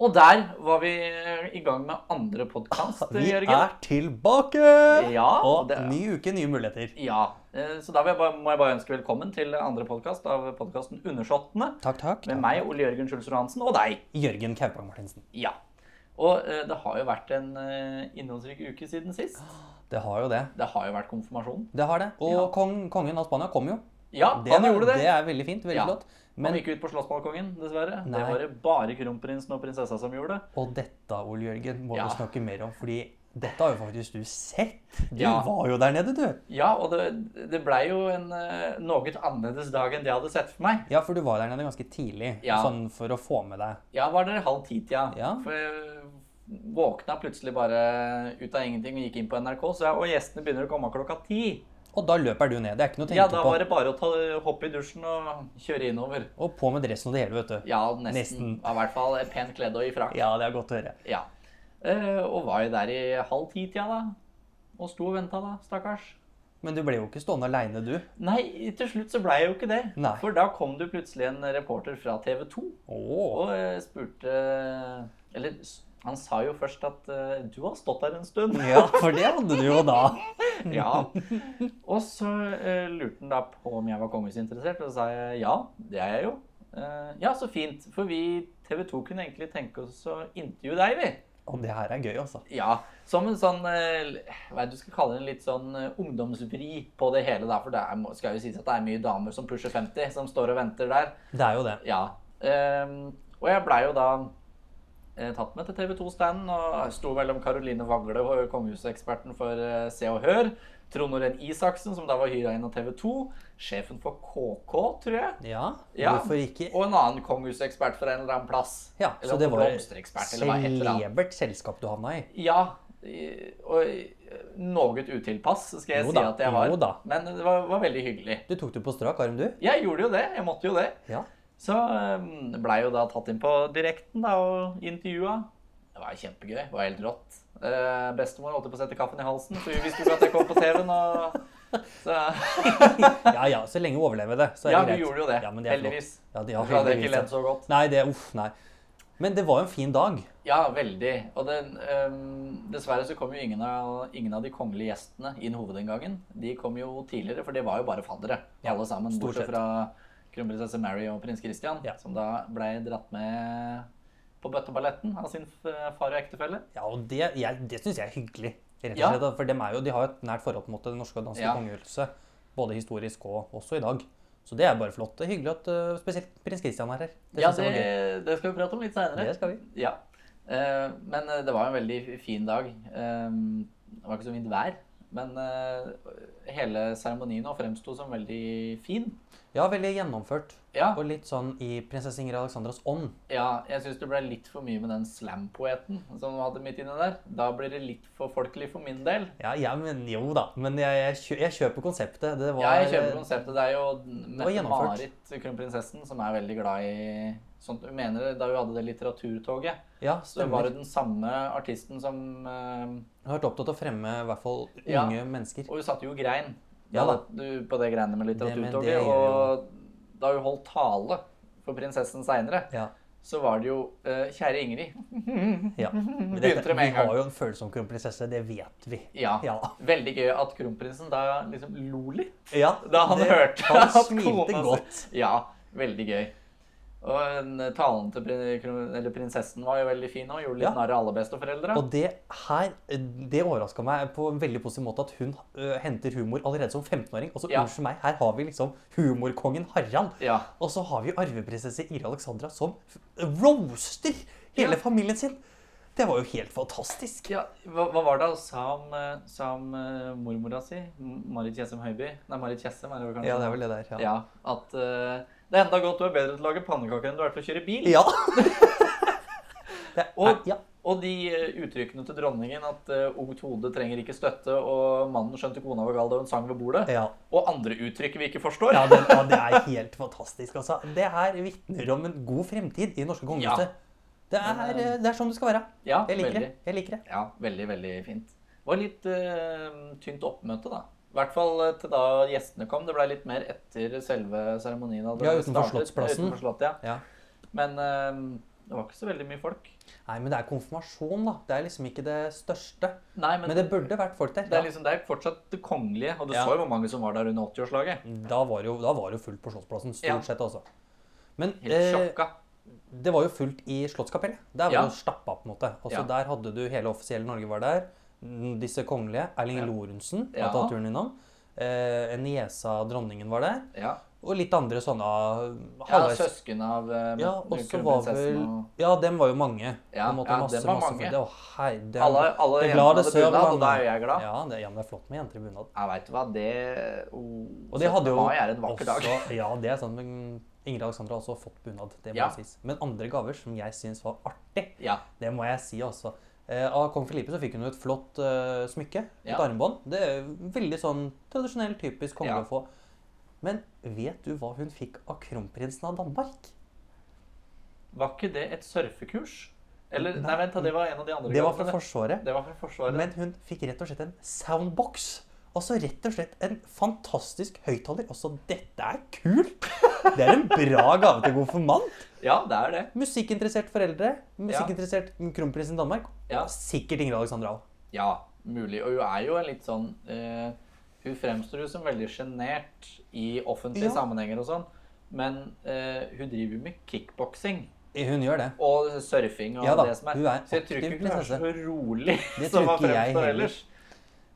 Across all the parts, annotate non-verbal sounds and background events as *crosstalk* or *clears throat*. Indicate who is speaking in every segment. Speaker 1: Og der var vi eh, i gang med andre podkast,
Speaker 2: Ah, Vi
Speaker 1: Jørgen.
Speaker 2: er tilbake!
Speaker 1: Ja,
Speaker 2: og
Speaker 1: det er-
Speaker 2: ny uke, nye muligheter.
Speaker 1: Ja, eh, Så da vil jeg bare, må jeg bare ønske velkommen til andre podkast av podkasten Undersåttene.
Speaker 2: Takk, takk.
Speaker 1: Med meg, Ole Jørgen Schulzer Hansen, og deg.
Speaker 2: Jørgen Kaupang Martinsen.
Speaker 1: Ja. Og eh, det har jo vært en eh, innholdsrik uke siden sist.
Speaker 2: Det har jo det.
Speaker 1: Det har jo vært konfirmasjon.
Speaker 2: Det har det. Og
Speaker 1: Ja.
Speaker 2: kong, kongen av Spania kom jo.
Speaker 1: Ja,
Speaker 2: Det
Speaker 1: han
Speaker 2: er-
Speaker 1: gjorde det.
Speaker 2: Det er veldig fint. Veldig
Speaker 1: Ja.
Speaker 2: flott.
Speaker 1: Han
Speaker 2: Men,
Speaker 1: gikk ut på slåssbalkongen, dessverre. Det
Speaker 2: Nei.
Speaker 1: var det bare kronprinsen og prinsessa som gjorde det.
Speaker 2: og dette, Ole Jørgen, må
Speaker 1: Ja.
Speaker 2: vi snakke mer om. Fordi dette har jo faktisk du sett. Du
Speaker 1: Ja.
Speaker 2: var jo der nede, du.
Speaker 1: Ja, og det, det blei jo en eh, noe annerledes dag enn det jeg hadde sett for meg.
Speaker 2: Ja, for du var der nede ganske tidlig.
Speaker 1: Ja.
Speaker 2: Sånn for å få med deg.
Speaker 1: Ja, var der halv ti-tida.
Speaker 2: Ja.
Speaker 1: For jeg våkna plutselig bare ut av ingenting og gikk inn på NRK, så jeg, og gjestene begynner å komme klokka ti.
Speaker 2: Og da løper du ned. Det er ikke noe å tenke
Speaker 1: Ja, da
Speaker 2: på.
Speaker 1: var det bare å ta, hoppe i dusjen og kjøre innover.
Speaker 2: Og på med dressen og det hele, vet du.
Speaker 1: Ja, nesten. Ja, I hvert fall pent kledd og i frakk.
Speaker 2: Ja, det er godt å høre.
Speaker 1: Ja. Eh, og var jo der i halv ti-tida, da. Og sto og venta, da. Stakkars.
Speaker 2: Men du ble jo ikke stående aleine, du.
Speaker 1: Nei, til slutt så blei jeg jo ikke det.
Speaker 2: Nei.
Speaker 1: For da kom det plutselig en reporter fra TV 2
Speaker 2: Åh.
Speaker 1: og eh, spurte Eller s- han sa jo først at eh, du har stått der en stund.
Speaker 2: Ja, for det hadde du jo da.
Speaker 1: Ja. Og så eh, lurte han da på om jeg var kongehusinteressert, og så sa jeg ja, det er jeg jo. Eh, ja, så fint, for vi TV 2 kunne egentlig tenke oss å intervjue deg, vi.
Speaker 2: Og det her er gøy, altså.
Speaker 1: Ja, som en sånn eh, Hva er det du skal kalle det? En litt sånn eh, ungdomsvri på det hele. Da, for det er, må- skal jo sies at det er mye damer som pusher 50, som står og venter der.
Speaker 2: Det er jo det.
Speaker 1: Ja. ehm, og jeg blei jo da eh, tatt med til TV 2-standen og sto mellom Caroline Vagle, og kongehuseksperten for eh, Se og Hør, Trond Oren Isaksen, som da var hyra inn av TV 2, sjefen for KK, tror jeg,
Speaker 2: Ja,
Speaker 1: Ja.
Speaker 2: hvorfor ikke?
Speaker 1: og en annen kongehusekspert fra en eller annen plass.
Speaker 2: Ja, så
Speaker 1: eller
Speaker 2: det var
Speaker 1: blomsterekspert, eller hva et eller annet.
Speaker 2: celebert selskap du havna i.
Speaker 1: Ja. i- Og i- noe utilpass, skal jeg si
Speaker 2: Jo da,
Speaker 1: at jeg var.
Speaker 2: jo da.
Speaker 1: Men det var, var veldig hyggelig.
Speaker 2: Du tok det på strak arm, du.
Speaker 1: Jeg gjorde jo det. Jeg måtte jo det. *laughs*
Speaker 2: Ja.
Speaker 1: Så um, blei jo da tatt inn på direkten da, og intervjua. Det var kjempegøy. Det var helt rått. Eh, bestemor holdt på å sette kaffen i halsen, for hun visste ikke at jeg kom på TV-en. Og... Så,
Speaker 2: ja, ja, så lenge hun overlever det, *laughs* så er
Speaker 1: ja, hun
Speaker 2: det greit.
Speaker 1: gjorde jo det.
Speaker 2: Ja, men det er flott.
Speaker 1: heldigvis.
Speaker 2: Ja, det, ja,
Speaker 1: Ja, hadde jeg ikke
Speaker 2: heldigvis.
Speaker 1: ledd så godt.
Speaker 2: Nei, det Uff, nei. Men det var jo en fin dag.
Speaker 1: Ja, veldig. Og den, ehm, dessverre så kom jo ingen av, ingen av de kongelige gjestene inn hovedinngangen. De kom jo tidligere, for det var jo bare faddere,
Speaker 2: Ja,
Speaker 1: alle sammen.
Speaker 2: stort
Speaker 1: Bortsett
Speaker 2: sett.
Speaker 1: fra kronprinsesse Mary og prins Christian,
Speaker 2: Ja.
Speaker 1: som da ble dratt med på bøtteballetten av sin f- far og ektefelle.
Speaker 2: Ja, og det, jeg, det syns jeg er hyggelig. Rett og
Speaker 1: Ja.
Speaker 2: slett, da, for dem er jo, De har jo et nært forhold til måte, det norske og danske
Speaker 1: Ja.
Speaker 2: kongehuset. Både historisk og også i dag. Så det er bare flott. Det er hyggelig at eh, spesielt prins Christian er her. Det
Speaker 1: ja,
Speaker 2: synes jeg var gøy.
Speaker 1: det, det skal vi prate om litt seinere.
Speaker 2: Det skal vi.
Speaker 1: Ja. Eh, men eh, det var en veldig fin dag. Eh, det var ikke så fint vær. Men eh, hele seremonien nå fremsto som veldig fin.
Speaker 2: Ja, veldig gjennomført.
Speaker 1: Ja.
Speaker 2: Og litt sånn i prinsesse Ingrid Alexandras ånd.
Speaker 1: Ja, jeg syns det ble litt for mye med den slam-poeten som du hadde midt inne der. Da blir det litt for folkelig for min del.
Speaker 2: Ja, ja men jo da. Men jeg, jeg, kjø, jeg kjøper konseptet. Det var,
Speaker 1: Ja, jeg kjøper konseptet. Det er jo
Speaker 2: var gjennomført.
Speaker 1: Mette-Marit, kronprinsessen, som er veldig glad i sånt. Hun mener det da hun hadde det litteraturtoget,
Speaker 2: Ja,
Speaker 1: så var
Speaker 2: stemmer.
Speaker 1: det den samme artisten som eh,
Speaker 2: Hun har vært opptatt av å fremme i hvert fall
Speaker 1: Ja.
Speaker 2: unge mennesker.
Speaker 1: Og hun satt jo og grein
Speaker 2: Ja da.
Speaker 1: du, på det greiene med
Speaker 2: Det- men det
Speaker 1: litteraturtoget.
Speaker 2: gjør
Speaker 1: Og da hun holdt tale for prinsessen seinere,
Speaker 2: Ja.
Speaker 1: så var det jo eh, Kjære Ingrid.
Speaker 2: ja. Men
Speaker 1: Begynte
Speaker 2: Dette,
Speaker 1: det med
Speaker 2: vi
Speaker 1: en gang.
Speaker 2: har jo en følsom kronprinsesse, det vet vi.
Speaker 1: Ja.
Speaker 2: Ja.
Speaker 1: Veldig gøy at kronprinsen da liksom lo litt.
Speaker 2: Ja,
Speaker 1: Da han
Speaker 2: det-
Speaker 1: hørte *laughs*
Speaker 2: Han
Speaker 1: at kona si-
Speaker 2: smilte godt.
Speaker 1: Ja, veldig gøy. Og en- eh, talen til prin- kron- eller prinsessen var jo veldig fin og gjorde litt
Speaker 2: Ja.
Speaker 1: narr av alle besteforeldra.
Speaker 2: Og det her, det overraska meg på en veldig positiv måte at hun øh, henter humor allerede som 15-åring. Og så,
Speaker 1: Ja.
Speaker 2: unnskyld meg, her har vi liksom humorkongen Harald.
Speaker 1: Ja.
Speaker 2: Og så har vi arveprinsesse Ira Alexandra som roaster hele
Speaker 1: Ja.
Speaker 2: familien sin. Det var jo helt fantastisk.
Speaker 1: Ja, hva, hva var det han sa om, eh, sa om eh, mormora si? M- Marit Tjessem Høiby? Nei, Marit Tjessem er det vel kanskje?
Speaker 2: Ja, det er vel det der. Ja.
Speaker 1: Ja, At eh, det er enda godt du er bedre til å lage pannekaker enn du er til å kjøre bil. *laughs*
Speaker 2: Ja. det er,
Speaker 1: Og-
Speaker 2: ja.
Speaker 1: Og de eh, uttrykkene til dronningen at eh, ungt hode trenger ikke støtte, og mannen skjønte kona var gal da hun sang ved bordet.
Speaker 2: Ja.
Speaker 1: Og andre uttrykk vi ikke forstår.
Speaker 2: Ja, det, ja, det er helt fantastisk. Altså. Det her vitner om en god fremtid i det norske kongehuset. Det, er, øh, det er sånn det skal være.
Speaker 1: Ja,
Speaker 2: Jeg liker det.
Speaker 1: veldig.
Speaker 2: Jeg liker det.
Speaker 1: Ja, veldig, veldig fint. Det var litt eh, tynt oppmøte, da. I hvert fall eh, til da gjestene kom. Det ble litt mer etter selve seremonien. hadde
Speaker 2: Ja, utenfor
Speaker 1: startet.
Speaker 2: Slottsplassen.
Speaker 1: Utenfor slottet, ja.
Speaker 2: Ja.
Speaker 1: Men eh, Det var ikke så veldig mye folk.
Speaker 2: Nei, men det er konfirmasjon, da. Det er liksom ikke det største.
Speaker 1: Nei, men,
Speaker 2: Men det burde vært folk der.
Speaker 1: det er liksom, det er fortsatt det kongelige, og du
Speaker 2: Ja.
Speaker 1: så jo hvor mange som var der under 80-årslaget.
Speaker 2: Da var jo, da var det jo fullt på Slottsplassen,
Speaker 1: liksom-
Speaker 2: stort
Speaker 1: Ja.
Speaker 2: sett, altså. Men
Speaker 1: Helt
Speaker 2: eh,
Speaker 1: sjokka.
Speaker 2: det var jo fullt i Slottskapellet. Der var
Speaker 1: Ja.
Speaker 2: det jo stappa, på en måte. Altså,
Speaker 1: Ja.
Speaker 2: Der hadde du hele offisielle Norge var der. Mm, Disse kongelige. Erling
Speaker 1: Ja.
Speaker 2: Lorentzen
Speaker 1: Ja.
Speaker 2: har tatt turen innom. Eh, en niese av dronningen var der.
Speaker 1: Ja.
Speaker 2: Og litt andre sånne ah,
Speaker 1: ja,
Speaker 2: halvveis
Speaker 1: søsken av eh,
Speaker 2: Ja, og så var
Speaker 1: kronprinsessen
Speaker 2: vel
Speaker 1: og
Speaker 2: Ja, dem var jo mange.
Speaker 1: Ja,
Speaker 2: på en måte,
Speaker 1: ja,
Speaker 2: masse,
Speaker 1: dem var
Speaker 2: masse,
Speaker 1: mange.
Speaker 2: Det, å, hei, det,
Speaker 1: Alle, alle
Speaker 2: det er
Speaker 1: hjemme
Speaker 2: glad det
Speaker 1: hadde
Speaker 2: sør var
Speaker 1: bunad, og da
Speaker 2: mange.
Speaker 1: er jeg glad.
Speaker 2: Ja, det, ja, men det er flott med jenter i bunad.
Speaker 1: Jeg veit hva, det
Speaker 2: Og det hadde jo
Speaker 1: Mai er en vakker dag. *laughs*
Speaker 2: også- Ja, det er sant. Men Ingrid Alexandra har også fått bunad. Det må
Speaker 1: Ja.
Speaker 2: sies. Men andre gaver som jeg syns var artig,
Speaker 1: Ja.
Speaker 2: det må jeg si også. Eh, av kong Filipe så fikk hun jo et flott eh, smykke. Et
Speaker 1: Ja.
Speaker 2: armbånd. Det er Veldig sånn tradisjonell, typisk kongelig
Speaker 1: Ja.
Speaker 2: å få. Men vet du hva hun fikk av kronprinsen av Danmark?
Speaker 1: Var ikke det et surfekurs? Eller Nei, vent, da, det var en av de andre.
Speaker 2: Det var
Speaker 1: gavene.
Speaker 2: fra Forsvaret.
Speaker 1: det var fra Forsvaret.
Speaker 2: Men hun fikk rett og slett en soundbox. Altså rett og slett en fantastisk høyttaler. Altså, dette er kult! Det er en bra gave til konfirmant.
Speaker 1: Ja, det er det.
Speaker 2: Musikkinteressert foreldre, musikkinteressert kronprinsen i Danmark.
Speaker 1: Ja.
Speaker 2: Og sikkert Ingrid Alexandra òg.
Speaker 1: Ja, mulig. Og hun er jo en litt sånn eh, Hun fremstår jo som veldig sjenert i offentlige
Speaker 2: Ja.
Speaker 1: sammenhenger og sånn, men eh, hun driver jo med kickboksing.
Speaker 2: Hun gjør det.
Speaker 1: Og surfing og
Speaker 2: Ja da,
Speaker 1: det som er.
Speaker 2: hun er
Speaker 1: Så jeg tror ikke
Speaker 2: aktiv
Speaker 1: hun er så
Speaker 2: prinsesse.
Speaker 1: rolig *laughs*
Speaker 2: Det
Speaker 1: som
Speaker 2: tror
Speaker 1: hun
Speaker 2: ikke
Speaker 1: fremstår
Speaker 2: jeg heller.
Speaker 1: ellers.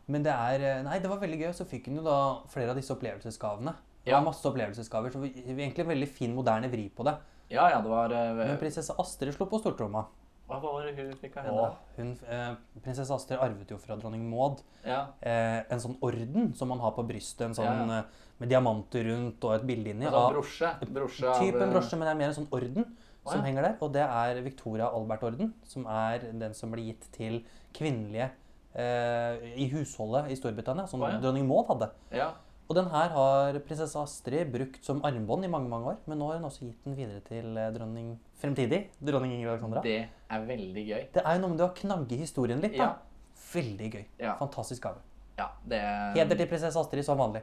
Speaker 2: Men det er eh, Nei, det var veldig gøy. og Så fikk hun jo da flere av disse opplevelsesgavene. Det
Speaker 1: Ja.
Speaker 2: var masse opplevelsesgaver, så vi- egentlig en veldig fin, moderne vri på det.
Speaker 1: Ja, ja, det var eh,
Speaker 2: Men prinsesse Astrid slo på stortromma.
Speaker 1: Hva var det hun fikk av henne?
Speaker 2: Og hun, eh, prinsesse Astrid arvet jo fra dronning Maud
Speaker 1: Ja.
Speaker 2: eh, en sånn orden som man har på brystet, en sånn
Speaker 1: Ja, ja.
Speaker 2: eh, med diamanter rundt og et bilde inni.
Speaker 1: Altså,
Speaker 2: av-
Speaker 1: brosje. brosje av,
Speaker 2: Typ en
Speaker 1: eh,
Speaker 2: brosje, men det er mer en sånn orden
Speaker 1: Å,
Speaker 2: som
Speaker 1: ja.
Speaker 2: henger der. Og det er Victoria Albert-orden, som er den som blir gitt til kvinnelige eh, i husholdet i Storbritannia, som
Speaker 1: Å, ja.
Speaker 2: dronning Maud hadde.
Speaker 1: eh, Ja.
Speaker 2: Og den her har prinsesse Astrid brukt som armbånd i mange mange år, men nå har hun også gitt den videre til eh, dronning fremtidig dronning Ingrid Alexandra. Det,
Speaker 1: Det er veldig gøy.
Speaker 2: er jo noe med det å knagge historien litt, da.
Speaker 1: Ja.
Speaker 2: Veldig gøy.
Speaker 1: Ja.
Speaker 2: Fantastisk gave.
Speaker 1: Ja, det
Speaker 2: Heder til prinsesse Astrid som vanlig.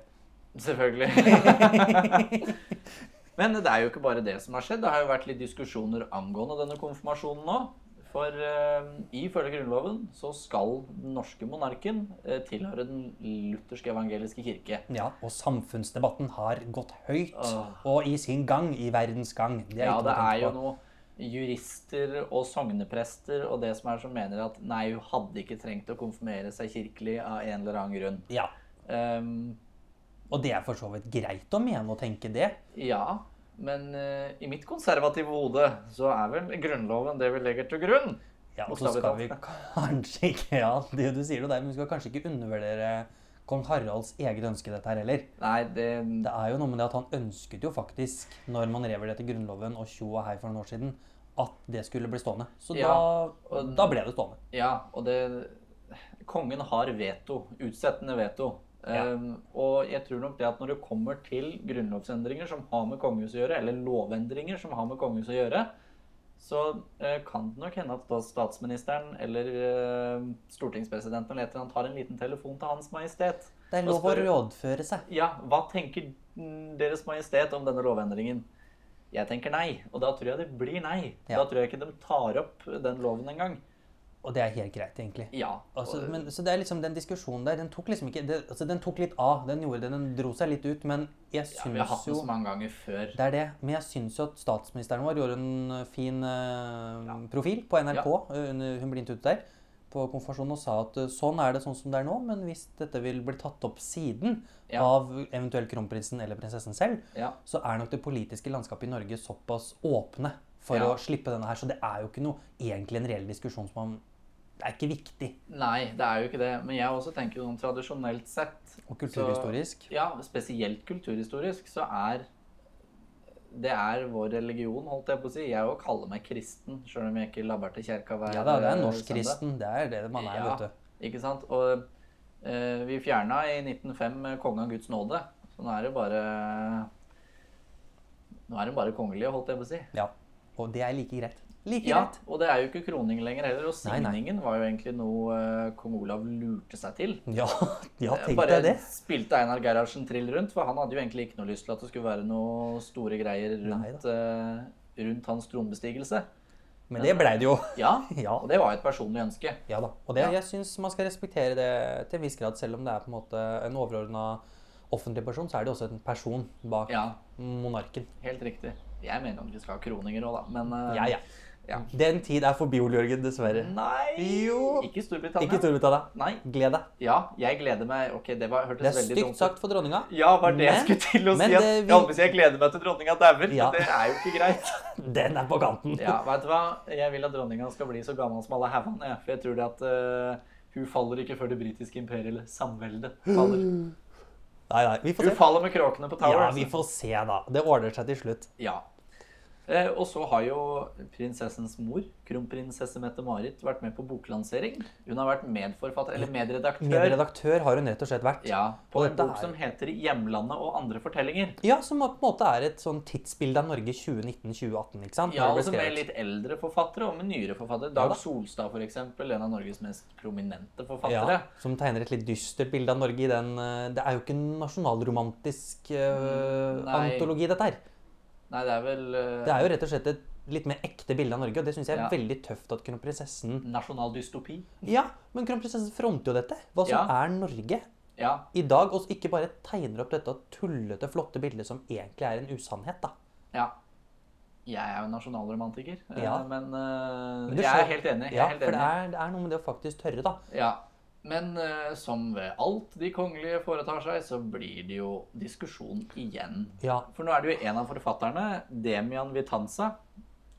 Speaker 2: *laughs*
Speaker 1: Selvfølgelig. Men det er jo ikke bare det som har skjedd. Det har jo vært litt diskusjoner angående denne konfirmasjonen nå. For eh, ifølge Grunnloven så skal den norske monarken eh, tilhøre den lutherske evangeliske kirke.
Speaker 2: Ja, og samfunnsdebatten har gått høyt
Speaker 1: Åh.
Speaker 2: og i sin gang, i verdens gang. Det er
Speaker 1: Ja,
Speaker 2: ikke
Speaker 1: det
Speaker 2: noe å
Speaker 1: er
Speaker 2: tenke
Speaker 1: jo
Speaker 2: på.
Speaker 1: noe jurister og sogneprester og det som er som mener at nei, hun hadde ikke trengt å konfirmere seg kirkelig av en eller annen grunn.
Speaker 2: Ja,
Speaker 1: Ehm,
Speaker 2: og det er for så vidt greit å mene og tenke det.
Speaker 1: ja, men eh, i mitt konservative hode så er vel Grunnloven det vi legger til grunn.
Speaker 2: Ja, og så skal vi
Speaker 1: Bokstavelig
Speaker 2: *laughs* kanskje ikke Ja, det du sier jo der, men vi skal kanskje ikke undervurdere kong Haralds eget ønske i dette her heller.
Speaker 1: Nei, det,
Speaker 2: Det er jo noe med det at han ønsket jo faktisk, når man revurderte Grunnloven og tjo og hei for noen år siden, at det skulle bli stående. Så
Speaker 1: Ja,
Speaker 2: da,
Speaker 1: og-
Speaker 2: da ble det stående.
Speaker 1: Ja, og det Kongen har veto. Utsettende veto.
Speaker 2: Ja.
Speaker 1: Ehm, og jeg tror nok det at når det kommer til grunnlovsendringer som har med kongehuset å gjøre, eller lovendringer som har med kongehuset å gjøre, så eh, kan det nok hende at da statsministeren eller eh, stortingspresidenten eller et eller annet tar en liten telefon til Hans Majestet.
Speaker 2: Det er
Speaker 1: og
Speaker 2: lov å
Speaker 1: spør-
Speaker 2: rådføre seg.
Speaker 1: Ja, hva tenker mm, Deres Majestet om denne lovendringen? Jeg tenker nei, og da tror jeg det blir nei.
Speaker 2: Ja.
Speaker 1: Da tror jeg ikke de tar opp den loven engang.
Speaker 2: Og det er helt greit, egentlig.
Speaker 1: Ja.
Speaker 2: Altså,
Speaker 1: og-
Speaker 2: men, så det er liksom den diskusjonen der, den tok liksom ikke det, altså, Den tok litt av. Den gjorde det, den dro seg litt ut. Men jeg
Speaker 1: Ja, vi har hatt
Speaker 2: syns
Speaker 1: den
Speaker 2: jo
Speaker 1: så mange ganger før.
Speaker 2: Det er det. Men jeg syns jo at statsministeren vår gjorde en eh, fin eh, profil på NRK. eh, under- Hun ble intervjuet der på konfirmasjonen og sa at eh, sånn er det sånn som det er nå, men hvis dette vil bli tatt opp siden
Speaker 1: Ja.
Speaker 2: av eventuelt kronprinsen eller prinsessen selv,
Speaker 1: Ja.
Speaker 2: så er nok det politiske landskapet i Norge såpass åpne for
Speaker 1: Ja.
Speaker 2: å slippe denne her. Så det er jo ikke noe egentlig en reell diskusjon som man Det er ikke viktig.
Speaker 1: Nei, det er jo ikke det. Men jeg også tenker jo sånn tradisjonelt sett
Speaker 2: Og kulturhistorisk.
Speaker 1: så- Ja, spesielt kulturhistorisk så er det er vår religion, holdt jeg på å si. Jeg òg kaller meg kristen, sjøl om jeg ikke labber til kjerka hver
Speaker 2: Ja da, det er
Speaker 1: eh,
Speaker 2: norsk
Speaker 1: søndag.
Speaker 2: kristen. Det er det man er,
Speaker 1: Ja,
Speaker 2: vet du.
Speaker 1: Ikke sant? Og eh, vi fjerna i 1905 kongen av Guds nåde. Så nå er det bare Nå er det bare kongelige, holdt jeg på å si.
Speaker 2: Ja. Og det er like greit. Like
Speaker 1: Ja,
Speaker 2: greit.
Speaker 1: og det er jo ikke kroning lenger heller. Og
Speaker 2: Nei, nei.
Speaker 1: signingen var jo egentlig noe eh, kong Olav lurte seg til.
Speaker 2: *laughs* Ja, ja
Speaker 1: Jeg
Speaker 2: tenk
Speaker 1: Bare
Speaker 2: deg det.
Speaker 1: spilte Einar Gerhardsen trill rundt, for han hadde jo egentlig ikke noe lyst til at det skulle være noe store greier rundt, eh, rundt hans tronbestigelse.
Speaker 2: Men det blei det jo. *laughs*
Speaker 1: Ja,
Speaker 2: ja.
Speaker 1: og det var et personlig ønske.
Speaker 2: Ja da. Og det,
Speaker 1: Ja.
Speaker 2: jeg syns man skal respektere det til en viss grad, selv om det er på en måte en overordna offentlig person, så er det jo også en person bak
Speaker 1: Ja,
Speaker 2: monarken.
Speaker 1: helt riktig. Jeg mener at vi skal ha kroninger òg, da, men eh,
Speaker 2: Ja, ja.
Speaker 1: Ja.
Speaker 2: Den tid er forbi, Ole Jørgen, dessverre.
Speaker 1: Nei
Speaker 2: Jo.
Speaker 1: Ikke Storbritannia.
Speaker 2: Ikke Storbritannia.
Speaker 1: Nei.
Speaker 2: Gled deg.
Speaker 1: Ja, jeg gleder meg. Ok, det var, hørtes
Speaker 2: Det er
Speaker 1: veldig
Speaker 2: stygt
Speaker 1: dumt ut.
Speaker 2: sagt for dronninga.
Speaker 1: Ja, var det jeg
Speaker 2: Men-
Speaker 1: skulle til å si.
Speaker 2: men
Speaker 1: At,
Speaker 2: det vi-
Speaker 1: Jeg holdt på å si jeg gleder meg til dronninga dauer.
Speaker 2: Ja.
Speaker 1: men Det er jo ikke
Speaker 2: *laughs*
Speaker 1: greit.
Speaker 2: Den er på kanten.
Speaker 1: Ja, vet du hva? Jeg vil at dronninga skal bli så gammel som alle haugene, jeg. For jeg tror det at eh, hun faller ikke før det britiske imperiet eller samveldet faller.
Speaker 2: *laughs* Nei, nei, vi får
Speaker 1: Hun
Speaker 2: se.
Speaker 1: faller med kråkene på Tower.
Speaker 2: Ja,
Speaker 1: altså.
Speaker 2: vi får se, da. Det ordner seg til slutt.
Speaker 1: Ja. Eh, og så har jo prinsessens mor, kronprinsesse Mette-Marit, vært med på boklansering. Hun har vært medforfatter, eller medredaktør,
Speaker 2: Min redaktør har hun rett og slett vært.
Speaker 1: Ja, på
Speaker 2: Og
Speaker 1: en
Speaker 2: dette
Speaker 1: bok
Speaker 2: er-
Speaker 1: som heter 'Hjemlandet og andre fortellinger'.
Speaker 2: Ja, som på en måte er et sånn tidsbilde av Norge 2019-2018, ikke sant?
Speaker 1: Ja,
Speaker 2: Når det ble
Speaker 1: også med
Speaker 2: skrevet.
Speaker 1: litt eldre forfattere og med nyere forfattere.
Speaker 2: Ja
Speaker 1: Dag
Speaker 2: da.
Speaker 1: Solstad, for eksempel, en av Norges mest prominente
Speaker 2: ja,
Speaker 1: forfattere.
Speaker 2: som tegner et litt dystert bilde av Norge i den eh, Det er jo ikke en nasjonalromantisk eh,
Speaker 1: Mm, nei.
Speaker 2: antologi, dette her.
Speaker 1: Nei, det er vel eh,
Speaker 2: Det er jo rett og slett et litt mer ekte bilde av Norge, og det syns jeg er
Speaker 1: Ja. Mm.
Speaker 2: veldig tøft at kronprinsessen
Speaker 1: nasjonal dystopi.
Speaker 2: Ja, men kronprinsessen fronter jo dette. Hva som
Speaker 1: Ja.
Speaker 2: er Norge
Speaker 1: Ja,
Speaker 2: i dag, og ikke bare tegner opp dette tullete, flotte bildet som egentlig er en usannhet, da.
Speaker 1: ja. Jeg er jo nasjonalromantiker, eh,
Speaker 2: Ja.
Speaker 1: men, eh,
Speaker 2: Men du
Speaker 1: jeg er
Speaker 2: skjønner-
Speaker 1: helt enig. Jeg
Speaker 2: Ja,
Speaker 1: er helt
Speaker 2: for det
Speaker 1: enig.
Speaker 2: er, det er noe med det å faktisk tørre, da.
Speaker 1: Ja. Men eh, som ved alt de kongelige foretar seg, så blir det jo diskusjon igjen.
Speaker 2: Ja.
Speaker 1: For nå er det jo en av forfatterne, Demian Vitanza,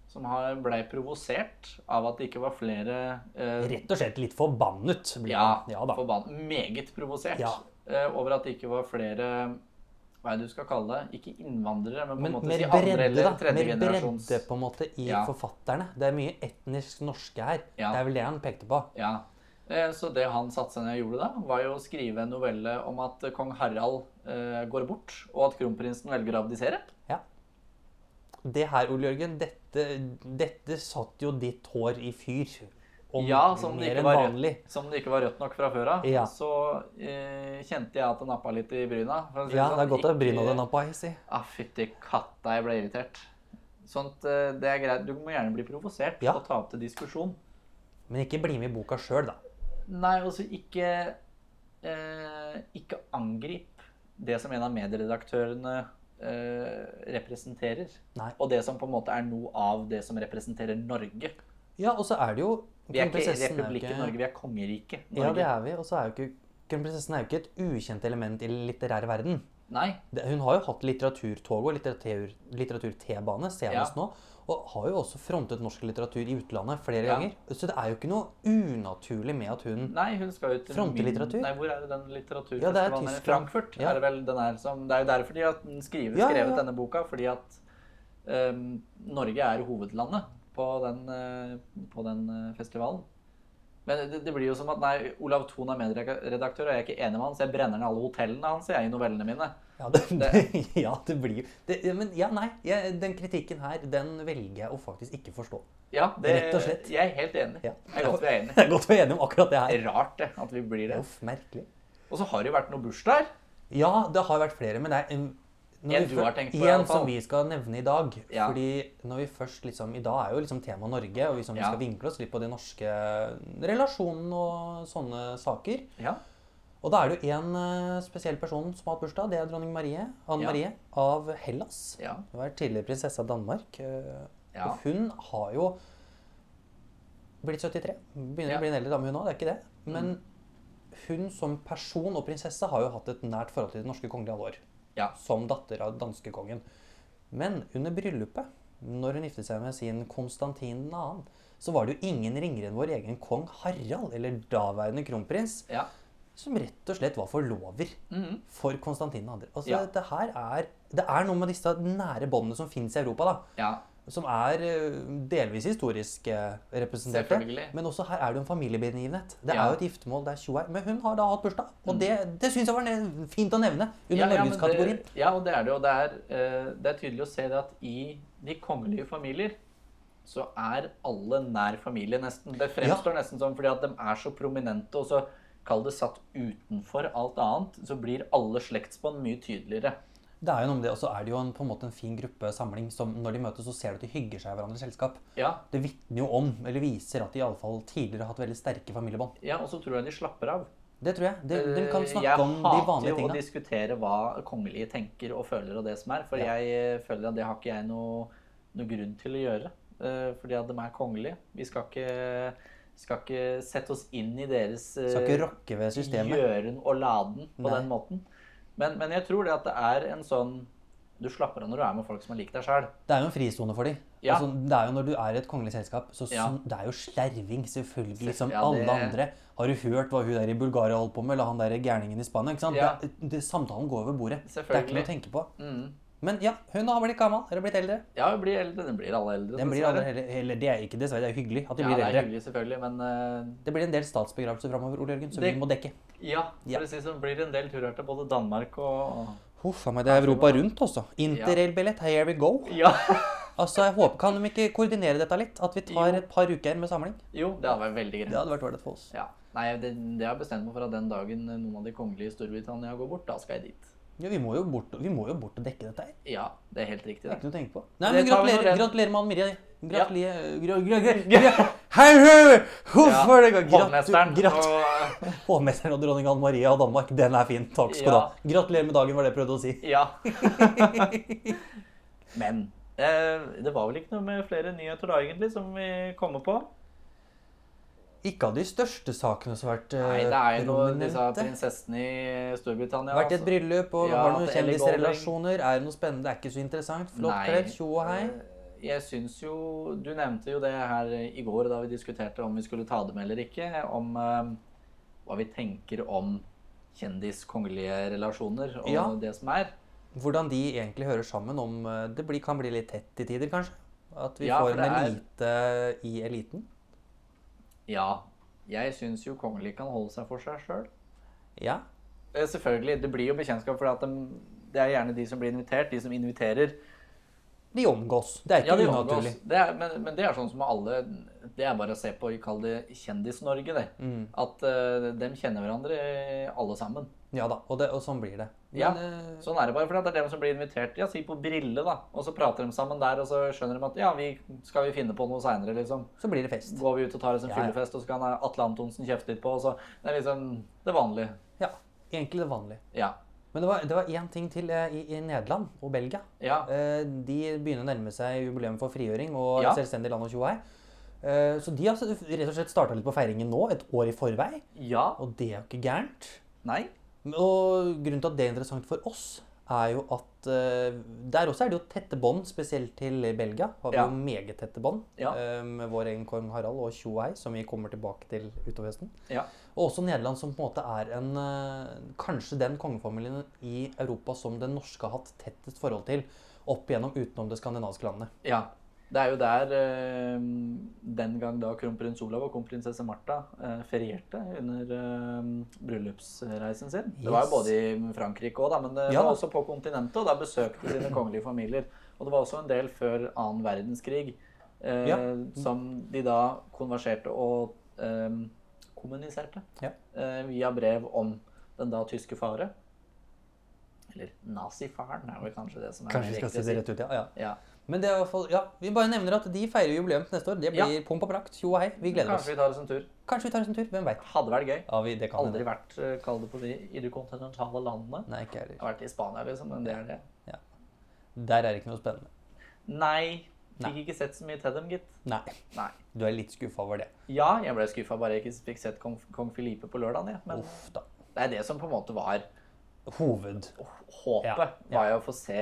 Speaker 1: som har- ble provosert av at det ikke var flere eh,
Speaker 2: Rett og slett litt forbannet. blir
Speaker 1: Ja,
Speaker 2: han. ja da.
Speaker 1: forbann- Meget provosert
Speaker 2: Ja.
Speaker 1: eh, over at det ikke var flere Hva er det du skal kalle det? Ikke innvandrere, men på en
Speaker 2: Men
Speaker 1: måte
Speaker 2: mer
Speaker 1: si andre
Speaker 2: bredde,
Speaker 1: eller
Speaker 2: da.
Speaker 1: tredje
Speaker 2: Mer
Speaker 1: generasjons
Speaker 2: bredde på en måte i
Speaker 1: Ja.
Speaker 2: forfatterne. Det er mye etnisk norske her.
Speaker 1: Ja.
Speaker 2: Det er vel det han pekte på.
Speaker 1: Ja. Eh, Så det han satte seg ned og gjorde da, var jo å skrive en novelle om at kong Harald eh, går bort, og at kronprinsen velger å abdisere.
Speaker 2: Det her, Ole Jørgen, dette, dette satt jo ditt hår i fyr. Om
Speaker 1: Ja, som det,
Speaker 2: mer
Speaker 1: ikke
Speaker 2: enn
Speaker 1: var
Speaker 2: vanlig.
Speaker 1: rødt, som det ikke var rødt nok fra før av.
Speaker 2: Ja.
Speaker 1: Så eh, kjente jeg at det nappa litt i bryna. for å si
Speaker 2: Ja, det
Speaker 1: sånn.
Speaker 2: er godt å
Speaker 1: Ikke-
Speaker 2: bryne den opp av, jeg sier.
Speaker 1: Ah, fytti katta, jeg ble irritert. Sånt, eh, det er greit. Du må gjerne bli provosert
Speaker 2: Ja.
Speaker 1: og ta opp til diskusjon.
Speaker 2: Men ikke bli med i boka sjøl, da.
Speaker 1: Nei, altså ikke eh, Ikke angrip det som en av medieredaktørene eh, representerer.
Speaker 2: Nei.
Speaker 1: Og det som på en måte er noe av det som representerer Norge.
Speaker 2: Ja, og så er det jo
Speaker 1: Vi er ikke
Speaker 2: kronprinsessen er jo
Speaker 1: republikken
Speaker 2: ikke-
Speaker 1: Norge, vi er kongeriket Norge.
Speaker 2: Ja, det er vi. Og så er jo ikke Kronprinsessen er jo ikke et ukjent element i den litterære verden.
Speaker 1: Nei.
Speaker 2: Det, hun har jo hatt litteraturtog og litteratur- litteratur-T-bane senest
Speaker 1: Ja.
Speaker 2: nå. Og har jo også frontet norsk litteratur i utlandet flere
Speaker 1: Ja.
Speaker 2: ganger. Så det er jo ikke noe unaturlig med at hun
Speaker 1: Nei, hun skal jo til
Speaker 2: Frontlitteratur?
Speaker 1: Nei, hvor er det den litteraturfestivalen?
Speaker 2: Ja, det er
Speaker 1: her?
Speaker 2: Tyskland.
Speaker 1: Frankfurt.
Speaker 2: Ja.
Speaker 1: Er det, vel den er som, det er jo derfor de har skrevet,
Speaker 2: Ja, ja,
Speaker 1: skrevet
Speaker 2: ja.
Speaker 1: denne boka, fordi at ehm, Norge er hovedlandet på den, eh, på den eh, festivalen. Men det, det blir jo som at nei, Olav Thon er medredaktør, og jeg er ikke enig med han, så jeg brenner ned alle hotellene hans jeg, i novellene mine.
Speaker 2: Ja, *laughs* det, ja, det blir jo det, ja, Men ja, nei. Jeg, den kritikken her, den velger jeg å faktisk ikke forstå. *laughs*
Speaker 1: Ja, det,
Speaker 2: Rett og slett.
Speaker 1: Jeg er helt enig.
Speaker 2: Ja.
Speaker 1: Det er godt vi er enige.
Speaker 2: Det er godt å være enig om akkurat det
Speaker 1: Det
Speaker 2: her.
Speaker 1: er rart det, at vi blir
Speaker 2: Det
Speaker 1: det.
Speaker 2: er jo merkelig.
Speaker 1: Og så har det jo vært noen bursdager.
Speaker 2: Ja, det har vært flere, men det er en, når
Speaker 1: En du
Speaker 2: vi før-
Speaker 1: har tenkt på, i
Speaker 2: En
Speaker 1: alle fall.
Speaker 2: som vi skal nevne i dag.
Speaker 1: Ja.
Speaker 2: Fordi når vi først liksom, I dag er jo liksom tema Norge, og vi som
Speaker 1: Ja.
Speaker 2: skal vinkle oss litt på de norske relasjonene og sånne saker.
Speaker 1: Ja.
Speaker 2: Og da er det jo én spesiell person som har hatt bursdag. Det er dronning Marie, Anne
Speaker 1: Ja.
Speaker 2: Marie av Hellas.
Speaker 1: Ja.
Speaker 2: Hun er tidligere prinsesse av Danmark. eh,
Speaker 1: Ja.
Speaker 2: Og hun har jo blitt 73. Begynner
Speaker 1: Ja. Mm.
Speaker 2: å bli en eldre dame, hun òg. Det er ikke det. Men hun som person og prinsesse har jo hatt et nært forhold til det norske kongelige alle år.
Speaker 1: Ja.
Speaker 2: Som datter av danskekongen. Men under bryllupet, når hun giftet seg med sin Konstantin 2., så var det jo ingen ringere enn vår egen kong Harald, eller daværende kronprins,
Speaker 1: Ja.
Speaker 2: som rett og slett var forlover
Speaker 1: Mhm.
Speaker 2: for Konstantin 2. Altså,
Speaker 1: Ja.
Speaker 2: det her er Det er noe med disse nære båndene som fins i Europa, da.
Speaker 1: ja.
Speaker 2: Som er eh, delvis historisk eh, representerte.
Speaker 1: Selvfølgelig.
Speaker 2: Men også her er det jo en familiebegivenhet. Det
Speaker 1: Ja.
Speaker 2: er jo et giftermål, det er tjoer. Men hun har da hatt bursdag. Og det, det syns jeg var ne- fint å nevne under
Speaker 1: men
Speaker 2: norgeskategorien.
Speaker 1: Det, ja, og det er det. Og det er, eh, det er tydelig å se det at i de kongelige familier så er alle nær familie, nesten. Det fremstår nesten sånn fordi at de er så prominente, og så kall det satt utenfor alt annet, så blir alle slektsbånd mye tydeligere.
Speaker 2: Det er jo noe med det, og så er det jo en, på en måte en fin gruppesamling som når de møtes, så ser du at de hygger seg i hverandres selskap.
Speaker 1: Ja,
Speaker 2: Det vitner jo om, eller viser at de iallfall tidligere har hatt veldig sterke familiebånd.
Speaker 1: ja og så tror jeg de slapper av.
Speaker 2: Det tror jeg. De, de kan
Speaker 1: Eh,
Speaker 2: snakke om de vanlige
Speaker 1: Jeg hater jo å
Speaker 2: tingene.
Speaker 1: diskutere hva kongelige tenker og føler og det som er, for
Speaker 2: Ja.
Speaker 1: jeg eh, føler at det har ikke jeg noe, noe grunn til å gjøre. eh, Fordi at de er kongelige. Vi skal ikke, skal ikke sette oss inn i deres eh,
Speaker 2: Skal ikke rokke ved systemet.
Speaker 1: gjøren og laden på
Speaker 2: Nei.
Speaker 1: den måten. Men, men jeg tror det at det er en sånn Du slapper av når du er med folk som er lik deg sjøl.
Speaker 2: Det er jo en frisone for dem.
Speaker 1: Ja.
Speaker 2: Altså, det er jo når du er i et kongelig selskap, så
Speaker 1: Ja.
Speaker 2: sn- det er jo slerving, selvfølgelig, som
Speaker 1: Ja, det-
Speaker 2: alle andre. Har du hørt hva hun der i Bulgaria holdt på med, eller han der gærningen i Spania? ikke sant?
Speaker 1: Ja.
Speaker 2: Det, det, samtalen går over bordet. Det er ikke noe
Speaker 1: Selvfølgelig.
Speaker 2: å tenke på.
Speaker 1: Mm.
Speaker 2: Men ja, hun har blitt gammel, eller blitt eldre.
Speaker 1: Ja, hun blir eldre. Den blir alle eldre.
Speaker 2: Den blir
Speaker 1: dessverre.
Speaker 2: aldri, eller, eller det er ikke dessverre, det er hyggelig at de
Speaker 1: Ja,
Speaker 2: blir
Speaker 1: det er
Speaker 2: eldre.
Speaker 1: hyggelig, selvfølgelig, men eh,
Speaker 2: Det blir en del statsbegravelser framover, Ole Jørgen, som
Speaker 1: Det-
Speaker 2: vi må dekke.
Speaker 1: Ja,
Speaker 2: Ja.
Speaker 1: for å si det sånn, blir det en del turer til både Danmark og
Speaker 2: Huff a meg, det er Europa rundt også. Interrail-billett, here we go.
Speaker 1: Ja!
Speaker 2: Altså, jeg håper, Kan de ikke koordinere dette litt? At vi tar et par uker med samling?
Speaker 1: Jo, det hadde vært veldig
Speaker 2: Det
Speaker 1: greit.
Speaker 2: hadde vært ålreit for oss.
Speaker 1: Ja. Nei, det, det har jeg bestemt meg for at den dagen noen av de kongelige i Storbritannia går bort, da skal jeg dit.
Speaker 2: Ja, vi må jo bort, vi må jo bort og dekke dette her.
Speaker 1: Ja, det er helt riktig.
Speaker 2: Det er
Speaker 1: Det.
Speaker 2: ikke noe å tenke på. Nei,
Speaker 1: Det
Speaker 2: men
Speaker 1: tar vi når
Speaker 2: gratulerer,
Speaker 1: den-
Speaker 2: gratulerer med Ann Mirja.
Speaker 1: Ja.
Speaker 2: Gratulerer. Hei,
Speaker 1: Ja,
Speaker 2: *laughs* Hvorfor det
Speaker 1: Hovmesteren
Speaker 2: Gratulerer.
Speaker 1: og eh,
Speaker 2: Hovmesteren og dronning Anne Maria av Danmark, den er fin. Takk skal du
Speaker 1: Ja.
Speaker 2: ha. Gratulerer med dagen, var det jeg prøvde å si. *laughs*
Speaker 1: Ja. Men eh, det var vel ikke noe med flere nyheter da, egentlig, som vi kommer på?
Speaker 2: Ikke av de største sakene som har vært eh,
Speaker 1: Nei, det er jo noe, disse
Speaker 2: prominente.
Speaker 1: prinsessene i Storbritannia altså.
Speaker 2: Vært i et bryllup og
Speaker 1: Ja,
Speaker 2: har noen
Speaker 1: at Ellie
Speaker 2: kjendisrelasjoner. Er det noe spennende? Det er ikke så interessant. Flott
Speaker 1: Nei,
Speaker 2: kledd, tjo og hei.
Speaker 1: eh, Jeg syns jo Du nevnte jo det her i går da vi diskuterte om vi skulle ta det med eller ikke. Om eh, hva vi tenker om kjendis-kongelige relasjoner og
Speaker 2: Ja.
Speaker 1: det som er.
Speaker 2: Hvordan de egentlig hører sammen om eh, Det blir, kan bli litt tett til tider, kanskje? At vi
Speaker 1: Ja,
Speaker 2: får
Speaker 1: for det
Speaker 2: en elite i eliten?
Speaker 1: Ja. Jeg syns jo kongelige kan holde seg for seg sjøl.
Speaker 2: Ja.
Speaker 1: Eh, Selvfølgelig. Det blir jo bekjentskap, for at dem- det er gjerne de som blir invitert, de som inviterer.
Speaker 2: De omgås. Det er
Speaker 1: Ja,
Speaker 2: ikke
Speaker 1: de
Speaker 2: unaturlig.
Speaker 1: omgås. Det er, men, men det er sånn som med alle Det er bare å se på Kall det Kjendis-Norge, det.
Speaker 2: Mm.
Speaker 1: At eh, dem kjenner hverandre eh, alle sammen.
Speaker 2: Ja da, og, det, og sånn blir det.
Speaker 1: Ja,
Speaker 2: Men, eh,
Speaker 1: sånn er det bare. For det er dem som blir invitert ja, si på Brille, da. Og så prater de sammen der, og så skjønner de at ja, vi skal vi finne på noe seinere, liksom.
Speaker 2: så blir det fest.
Speaker 1: Går vi ut og tar oss en
Speaker 2: Ja, ja.
Speaker 1: fyllefest, og så kan Atle Antonsen kjefte litt på, og så Det er liksom det vanlige.
Speaker 2: Ja. Egentlig det vanlige.
Speaker 1: Ja.
Speaker 2: Men det var, det var én ting til eh, i, i Nederland og Belgia.
Speaker 1: Ja.
Speaker 2: Eh, De begynner å nærme seg jubileum for frigjøring og
Speaker 1: Ja.
Speaker 2: selvstendig land og tjoei. Eh, Så de har s- rett og slett starta litt på feiringen nå, et år i forvei.
Speaker 1: Ja.
Speaker 2: Og det er jo ikke gærent.
Speaker 1: Nei.
Speaker 2: Og grunnen til at det er interessant for oss, er jo at eh, der også er det jo tette bånd, spesielt til Belgia. Har vi
Speaker 1: Ja.
Speaker 2: jo meget tette bånd
Speaker 1: Ja.
Speaker 2: eh, med vår egen kong Harald og Tjoei, som vi kommer tilbake til utover høsten.
Speaker 1: Ja.
Speaker 2: Og også Nederland, som på en måte er en eh, Kanskje den kongefamilien i Europa som den norske har hatt tettest forhold til opp igjennom utenom det skandinaviske landet.
Speaker 1: Ja. Det er jo der eh, den gang da kronprins Olav og kronprinsesse Martha eh, ferierte under eh, bryllupsreisen sin. Det var jo
Speaker 2: Yes.
Speaker 1: både i Frankrike òg, men det
Speaker 2: Ja.
Speaker 1: var også på kontinentet. Og der besøkte
Speaker 2: *clears throat*
Speaker 1: sine kongelige familier. Og det var også en del før annen verdenskrig eh,
Speaker 2: Ja.
Speaker 1: som de da konverserte og eh, kommuniserte
Speaker 2: Ja.
Speaker 1: eh, via brev om den da tyske fare. Eller nazifaren er vel kanskje det som er
Speaker 2: Kanskje vi
Speaker 1: riktig
Speaker 2: skal si det rett ut, ja. ja.
Speaker 1: Ja.
Speaker 2: Men det er i hvert fall, ja, vi bare nevner at de feirer jubileum til neste år. Det
Speaker 1: Ja.
Speaker 2: blir pomp og prakt. Tjo og hei. Vi gleder
Speaker 1: Kanskje vi tar oss en tur.
Speaker 2: oss. Kanskje vi tar oss en tur. Hvem veit.
Speaker 1: Hadde vært gøy.
Speaker 2: Ja, vi, det kan
Speaker 1: Aldri vært eh, kall det på de i de kontinentale landene.
Speaker 2: Nei, ikke jeg
Speaker 1: Jeg har
Speaker 2: heller.
Speaker 1: vært i Spania, liksom, men det er det.
Speaker 2: Der er det ikke noe spennende.
Speaker 1: Nei.
Speaker 2: Nei.
Speaker 1: Fikk ikke sett så mye til dem, gitt.
Speaker 2: Nei.
Speaker 1: Nei.
Speaker 2: Du er litt skuffa over det.
Speaker 1: Ja, jeg ble skuffa bare jeg ikke fikk sett kong, kong Filipe på lørdag. Ja. Men
Speaker 2: Uff da.
Speaker 1: det er det som på en måte var
Speaker 2: Hoved.
Speaker 1: håpet.
Speaker 2: Ja, ja.
Speaker 1: Var jo å få se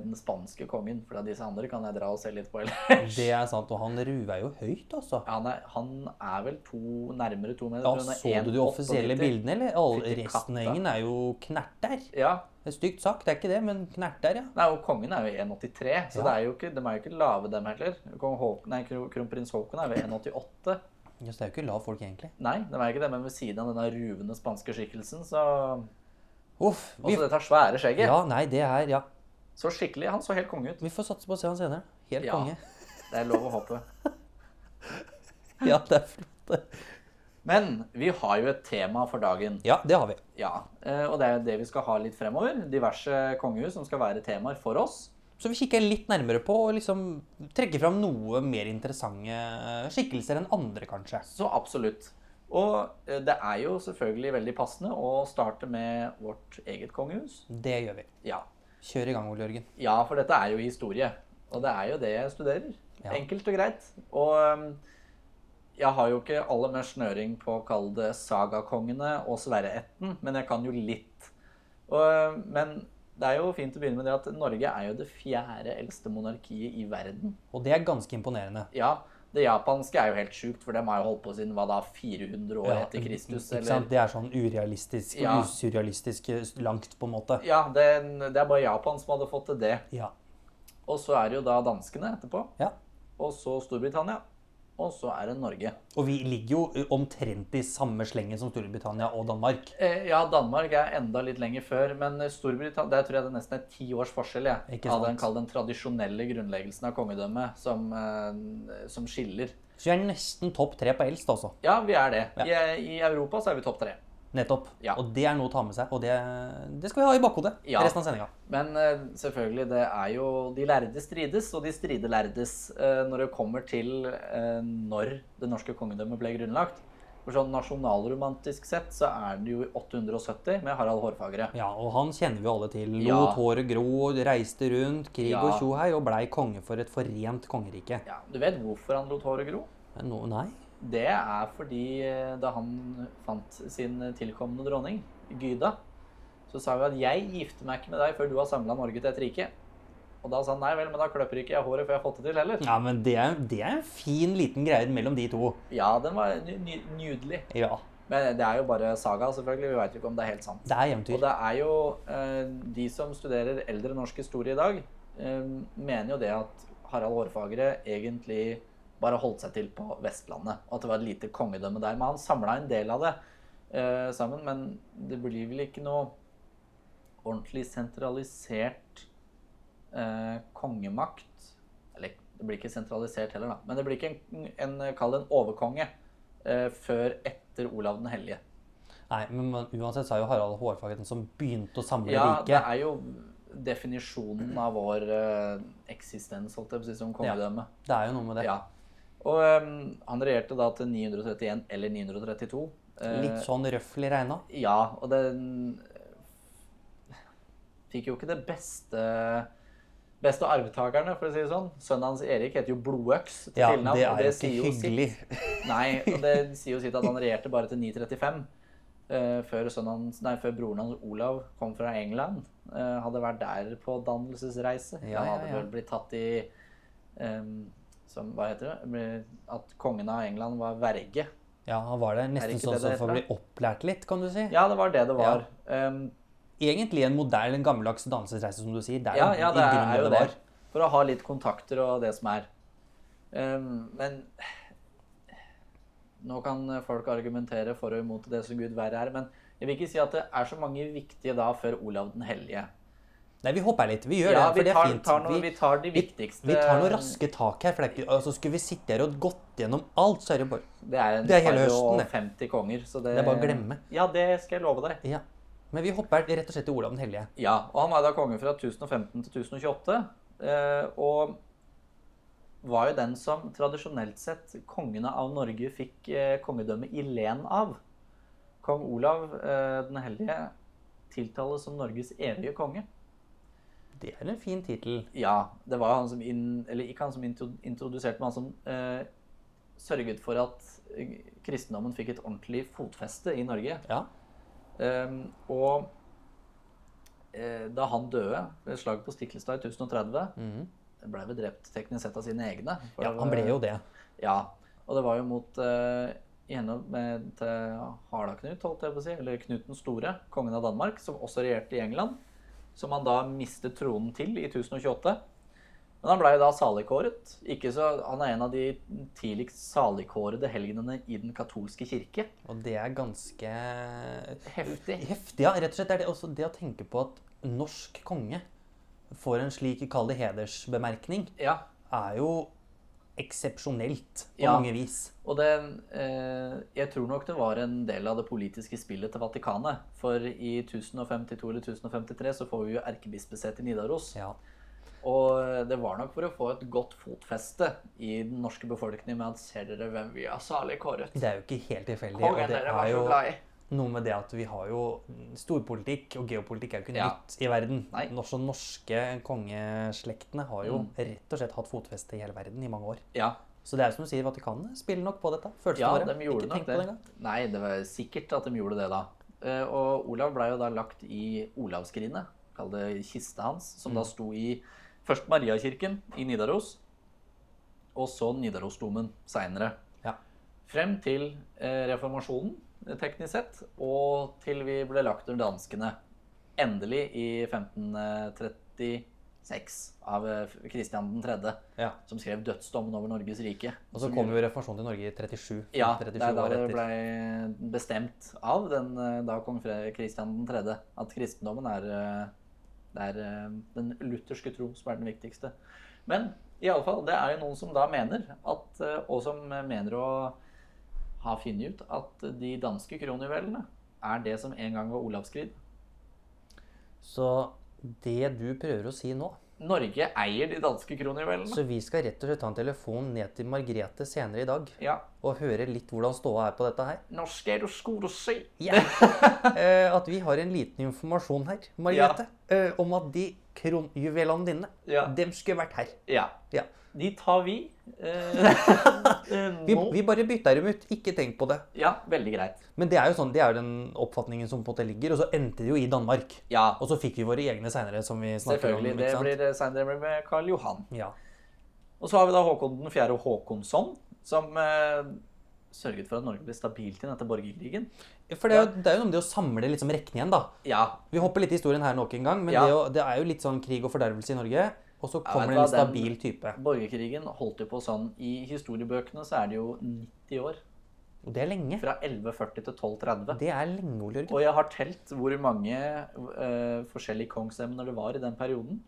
Speaker 1: den spanske kongen. For disse andre kan jeg dra og se litt på
Speaker 2: *laughs*
Speaker 1: ellers.
Speaker 2: Det er sant. Og han ruver jo høyt, altså.
Speaker 1: Han er, han er vel to, nærmere to meter.
Speaker 2: Ja,
Speaker 1: tror jeg han er
Speaker 2: Så du de offisielle
Speaker 1: 1,98.
Speaker 2: bildene, eller? All,
Speaker 1: Fytti
Speaker 2: resten av
Speaker 1: katta.
Speaker 2: gjengen er jo knerter.
Speaker 1: Ja.
Speaker 2: Det er Stygt sagt, det er ikke det, men knerter, ja.
Speaker 1: Nei, og kongen er jo 1,83, så
Speaker 2: Ja.
Speaker 1: det er jo ikke, de er jo ikke lave, dem heller. Kong Haakon, nei, kron- kronprins Haakon er jo 1,88.
Speaker 2: Ja, Så det er jo ikke lav folk, egentlig.
Speaker 1: Nei, det var ikke det, men ved siden av denne ruvende spanske skikkelsen, så
Speaker 2: Uff. Vi,
Speaker 1: Også dette svære skjegget.
Speaker 2: ja, nei, det er Ja.
Speaker 1: Så skikkelig. Han så helt konge ut.
Speaker 2: Vi får satse på å se han senere. Helt
Speaker 1: Ja.
Speaker 2: konge. *laughs*
Speaker 1: Det er lov å håpe.
Speaker 2: Ja, det er flott. det.
Speaker 1: Men vi har jo et tema for dagen.
Speaker 2: Ja, det har vi.
Speaker 1: Ja, eh, Og det er jo det vi skal ha litt fremover. Diverse kongehus som skal være temaer for oss.
Speaker 2: Så vi kikker litt nærmere på og liksom trekker fram noe mer interessante eh, skikkelser enn andre, kanskje.
Speaker 1: Så absolutt. Og eh, det er jo selvfølgelig veldig passende å starte med vårt eget kongehus.
Speaker 2: Det gjør vi.
Speaker 1: Ja,
Speaker 2: Kjør i gang, Ole Jørgen.
Speaker 1: ja for dette er jo historie. Og det er jo det jeg studerer.
Speaker 2: Ja.
Speaker 1: Enkelt og greit. Og um, jeg har jo ikke aller mer snøring på å kalle det sagakongene og Sverre-ætten, men jeg kan jo litt. Og, um, men det er jo fint å begynne med det at Norge er jo det fjerde eldste monarkiet i verden.
Speaker 2: Og det er ganske imponerende.
Speaker 1: Ja, det japanske er jo helt sjukt, for dem har jo holdt på siden hva da, 400 år etter Kristus?
Speaker 2: Ikke sant? Det er sånn urealistisk
Speaker 1: Ja.
Speaker 2: og usurrealistisk eh, langt, på en måte.
Speaker 1: Ja, det, det er bare Japan som hadde fått til det.
Speaker 2: Ja.
Speaker 1: Og så er det jo da danskene etterpå.
Speaker 2: ja.
Speaker 1: Og så Storbritannia. Og så er det Norge.
Speaker 2: Og vi ligger jo eh, omtrent i samme slengen som Storbritannia og Danmark.
Speaker 1: Eh, ja, Danmark er enda litt lenger før, men Storbritannia Der tror jeg det er nesten er ti års forskjell jeg,
Speaker 2: Ikke
Speaker 1: av den,
Speaker 2: sant.
Speaker 1: kall den tradisjonelle grunnleggelsen av kongedømmet som, eh, som skiller.
Speaker 2: Så vi er nesten topp tre på eldst, altså.
Speaker 1: Ja, vi er det. I, I Europa så er vi topp tre.
Speaker 2: Nettopp.
Speaker 1: Ja.
Speaker 2: Og det er noe å ta med seg, og det, det skal vi ha i bakhodet
Speaker 1: Ja.
Speaker 2: resten av sendinga.
Speaker 1: Men eh, selvfølgelig, det er jo De lærde strides, og de stride lærdes eh, når det kommer til eh, når det norske kongedømmet ble grunnlagt. For sånn Nasjonalromantisk sett så er det jo i 870 med Harald Hårfagre.
Speaker 2: Ja, og han kjenner vi alle til. Lot
Speaker 1: Ja.
Speaker 2: håret gro, reiste rundt, krig
Speaker 1: Ja.
Speaker 2: og tjohei, og blei konge for et forent kongerike.
Speaker 1: Ja, du vet hvorfor han lot håret gro?
Speaker 2: Men No, nei?
Speaker 1: Det er fordi eh, da han fant sin tilkommende dronning, Gyda, så sa hun at 'jeg gifter meg ikke med deg før du har samla Norge til et rike'. Og da sa han nei vel, men da kløpper ikke jeg håret før jeg har fått det til heller.
Speaker 2: Ja, men det er, det er en fin liten greie mellom de to.
Speaker 1: Ja, den var ny- ny- nydelig.
Speaker 2: Ja.
Speaker 1: Men det er jo bare saga, selvfølgelig. Vi veit jo ikke om det er helt sant.
Speaker 2: Det
Speaker 1: Og
Speaker 2: er eventyr.
Speaker 1: det er jo eh, De som studerer eldre norsk historie i dag, eh, mener jo det at Harald Hårfagre egentlig bare holdt seg til på Vestlandet. Og at det var et lite kongedømme der. Men han samla en del av det eh, sammen. Men det blir vel ikke noe ordentlig sentralisert eh, kongemakt. Eller det blir ikke sentralisert heller, da. Men det blir ikke en, en kall det en overkonge eh, før etter Olav den hellige.
Speaker 2: Nei, men man- uansett så er jo Harald Hårfagre den som begynte å samle
Speaker 1: Ja, det
Speaker 2: riket.
Speaker 1: er jo definisjonen av vår eh, eksistens, holdt jeg på å si, som kongedømme.
Speaker 2: Det er jo noe med
Speaker 1: Ja.
Speaker 2: det.
Speaker 1: Og eh, han regjerte da til 931 eller 932. Eh,
Speaker 2: Litt sånn røffelig regna.
Speaker 1: Ja, og den eh, fikk jo ikke det beste beste arvtakerne, for å si det sånn. Sønnen hans Erik heter jo Blodøks til
Speaker 2: Ja,
Speaker 1: tilnavn.
Speaker 2: det
Speaker 1: og
Speaker 2: er jo ikke
Speaker 1: sier jo sitt.
Speaker 2: hyggelig.
Speaker 1: Nei, og det sier jo sitt at han regjerte bare til 935. eh, før, sønnen hans, nei, før broren hans Olav kom fra England. eh, hadde vært der på dannelsesreise.
Speaker 2: Ja,
Speaker 1: han
Speaker 2: ja,
Speaker 1: hadde
Speaker 2: ja.
Speaker 1: vel blitt tatt i em, som, Hva heter det? Ble- At kongen av England var verge.
Speaker 2: Ja, han var der
Speaker 1: Er
Speaker 2: nesten
Speaker 1: ikke
Speaker 2: sånn
Speaker 1: det
Speaker 2: som
Speaker 1: det
Speaker 2: for å bli
Speaker 1: heter,
Speaker 2: opplært litt, kan du si.
Speaker 1: Ja, det var det det var. Ehm, Em,
Speaker 2: Egentlig en modell, en gammeldags dannelsesreise, som du sier. Det er
Speaker 1: ja,
Speaker 2: jo
Speaker 1: ja,
Speaker 2: i
Speaker 1: det
Speaker 2: grunnen
Speaker 1: er jo det.
Speaker 2: var.
Speaker 1: For å ha litt kontakter og det som er. Em, men Nå kan folk argumentere for og imot det som Gud verre er, men jeg vil ikke si at det er så mange viktige da før Olav den hellige.
Speaker 2: Nei, vi hopper litt. Vi gjør
Speaker 1: Ja,
Speaker 2: det, for
Speaker 1: vi
Speaker 2: det er
Speaker 1: tar,
Speaker 2: fint.
Speaker 1: tar, noe, eh, vi tar de
Speaker 2: vi-
Speaker 1: viktigste
Speaker 2: vi tar noen raske tak her. For det er ikke, altså, skulle vi sitte her og gått gjennom alt, så er det bare
Speaker 1: Det er, en
Speaker 2: det er hele
Speaker 1: par og
Speaker 2: høsten, det.
Speaker 1: 50 konger, så det
Speaker 2: Det er bare å glemme.
Speaker 1: Ja, det skal jeg love deg.
Speaker 2: Ja. Men vi hopper rett og slett til Olav den hellige.
Speaker 1: Ja, og han var da konge fra 1015 til 1028. eh, Og var jo den som tradisjonelt sett kongene av Norge fikk eh, kongedømme i len av. Kong Olav eh, den hellige tiltales som Norges evige konge.
Speaker 2: Det er en fin tittel.
Speaker 1: Ja, det var jo han som inn, eller ikke han som intro, introduserte, men han som eh, sørget for at eh, kristendommen fikk et ordentlig fotfeste i Norge.
Speaker 2: Ja.
Speaker 1: Ehm, og eh, da han døde ved slaget på Stiklestad i 1030, ble vel drept teknisk sett av sine egne. for
Speaker 2: ja,
Speaker 1: det
Speaker 2: han
Speaker 1: var-
Speaker 2: ble jo det. ja.
Speaker 1: Ja, og det var jo mot eh, i henhold med til Harla-Knut, holdt jeg på å si, eller Knut den store, kongen av Danmark, som også regjerte i England, som han da mistet tronen til i 1028. Men han ble jo da saligkåret. Ikke så, han er en av de tidligst saligkårede helgenene i den katolske kirke.
Speaker 2: Og det er ganske
Speaker 1: Heftig.
Speaker 2: Heftig, ja. Rett og slett er det også det å tenke på at norsk konge får en slik, kall det hedersbemerkning,
Speaker 1: Ja,
Speaker 2: er jo eksepsjonelt på
Speaker 1: Ja.
Speaker 2: mange vis.
Speaker 1: Og det, eh, jeg tror nok det var en del av det politiske spillet til Vatikanet. For i 1052 eller 1053 så får vi jo erkebispesete i Nidaros.
Speaker 2: Ja.
Speaker 1: Og det var nok for å få et godt fotfeste i den norske befolkningen med at ser dere hvem vi er salig kåret?
Speaker 2: Det er jo ikke helt tilfeldig. og
Speaker 1: Kongen
Speaker 2: det
Speaker 1: dere var
Speaker 2: er
Speaker 1: så
Speaker 2: jo
Speaker 1: glad i.
Speaker 2: noe med det at vi har jo storpolitikk, og geopolitikk er jo ikke
Speaker 1: Ja.
Speaker 2: nytt i verden.
Speaker 1: Nei.
Speaker 2: Også norske kongeslektene har jo
Speaker 1: Mm.
Speaker 2: rett og slett hatt fotfeste i hele verden i mange år.
Speaker 1: Ja,
Speaker 2: Så det er jo som du sier, Vatikanet spiller nok på dette. Følelsene
Speaker 1: ja
Speaker 2: våre.
Speaker 1: de gjorde
Speaker 2: ikke
Speaker 1: nok
Speaker 2: tenk på det
Speaker 1: det.
Speaker 2: engang.
Speaker 1: Nei, det var sikkert at de gjorde det da. Eh, Og Olav ble jo da lagt i Olavskrinet, kall det kista hans, som
Speaker 2: Mm.
Speaker 1: da sto i først Mariakirken i Nidaros, og så Nidarosdomen seinere.
Speaker 2: Ja.
Speaker 1: Frem til eh, reformasjonen, eh, teknisk sett, og til vi ble lagt under danskene. Endelig i 1536 av eh, Kristian 3.,
Speaker 2: Ja.
Speaker 1: som skrev dødsdommen over Norges rike.
Speaker 2: Og så
Speaker 1: Som
Speaker 2: kom jo reformasjonen til Norge i 37.
Speaker 1: ja, det
Speaker 2: 37
Speaker 1: er da
Speaker 2: år
Speaker 1: det
Speaker 2: etter.
Speaker 1: ble bestemt av den, eh, da kong Fre- Kristian 3. at kristendommen er, eh, det er eh, den lutherske tro som er den viktigste. Men i alle fall, det er jo noen som da mener, at, eh, og som mener å ha funnet ut, at de danske kronjuvelene er det som en gang var Olavskrid.
Speaker 2: Så det du prøver å si nå
Speaker 1: Norge eier de danske kronjuvelene.
Speaker 2: Så vi skal rett og slett ta en telefon ned til Margrethe senere i dag
Speaker 1: Ja.
Speaker 2: og høre litt hvordan ståa er på dette her.
Speaker 1: Norsk er det skole å si. *laughs*
Speaker 2: Ja. Eh, at vi har en liten informasjon her, Margrethe, eh, om at de kronjuvelene dine,
Speaker 1: Ja.
Speaker 2: dem skulle vært her.
Speaker 1: Ja.
Speaker 2: Ja.
Speaker 1: De tar vi.
Speaker 2: *laughs*
Speaker 1: eh,
Speaker 2: Vi,
Speaker 1: nå.
Speaker 2: vi bare bytter dem ut, ikke tenk på det.
Speaker 1: Ja, veldig greit.
Speaker 2: Men det er jo sånn, det er jo den oppfatningen som på en måte ligger, og så endte det jo i Danmark.
Speaker 1: Ja,
Speaker 2: Og så fikk vi våre egne seinere, som vi snakker om.
Speaker 1: Selvfølgelig.
Speaker 2: ikke
Speaker 1: Det
Speaker 2: sant?
Speaker 1: blir seinere med Karl Johan.
Speaker 2: Ja.
Speaker 1: Og så har vi da Håkon den 4. Håkonsson, som eh, sørget for at Norge ble stabilt igjen etter borgerkrigen.
Speaker 2: For det er, jo, det er jo noe med det å samle liksom rekkene igjen, da.
Speaker 1: Ja,
Speaker 2: Vi hopper litt i historien her nok en gang, men
Speaker 1: Ja.
Speaker 2: det, å, det er jo litt sånn krig og fordervelse i Norge. Og så
Speaker 1: vet
Speaker 2: kommer
Speaker 1: du
Speaker 2: det en
Speaker 1: hva, den-
Speaker 2: stabil type.
Speaker 1: borgerkrigen holdt jo på sånn. I historiebøkene så er det jo 90 år.
Speaker 2: Og det er lenge.
Speaker 1: Fra 1140 til 1230.
Speaker 2: Det er lenge, Ole Jørgen.
Speaker 1: Og jeg har telt hvor mange eh, forskjellige kongsemner det var i den perioden.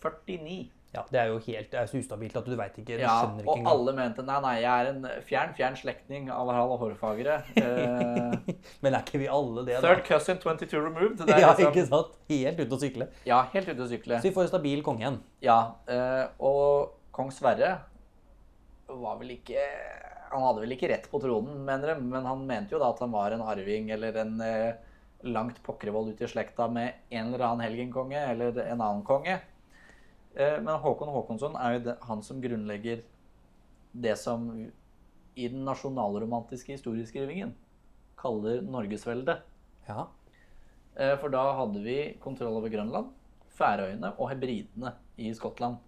Speaker 1: 49.
Speaker 2: Ja, det er jo helt det er så ustabilt at du veit ikke. Du
Speaker 1: Ja,
Speaker 2: skjønner ikke
Speaker 1: og
Speaker 2: engang.
Speaker 1: alle mente nei, nei, jeg er en fjern, fjern slektning av Harald
Speaker 2: *laughs*
Speaker 1: Hårfagre. Eh,
Speaker 2: *laughs* Men er ikke vi alle det, da?
Speaker 1: third cousin 22 removed. Det er
Speaker 2: *laughs* Ja,
Speaker 1: liksom-
Speaker 2: ikke sant? Helt ute å sykle.
Speaker 1: Ja, helt ute å sykle.
Speaker 2: Så vi får en stabil konge igjen.
Speaker 1: Ja, eh, og kong Sverre var vel ikke Han hadde vel ikke rett på tronen, mener de, men han mente jo da at han var en arving eller en eh, langt pokkervoll ut i slekta med en eller annen helgenkonge eller en annen konge. Eh, men Håkon Håkonsson er jo det, han som grunnlegger det som i den nasjonalromantiske historieskrivingen kaller Norgesveldet.
Speaker 2: Ja.
Speaker 1: Eh, For da hadde vi kontroll over Grønland, Færøyene og Hebridene i Skottland.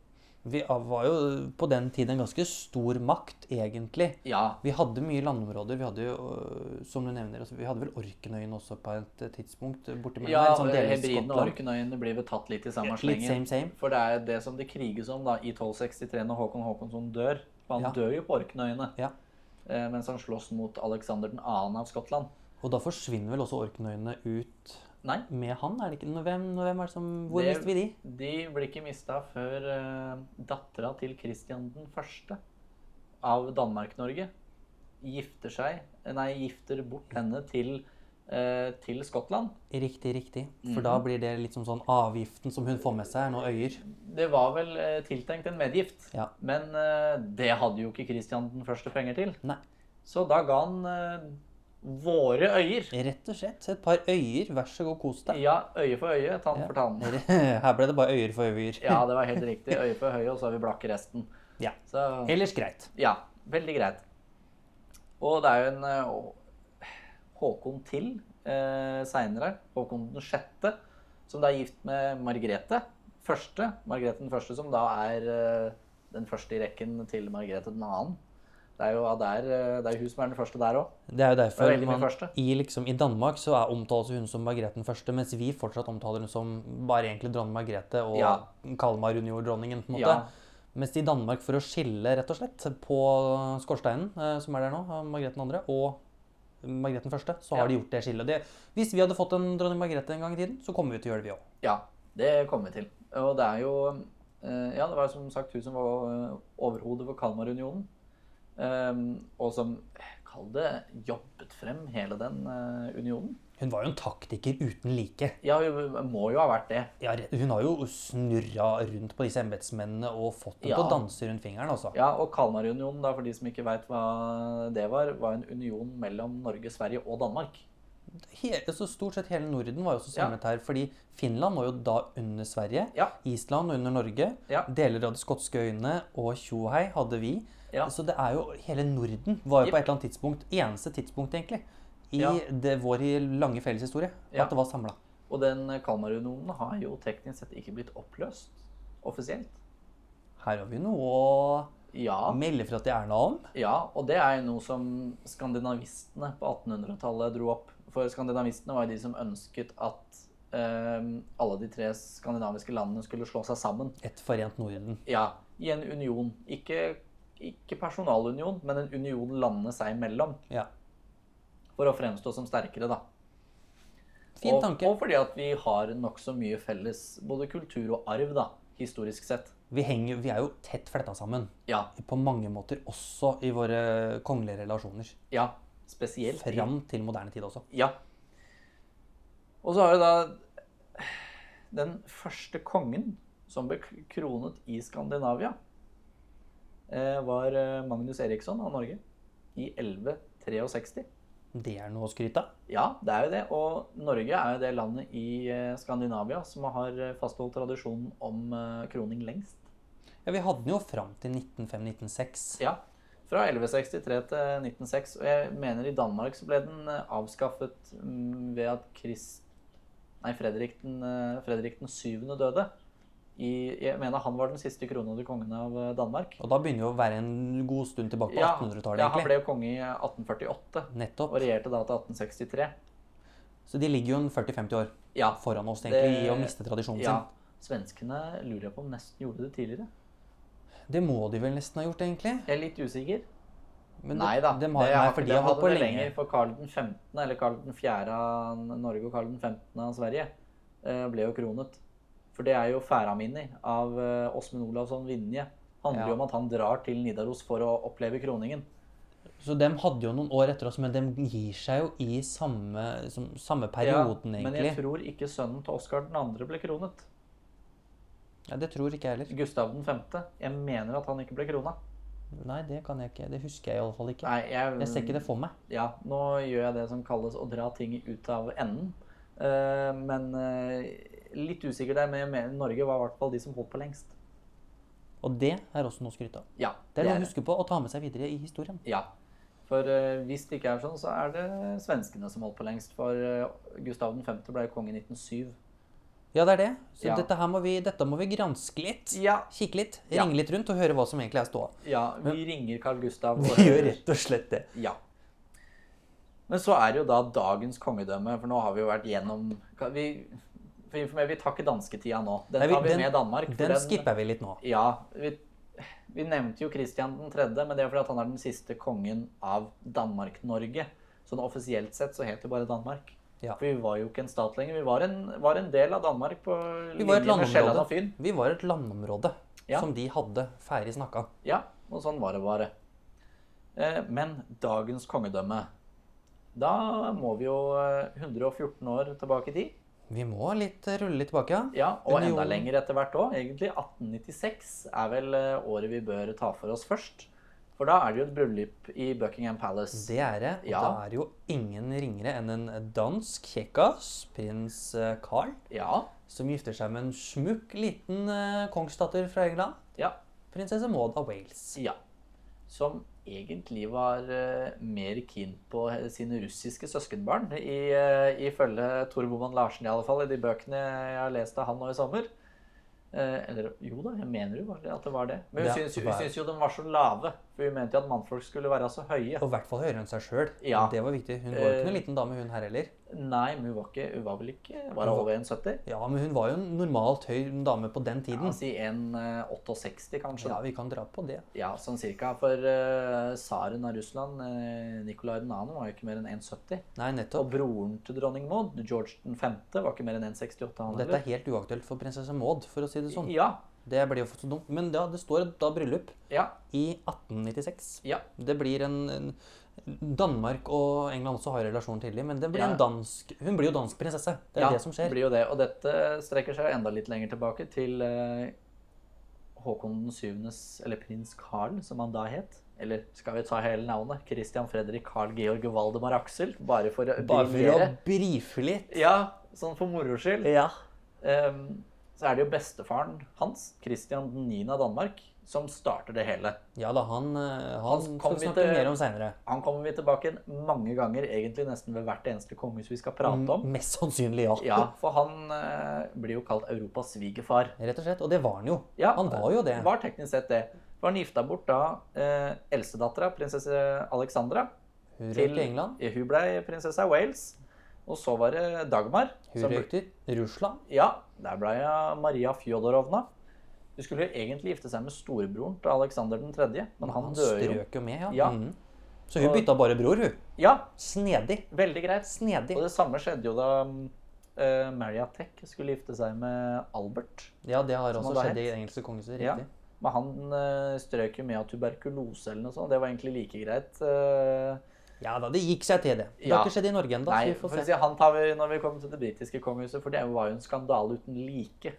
Speaker 2: Vi var jo på den tiden en ganske stor makt, egentlig.
Speaker 1: Ja,
Speaker 2: Vi hadde mye landområder. Vi hadde jo, øh, som du nevner, altså, vi hadde vel Orkenøyene også på et eh, tidspunkt. øh, Borte mellom
Speaker 1: ja eh, liksom
Speaker 2: her, sånn delvis
Speaker 1: Hebridene og
Speaker 2: Skottland.
Speaker 1: Orkenøyene blir vel tatt litt i samme
Speaker 2: Litt
Speaker 1: slengen.
Speaker 2: same, same.
Speaker 1: For det er det som det kriges om da, i 1263 når Håkon Håkonsson dør. For han
Speaker 2: Ja.
Speaker 1: dør jo på Orkenøyene
Speaker 2: Ja.
Speaker 1: eh, mens han slåss mot Alexander 2. av Skottland.
Speaker 2: Og da forsvinner vel også Orkenøyene ut
Speaker 1: Nei,
Speaker 2: med han? er det ikke? Nå, Hvem, nå, hvem er det som, hvor
Speaker 1: Det-
Speaker 2: mister vi de?
Speaker 1: de blir ikke mista før eh, dattera til Kristian 1. av Danmark-Norge gifter seg eh, Nei, gifter bort henne til, eh, til Skottland.
Speaker 2: Riktig, riktig. For
Speaker 1: Mhm.
Speaker 2: da blir det litt som sånn avgiften som hun får med seg, er noen øyer.
Speaker 1: Det var vel eh, tiltenkt en medgift,
Speaker 2: Ja.
Speaker 1: men eh, det hadde jo ikke Kristian den første penger til.
Speaker 2: Nei,
Speaker 1: Så da ga han eh, våre øyer.
Speaker 2: rett og slett. Et par øyer, vær så god, kos deg.
Speaker 1: Ja, øye for øye, tann for tann.
Speaker 2: *laughs* Her ble det bare øyer for øyer.
Speaker 1: Ja, det var helt riktig. Øye for øye, og så har vi blakk i resten.
Speaker 2: *laughs* Ja.
Speaker 1: Så
Speaker 2: Ellers greit.
Speaker 1: ja, veldig greit. Og det er jo en eh, Håkon til eh, seinere, Håkon den sjette, som da er gift med Margrethe første. Margrethe den første, som da er eh, den første i rekken til Margrethe den annen. Det er jo av der, eh, det er jo hun som er den første der òg.
Speaker 2: Det er jo
Speaker 1: Det
Speaker 2: derfor
Speaker 1: er veldig mye
Speaker 2: man,
Speaker 1: første.
Speaker 2: i, liksom, i Danmark så er omtales hun som Margrethe den første, mens vi fortsatt omtaler hun som bare egentlig dronning Margrethe og
Speaker 1: Ja.
Speaker 2: Kalmar-juniordronningen. på en måte.
Speaker 1: Ja.
Speaker 2: Mens i Danmark, for å skille rett og slett på skorsteinen eh, som er der nå, av Margrethe den andre, og Margrethe den første, så har
Speaker 1: Ja.
Speaker 2: de gjort det skillet. Det, hvis vi hadde fått en dronning Margrethe en gang i tiden, så kommer vi til å gjøre det, vi òg.
Speaker 1: Ja, det kommer vi til. Og det er jo Eh, ja, det var som sagt hun som var eh, overhodet for Kalmarunionen. Eh, og som, eh, kall det, jobbet frem hele den eh, unionen.
Speaker 2: Hun var jo en taktiker uten like.
Speaker 1: Ja, hun må jo ha vært det.
Speaker 2: Ja, re- hun har jo snurra rundt på disse embetsmennene og fått dem til
Speaker 1: Ja.
Speaker 2: å danse rundt fingeren, altså.
Speaker 1: Ja, og Kalmarunionen, da, for de som ikke veit hva det var, var en union mellom Norge, Sverige og Danmark.
Speaker 2: He- altså, stort sett hele Norden var jo også
Speaker 1: Ja.
Speaker 2: samlet her, fordi Finland var jo da under Sverige,
Speaker 1: Ja.
Speaker 2: Island under Norge,
Speaker 1: Ja.
Speaker 2: deler av de skotske øyene og Tjohei hadde vi.
Speaker 1: Ja.
Speaker 2: Så det er jo hele Norden var jo
Speaker 1: Jep.
Speaker 2: på et eller annet tidspunkt, eneste tidspunkt egentlig, i
Speaker 1: Ja.
Speaker 2: det, vår lange felles historie,
Speaker 1: Ja.
Speaker 2: at det var samla.
Speaker 1: Og den Kalmarunionen har jo teknisk sett ikke blitt oppløst offisielt.
Speaker 2: Her har vi noe å
Speaker 1: Ja,
Speaker 2: melde fra til Erna om.
Speaker 1: ja, og det er jo noe som skandinavistene på 1800-tallet dro opp. For skandinavistene var jo de som ønsket at eh, alle de tre skandinaviske landene skulle slå seg sammen.
Speaker 2: Et forent Norden.
Speaker 1: Ja, i en union. Ikke, ikke personalunion, men en union landene seg imellom.
Speaker 2: Ja.
Speaker 1: For å fremstå som sterkere, da.
Speaker 2: Fin
Speaker 1: og,
Speaker 2: tanke.
Speaker 1: Og fordi at vi har nokså mye felles, både kultur og arv, da, historisk sett.
Speaker 2: Vi, henger, vi er jo tett fletta sammen.
Speaker 1: Ja.
Speaker 2: På mange måter også i våre kongelige relasjoner.
Speaker 1: ja spesielt. i-
Speaker 2: Fram til moderne tid også.
Speaker 1: Ja. Og så har vi da den første kongen som ble k- kronet i Skandinavia, eh, var eh, Magnus Eriksson av Norge i 1163.
Speaker 2: Det er noe å skryte av.
Speaker 1: Ja, det er jo det. Og Norge er jo det landet i eh, Skandinavia som har eh, fastholdt tradisjonen om eh, kroning lengst.
Speaker 2: Ja, vi hadde den jo fram til 1905-1906.
Speaker 1: Ja. Fra 1163 til 1906. Og jeg mener i Danmark så ble den eh, avskaffet mm, ved at Krist... Nei, Fredrik den, eh, Fredrik den syvende døde. I, jeg mener han var den siste kronede kongen av eh, Danmark.
Speaker 2: Og da begynner vi å være en god stund tilbake på
Speaker 1: Ja,
Speaker 2: 1800-tallet,
Speaker 1: ja, han
Speaker 2: egentlig.
Speaker 1: ble jo konge i 1848
Speaker 2: Nettopp.
Speaker 1: og regjerte da til 1863.
Speaker 2: Så de ligger jo en 40-50 år
Speaker 1: Ja.
Speaker 2: foran oss, egentlig,
Speaker 1: Det-
Speaker 2: i å miste tradisjonen
Speaker 1: ja. Svenskene lurer jeg på om nesten gjorde det tidligere.
Speaker 2: sin. Det må de vel nesten ha gjort, egentlig.
Speaker 1: Jeg er litt usikker.
Speaker 2: Men
Speaker 1: Nei da.
Speaker 2: De, de har, nei, for de har holdt på
Speaker 1: det
Speaker 2: lenge.
Speaker 1: lenge. For Karl den 15., eller Karl den 4. av Norge og Karl den 15. av Sverige eh, ble jo kronet. For det er jo Færamini av eh, Åsmund Olavsson Vinje. Handler
Speaker 2: Ja.
Speaker 1: jo om at han drar til Nidaros for å oppleve kroningen.
Speaker 2: Så de hadde jo noen år etter oss, men de gir seg jo i samme, som, samme perioden,
Speaker 1: Ja, Men
Speaker 2: egentlig.
Speaker 1: jeg tror ikke sønnen til Oskar 2. ble kronet.
Speaker 2: Ja, det tror ikke jeg heller.
Speaker 1: Gustav den 5. Jeg mener at han ikke ble krona.
Speaker 2: Nei, det kan jeg ikke. Det husker jeg i alle fall ikke.
Speaker 1: Nei, jeg,
Speaker 2: Jeg ser ikke det for meg.
Speaker 1: Ja, nå gjør jeg det som kalles å dra ting ut av enden. Eh, men eh, litt usikker der, men jeg mener Norge var i hvert fall de som holdt på lengst.
Speaker 2: Og det er også noe å skryte av.
Speaker 1: Ja,
Speaker 2: Det er noe å huske på å ta med seg videre i historien.
Speaker 1: Ja. For eh, hvis det ikke er sånn, så er det svenskene som holdt på lengst. For eh, Gustav 5. ble jo konge i 1907.
Speaker 2: Ja, det er det. Så
Speaker 1: Ja.
Speaker 2: dette her må vi, dette må vi granske litt.
Speaker 1: Ja.
Speaker 2: Kikke litt,
Speaker 1: Ja.
Speaker 2: ringe litt rundt og høre hva som egentlig er ståa.
Speaker 1: ja vi ringer Carl Gustav. og-
Speaker 2: rett og slett det.
Speaker 1: Ja. Men så er det jo da dagens kongedømme, for nå har vi jo vært gjennom kan Vi, for å informere, vi tar ikke dansketida nå. Den
Speaker 2: Nei, vi-
Speaker 1: tar vi
Speaker 2: den-
Speaker 1: med Danmark. for
Speaker 2: Den skipper vi litt nå.
Speaker 1: Ja, vi, vi nevnte jo Kristian den tredje, men det er fordi at han er den siste kongen av Danmark-Norge. Sånn offisielt sett så het det bare Danmark.
Speaker 2: Ja.
Speaker 1: For vi var jo ikke en stat lenger. Vi var en, var en del av Danmark på
Speaker 2: Vi var
Speaker 1: linje
Speaker 2: et
Speaker 1: med Sjælland og
Speaker 2: landområde,
Speaker 1: Fyn.
Speaker 2: vi var et landområde
Speaker 1: Ja.
Speaker 2: som de hadde ferdig snakka.
Speaker 1: Ja, og sånn var det bare. Eh, Men dagens kongedømme Da må vi jo eh, 114 år tilbake i tid.
Speaker 2: Vi må litt, eh, rulle litt tilbake, ja.
Speaker 1: Ja, Og enda
Speaker 2: Unionen.
Speaker 1: lenger etter hvert òg. Egentlig 1896 er vel eh, året vi bør ta for oss først. For da er det jo et bryllup i Buckingham Palace.
Speaker 2: Det er det. Og
Speaker 1: Ja.
Speaker 2: da er det jo ingen ringere enn en dansk kjekkas, prins eh, Carl,
Speaker 1: Ja.
Speaker 2: som gifter seg med en smukk liten eh, kongsdatter fra England,
Speaker 1: ja,
Speaker 2: prinsesse Maud av Wales.
Speaker 1: ja. Som egentlig var eh, mer keen på eh, sine russiske søskenbarn, i, eh, ifølge Tor Boman Larsen i alle fall, i de bøkene jeg har lest av han nå i sommer. Eh, eller jo da, jeg mener jo bare at det var det. Men hun
Speaker 2: Ja,
Speaker 1: syns-
Speaker 2: det
Speaker 1: hun
Speaker 2: var-
Speaker 1: syns jo de var så lave, for hun mente jo at mannfolk skulle være så høye.
Speaker 2: Og i hvert fall høyere enn seg sjøl.
Speaker 1: Ja.
Speaker 2: Det var viktig. Hun var jo
Speaker 1: Eh.
Speaker 2: ikke noen liten dame, hun her heller.
Speaker 1: Nei, men hun var, ikke, hun var vel ikke Var hun over 1,70?
Speaker 2: Ja, men hun var jo en normalt høy dame på den
Speaker 1: Ja,
Speaker 2: tiden.
Speaker 1: si eh, 1,68 kanskje.
Speaker 2: Ja,
Speaker 1: Ja.
Speaker 2: vi kan dra på det.
Speaker 1: ja, sånn cirka. For eh, tsaren av Russland, eh, Nikolai 2., var jo ikke mer enn 1,70.
Speaker 2: Nei,
Speaker 1: Og
Speaker 2: nettopp.
Speaker 1: broren til dronning Maud, George 5., var ikke mer enn 1,68 han
Speaker 2: Dette
Speaker 1: heller.
Speaker 2: er helt uaktuelt for prinsesse Maud, for å si det sånn.
Speaker 1: Ja,
Speaker 2: Det blir jo for så dumt. Men ja, det står da bryllup
Speaker 1: Ja.
Speaker 2: i 1896.
Speaker 1: ja.
Speaker 2: Det blir en, en Danmark og England også har relasjon tidlig, men det blir
Speaker 1: Ja.
Speaker 2: en dansk Hun blir jo dansk prinsesse. Det er
Speaker 1: ja,
Speaker 2: det som skjer.
Speaker 1: Blir jo det. Og dette strekker seg enda litt lenger tilbake til eh, Håkon den syvendes, eller prins Carl, som han da het. Eller skal vi ta hele navnet? Christian Fredrik Carl Georg Valdemar Aksel. Bare for å
Speaker 2: Bare for å
Speaker 1: briljere.
Speaker 2: brife litt.
Speaker 1: Ja, sånn for moro skyld.
Speaker 2: Ja.
Speaker 1: Ehm, så er det jo bestefaren hans, Christian 9. av Danmark, som starter det hele.
Speaker 2: Ja da, han, eh, han skal
Speaker 1: kom
Speaker 2: vi
Speaker 1: vi
Speaker 2: snakke
Speaker 1: til-
Speaker 2: mer om seinere.
Speaker 1: Han kommer vi tilbake igjen mange ganger, egentlig nesten ved hvert eneste kongehus vi skal prate om.
Speaker 2: Mest sannsynlig, ja.
Speaker 1: Ja, for han eh, blir jo kalt Europas svigerfar.
Speaker 2: Rett og slett. Og det var han jo.
Speaker 1: Ja,
Speaker 2: han var jo det.
Speaker 1: Var teknisk sett det. For han gifta bort da eh, eldstedattera, prinsesse Alexandra.
Speaker 2: Hun
Speaker 1: til-
Speaker 2: røk til England.
Speaker 1: Ja, Hun blei prinsesse av Wales. Og så var det Dagmar.
Speaker 2: Hun
Speaker 1: som-
Speaker 2: røk til Russland.
Speaker 1: Ja, der blei hun Maria Fjodorovna. Hun skulle jo egentlig gifte seg med storebroren til Aleksander 3., men han,
Speaker 2: Han
Speaker 1: døde jo.
Speaker 2: strøk jo med, ja.
Speaker 1: Ja.
Speaker 2: Mhm. Så hun
Speaker 1: Og-
Speaker 2: bytta bare bror, hun.
Speaker 1: Ja,
Speaker 2: Snedig.
Speaker 1: veldig greit.
Speaker 2: Snedig.
Speaker 1: Og det samme skjedde jo da mm, eh, Maria Tech skulle gifte seg med Albert.
Speaker 2: Ja, det har også
Speaker 1: han da
Speaker 2: skjedd i
Speaker 1: het.
Speaker 2: engelske kongehuset.
Speaker 1: Ja.
Speaker 2: Riktig.
Speaker 1: Men han eh, strøk jo med av tuberkulose eller noe sånt. Det var egentlig like greit. eh,
Speaker 2: Ja da, det gikk seg til, det. Det
Speaker 1: Ja.
Speaker 2: har ikke skjedd i Norge ennå, så
Speaker 1: Nei,
Speaker 2: vi får
Speaker 1: for
Speaker 2: se.
Speaker 1: å si, han tar vi når vi kommer til det britiske kongehuset, for det var jo en skandale uten like.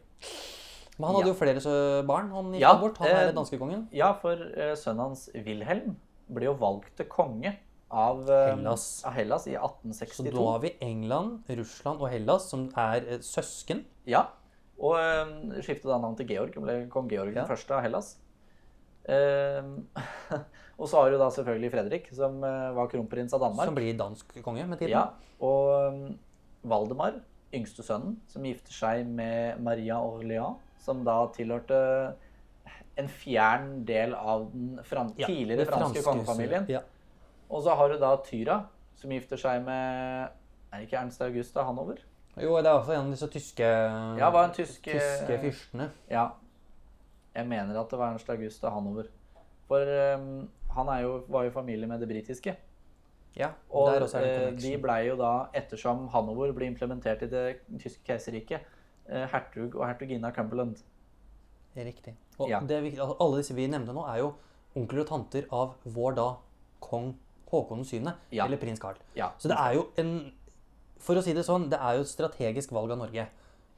Speaker 2: Men han hadde jo flere så- barn han gifta
Speaker 1: Ja,
Speaker 2: bort. Han
Speaker 1: eh,
Speaker 2: er danskekongen.
Speaker 1: Ja, for eh, sønnen hans Wilhelm ble jo valgt til konge av eh,
Speaker 2: Hellas.
Speaker 1: Av Hellas i
Speaker 2: Så
Speaker 1: 1862.
Speaker 2: da har vi England, Russland og Hellas, som er eh, søsken.
Speaker 1: Ja, og eh, skiftet da navn til Georg, og ble kong Georg den første av Hellas. Eh, *laughs* og så har du da selvfølgelig Fredrik, som eh, var kronprins av Danmark.
Speaker 2: Som blir dansk konge med tiden.
Speaker 1: Ja, og um, Valdemar, yngste sønnen, som gifter seg med Maria Orléans, som da tilhørte en fjern del av den fran
Speaker 2: Ja,
Speaker 1: tidligere
Speaker 2: det
Speaker 1: franske,
Speaker 2: huset.
Speaker 1: kongefamilien.
Speaker 2: Ja.
Speaker 1: Og så har du da Tyra, som gifter seg med Er det ikke Ernst August av Hanover?
Speaker 2: Jo, det er i hvert fall en av disse tyske
Speaker 1: Ja, var en tysk
Speaker 2: Tyske fyrstene.
Speaker 1: Ja. Jeg mener at det var Ernst August av Hanover. For um, han er jo, var jo familie med det britiske.
Speaker 2: Ja,
Speaker 1: Og
Speaker 2: der også er det en
Speaker 1: eh, de
Speaker 2: connection.
Speaker 1: ble jo da, ettersom Hanover ble implementert i det tyske keiserriket, eh, hertug og hertuginne av Cumberland.
Speaker 2: Riktig. Og
Speaker 1: Ja.
Speaker 2: det er viktig, altså, alle disse vi nevnte nå, er jo onkler og tanter av vår da kong Håkon 7.,
Speaker 1: Ja.
Speaker 2: eller prins Carl.
Speaker 1: Ja.
Speaker 2: Så det er jo en For å si det sånn, det er jo et strategisk valg av Norge.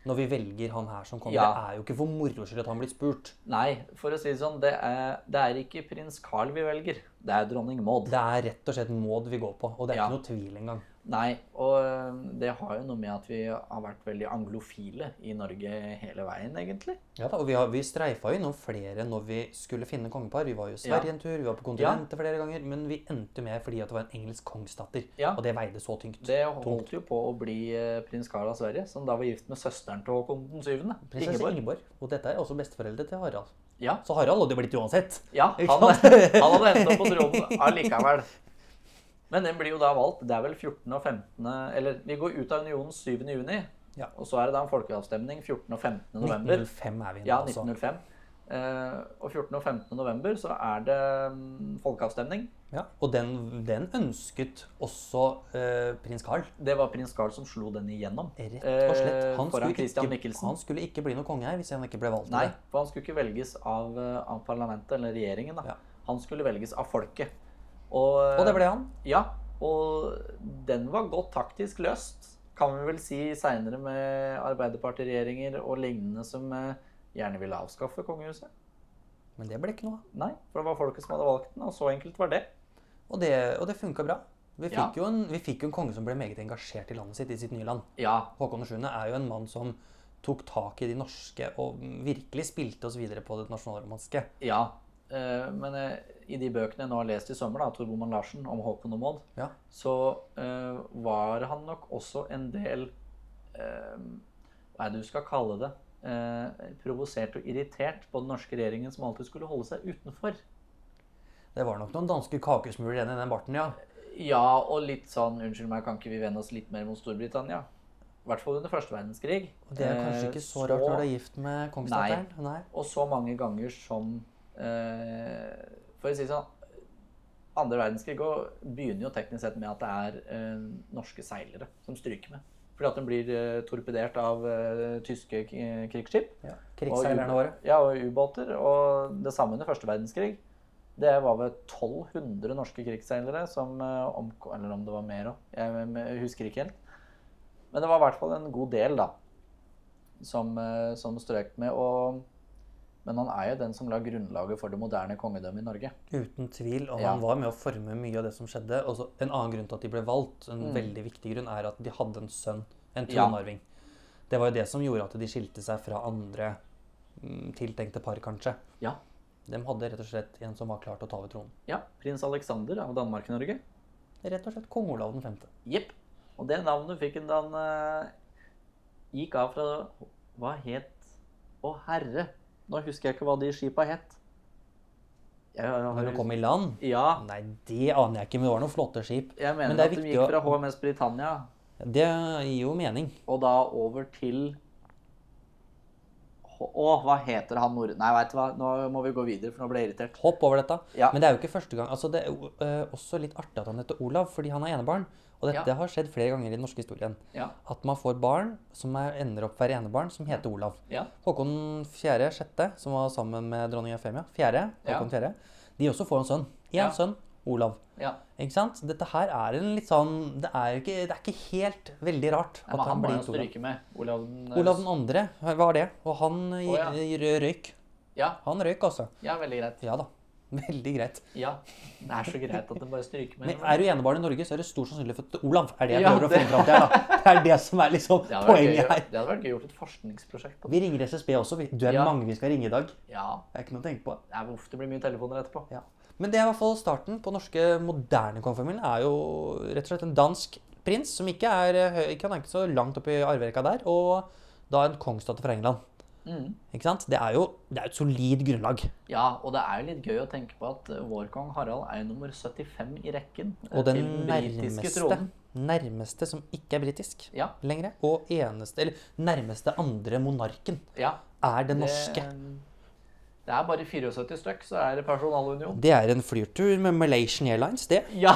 Speaker 2: Når vi velger han her som konge.
Speaker 1: Ja.
Speaker 2: Det er jo ikke for moro skyld at han blir spurt.
Speaker 1: Nei, for å si det sånn, det er, det er ikke prins Carl vi velger, det er dronning Maud.
Speaker 2: Det er rett og slett Maud vi går på, og det er
Speaker 1: Ja.
Speaker 2: ikke noe tvil engang.
Speaker 1: Nei, og eh, det har jo noe med at vi har vært veldig anglofile i Norge hele veien, egentlig.
Speaker 2: Ja da, og vi, har, vi streifa jo innom flere når vi skulle finne kongepar. Vi var jo i Sverige
Speaker 1: Ja.
Speaker 2: en tur, vi var på kontinentet flere ganger, men vi endte med fordi at det var en engelsk kongsdatter,
Speaker 1: Ja.
Speaker 2: og det veide så tyngt.
Speaker 1: Det holdt jo på å bli eh, prins Carl av Sverige, som da var gift med søsteren til Håkon den syvende.
Speaker 2: Prinsesse
Speaker 1: Ingeborg.
Speaker 2: Ingeborg. Og dette er også besteforeldre til Harald.
Speaker 1: Ja,
Speaker 2: Så Harald hadde jo blitt uansett.
Speaker 1: Ja,
Speaker 2: Ikke
Speaker 1: han, *laughs* han
Speaker 2: sant?
Speaker 1: hadde endt opp på tronen allikevel. Men den blir jo da valgt. Det er vel 14. og 15. Eller vi går ut av unionen 7. juni.
Speaker 2: Ja.
Speaker 1: Og så er det da en folkeavstemning 14. og 15. november.
Speaker 2: 1905 er vi nå,
Speaker 1: Ja,
Speaker 2: altså.
Speaker 1: 1905. Eh, og 14. og 15. november så er det mm, folkeavstemning.
Speaker 2: Ja, og den, den ønsket også eh, prins Carl.
Speaker 1: Det var prins Carl som slo den igjennom.
Speaker 2: Rett og slett.
Speaker 1: Eh,
Speaker 2: Han
Speaker 1: foran
Speaker 2: skulle,
Speaker 1: Christian
Speaker 2: ikke,
Speaker 1: Michelsen.
Speaker 2: han skulle ikke bli noen konge her hvis han ikke ble valgt. til
Speaker 1: Nei,
Speaker 2: det.
Speaker 1: for han skulle ikke velges av, eh, av parlamentet eller regjeringen. da.
Speaker 2: Ja.
Speaker 1: Han skulle velges av folket. Og,
Speaker 2: Og det ble han.
Speaker 1: Ja, og den var godt taktisk løst, kan vi vel si seinere med Arbeiderpartiregjeringer og lignende som eh, gjerne ville avskaffe kongehuset.
Speaker 2: Men det ble ikke noe av.
Speaker 1: Nei, for det var folket som hadde valgt den, og så enkelt var det.
Speaker 2: Og det, og det funka bra. Vi fikk,
Speaker 1: Ja.
Speaker 2: jo en, vi fikk jo en konge som ble meget engasjert i landet sitt, i sitt nye land.
Speaker 1: Ja,
Speaker 2: Håkon 7. er jo en mann som tok tak i de norske og virkelig spilte oss videre på det nasjonalromanske.
Speaker 1: ja. Eh, Men eh, i de bøkene jeg nå har lest i sommer, da, Tor Boman Larsen om Håkon og Maud,
Speaker 2: Ja.
Speaker 1: så eh, var han nok også en del eh, Hva er det du skal kalle det? Eh, provosert og irritert på den norske regjeringen som alltid skulle holde seg utenfor.
Speaker 2: Det var nok noen danske kakesmuler igjen i den barten, ja.
Speaker 1: Ja, og litt sånn Unnskyld meg, kan ikke vi vende oss litt mer mot Storbritannia? I hvert fall under første verdenskrig.
Speaker 2: Og det er kanskje ikke Eh, så rart når du er gift med kongsdatteren. Nei.
Speaker 1: Og så mange ganger som eh, For å si det sånn Andre verdenskrig og begynner jo teknisk sett med at det er eh, norske seilere som stryker med. Fordi at den blir eh, torpedert av eh, tyske k- krigsskip.
Speaker 2: Ja.
Speaker 1: og
Speaker 2: Krigsseilerne våre.
Speaker 1: u- Ja, og ubåter. Og det samme under første verdenskrig. Det var vel 1200 norske krigsseilere som eh, omkom Eller om det var mer òg. Jeg eh, husker ikke helt. Men det var i hvert fall en god del, da, som, eh, som strøk med. Og, men han er jo den som la grunnlaget for det moderne kongedømmet i Norge.
Speaker 2: Uten tvil. Og
Speaker 1: Ja.
Speaker 2: han var med å forme mye av det som skjedde. Og så en annen grunn til at de ble valgt, en veldig viktig grunn, er at de hadde en sønn, en
Speaker 1: Ja.
Speaker 2: tronarving. Det var jo det som gjorde at de skilte seg fra andre mm, tiltenkte par, kanskje.
Speaker 1: Ja.
Speaker 2: De hadde rett og slett en som var klar til å ta over tronen.
Speaker 1: ja Prins Alexander av Danmark-Norge.
Speaker 2: Rett og slett kong Olav 5.
Speaker 1: Jepp. Og det navnet fikk han da han eh, gikk av fra Hva het Å, herre. Nå husker jeg ikke hva de skipa het. Jeg, har-
Speaker 2: Når han kom i land
Speaker 1: Ja.
Speaker 2: Nei, det aner jeg ikke, men det var noen flotte skip.
Speaker 1: Jeg mener
Speaker 2: Men det er
Speaker 1: at de
Speaker 2: viktig
Speaker 1: gikk
Speaker 2: å-
Speaker 1: fra HMS Britannia
Speaker 2: Det gir jo mening.
Speaker 1: og da over til H- Å, hva heter han nord... Nei, veit du hva, nå må vi gå videre, for nå ble jeg irritert.
Speaker 2: Hopp over dette.
Speaker 1: Ja.
Speaker 2: Men det er jo ikke første gang. Altså, det er jo, eh, også litt artig at han heter Olav, fordi han er enebarn. Og dette
Speaker 1: Ja.
Speaker 2: har skjedd flere ganger i den norske historien.
Speaker 1: Ja.
Speaker 2: At man får barn som er, ender opp være enebarn, som heter Olav.
Speaker 1: Ja.
Speaker 2: Håkon 4., 6., som var sammen med dronning Eufemia, 4., Håkon 4., de også får en sønn. Én
Speaker 1: Ja.
Speaker 2: sønn, Olav.
Speaker 1: ja.
Speaker 2: Ikke sant? Dette her er en litt sånn Det er ikke, det er ikke helt veldig rart
Speaker 1: Nei,
Speaker 2: at
Speaker 1: men
Speaker 2: han
Speaker 1: han må
Speaker 2: blir
Speaker 1: jo
Speaker 2: Olav.
Speaker 1: stryke med. Olav eh, den
Speaker 2: Olav den andre var det, og han i-
Speaker 1: Å, ja.
Speaker 2: i rø- røyk.
Speaker 1: Ja,
Speaker 2: Han røyk, altså.
Speaker 1: ja, veldig greit.
Speaker 2: Ja da. Veldig greit.
Speaker 1: Ja. Det er så greit at den bare stryker med.
Speaker 2: Men er du enebarn i Norge, så er det stor sannsynlig for at Olav er det jeg
Speaker 1: Ja,
Speaker 2: prøver å
Speaker 1: det-
Speaker 2: finne fram til her. da. Det er det som er liksom
Speaker 1: Det hadde vært gøy å-
Speaker 2: poenget her.
Speaker 1: Det hadde vært gøy å gjort et forskningsprosjekt på det.
Speaker 2: Vi ringer SSB også. vi. Du er
Speaker 1: Ja.
Speaker 2: mange vi skal ringe i dag. Det
Speaker 1: Ja,
Speaker 2: er ikke noe å tenke på.
Speaker 1: det er ofte blir mye telefoner etterpå.
Speaker 2: Ja. Men det er i hvert fall starten på norske moderne kongefamilien. er jo rett og slett en dansk prins som ikke er, eh, høy- ikke, han er ikke så langt opp i arverekka der, og da en kongsdatter fra England.
Speaker 1: Mhm.
Speaker 2: Ikke sant? Det er jo det er et solid grunnlag.
Speaker 1: Ja, og det er jo litt gøy å tenke på at eh, vår kong Harald er nummer 75 i rekken. eh,
Speaker 2: Og
Speaker 1: til
Speaker 2: den
Speaker 1: britiske
Speaker 2: nærmeste,
Speaker 1: tronen.
Speaker 2: nærmeste som ikke er britisk
Speaker 1: Ja,
Speaker 2: lenger, og eneste, eller nærmeste andre monarken,
Speaker 1: ja.
Speaker 2: er den
Speaker 1: Det-
Speaker 2: norske.
Speaker 1: Det er bare 74 stykk, så er det personalunion.
Speaker 2: Det er en flyrtur med Malaysian Airlines, det.
Speaker 1: Ja,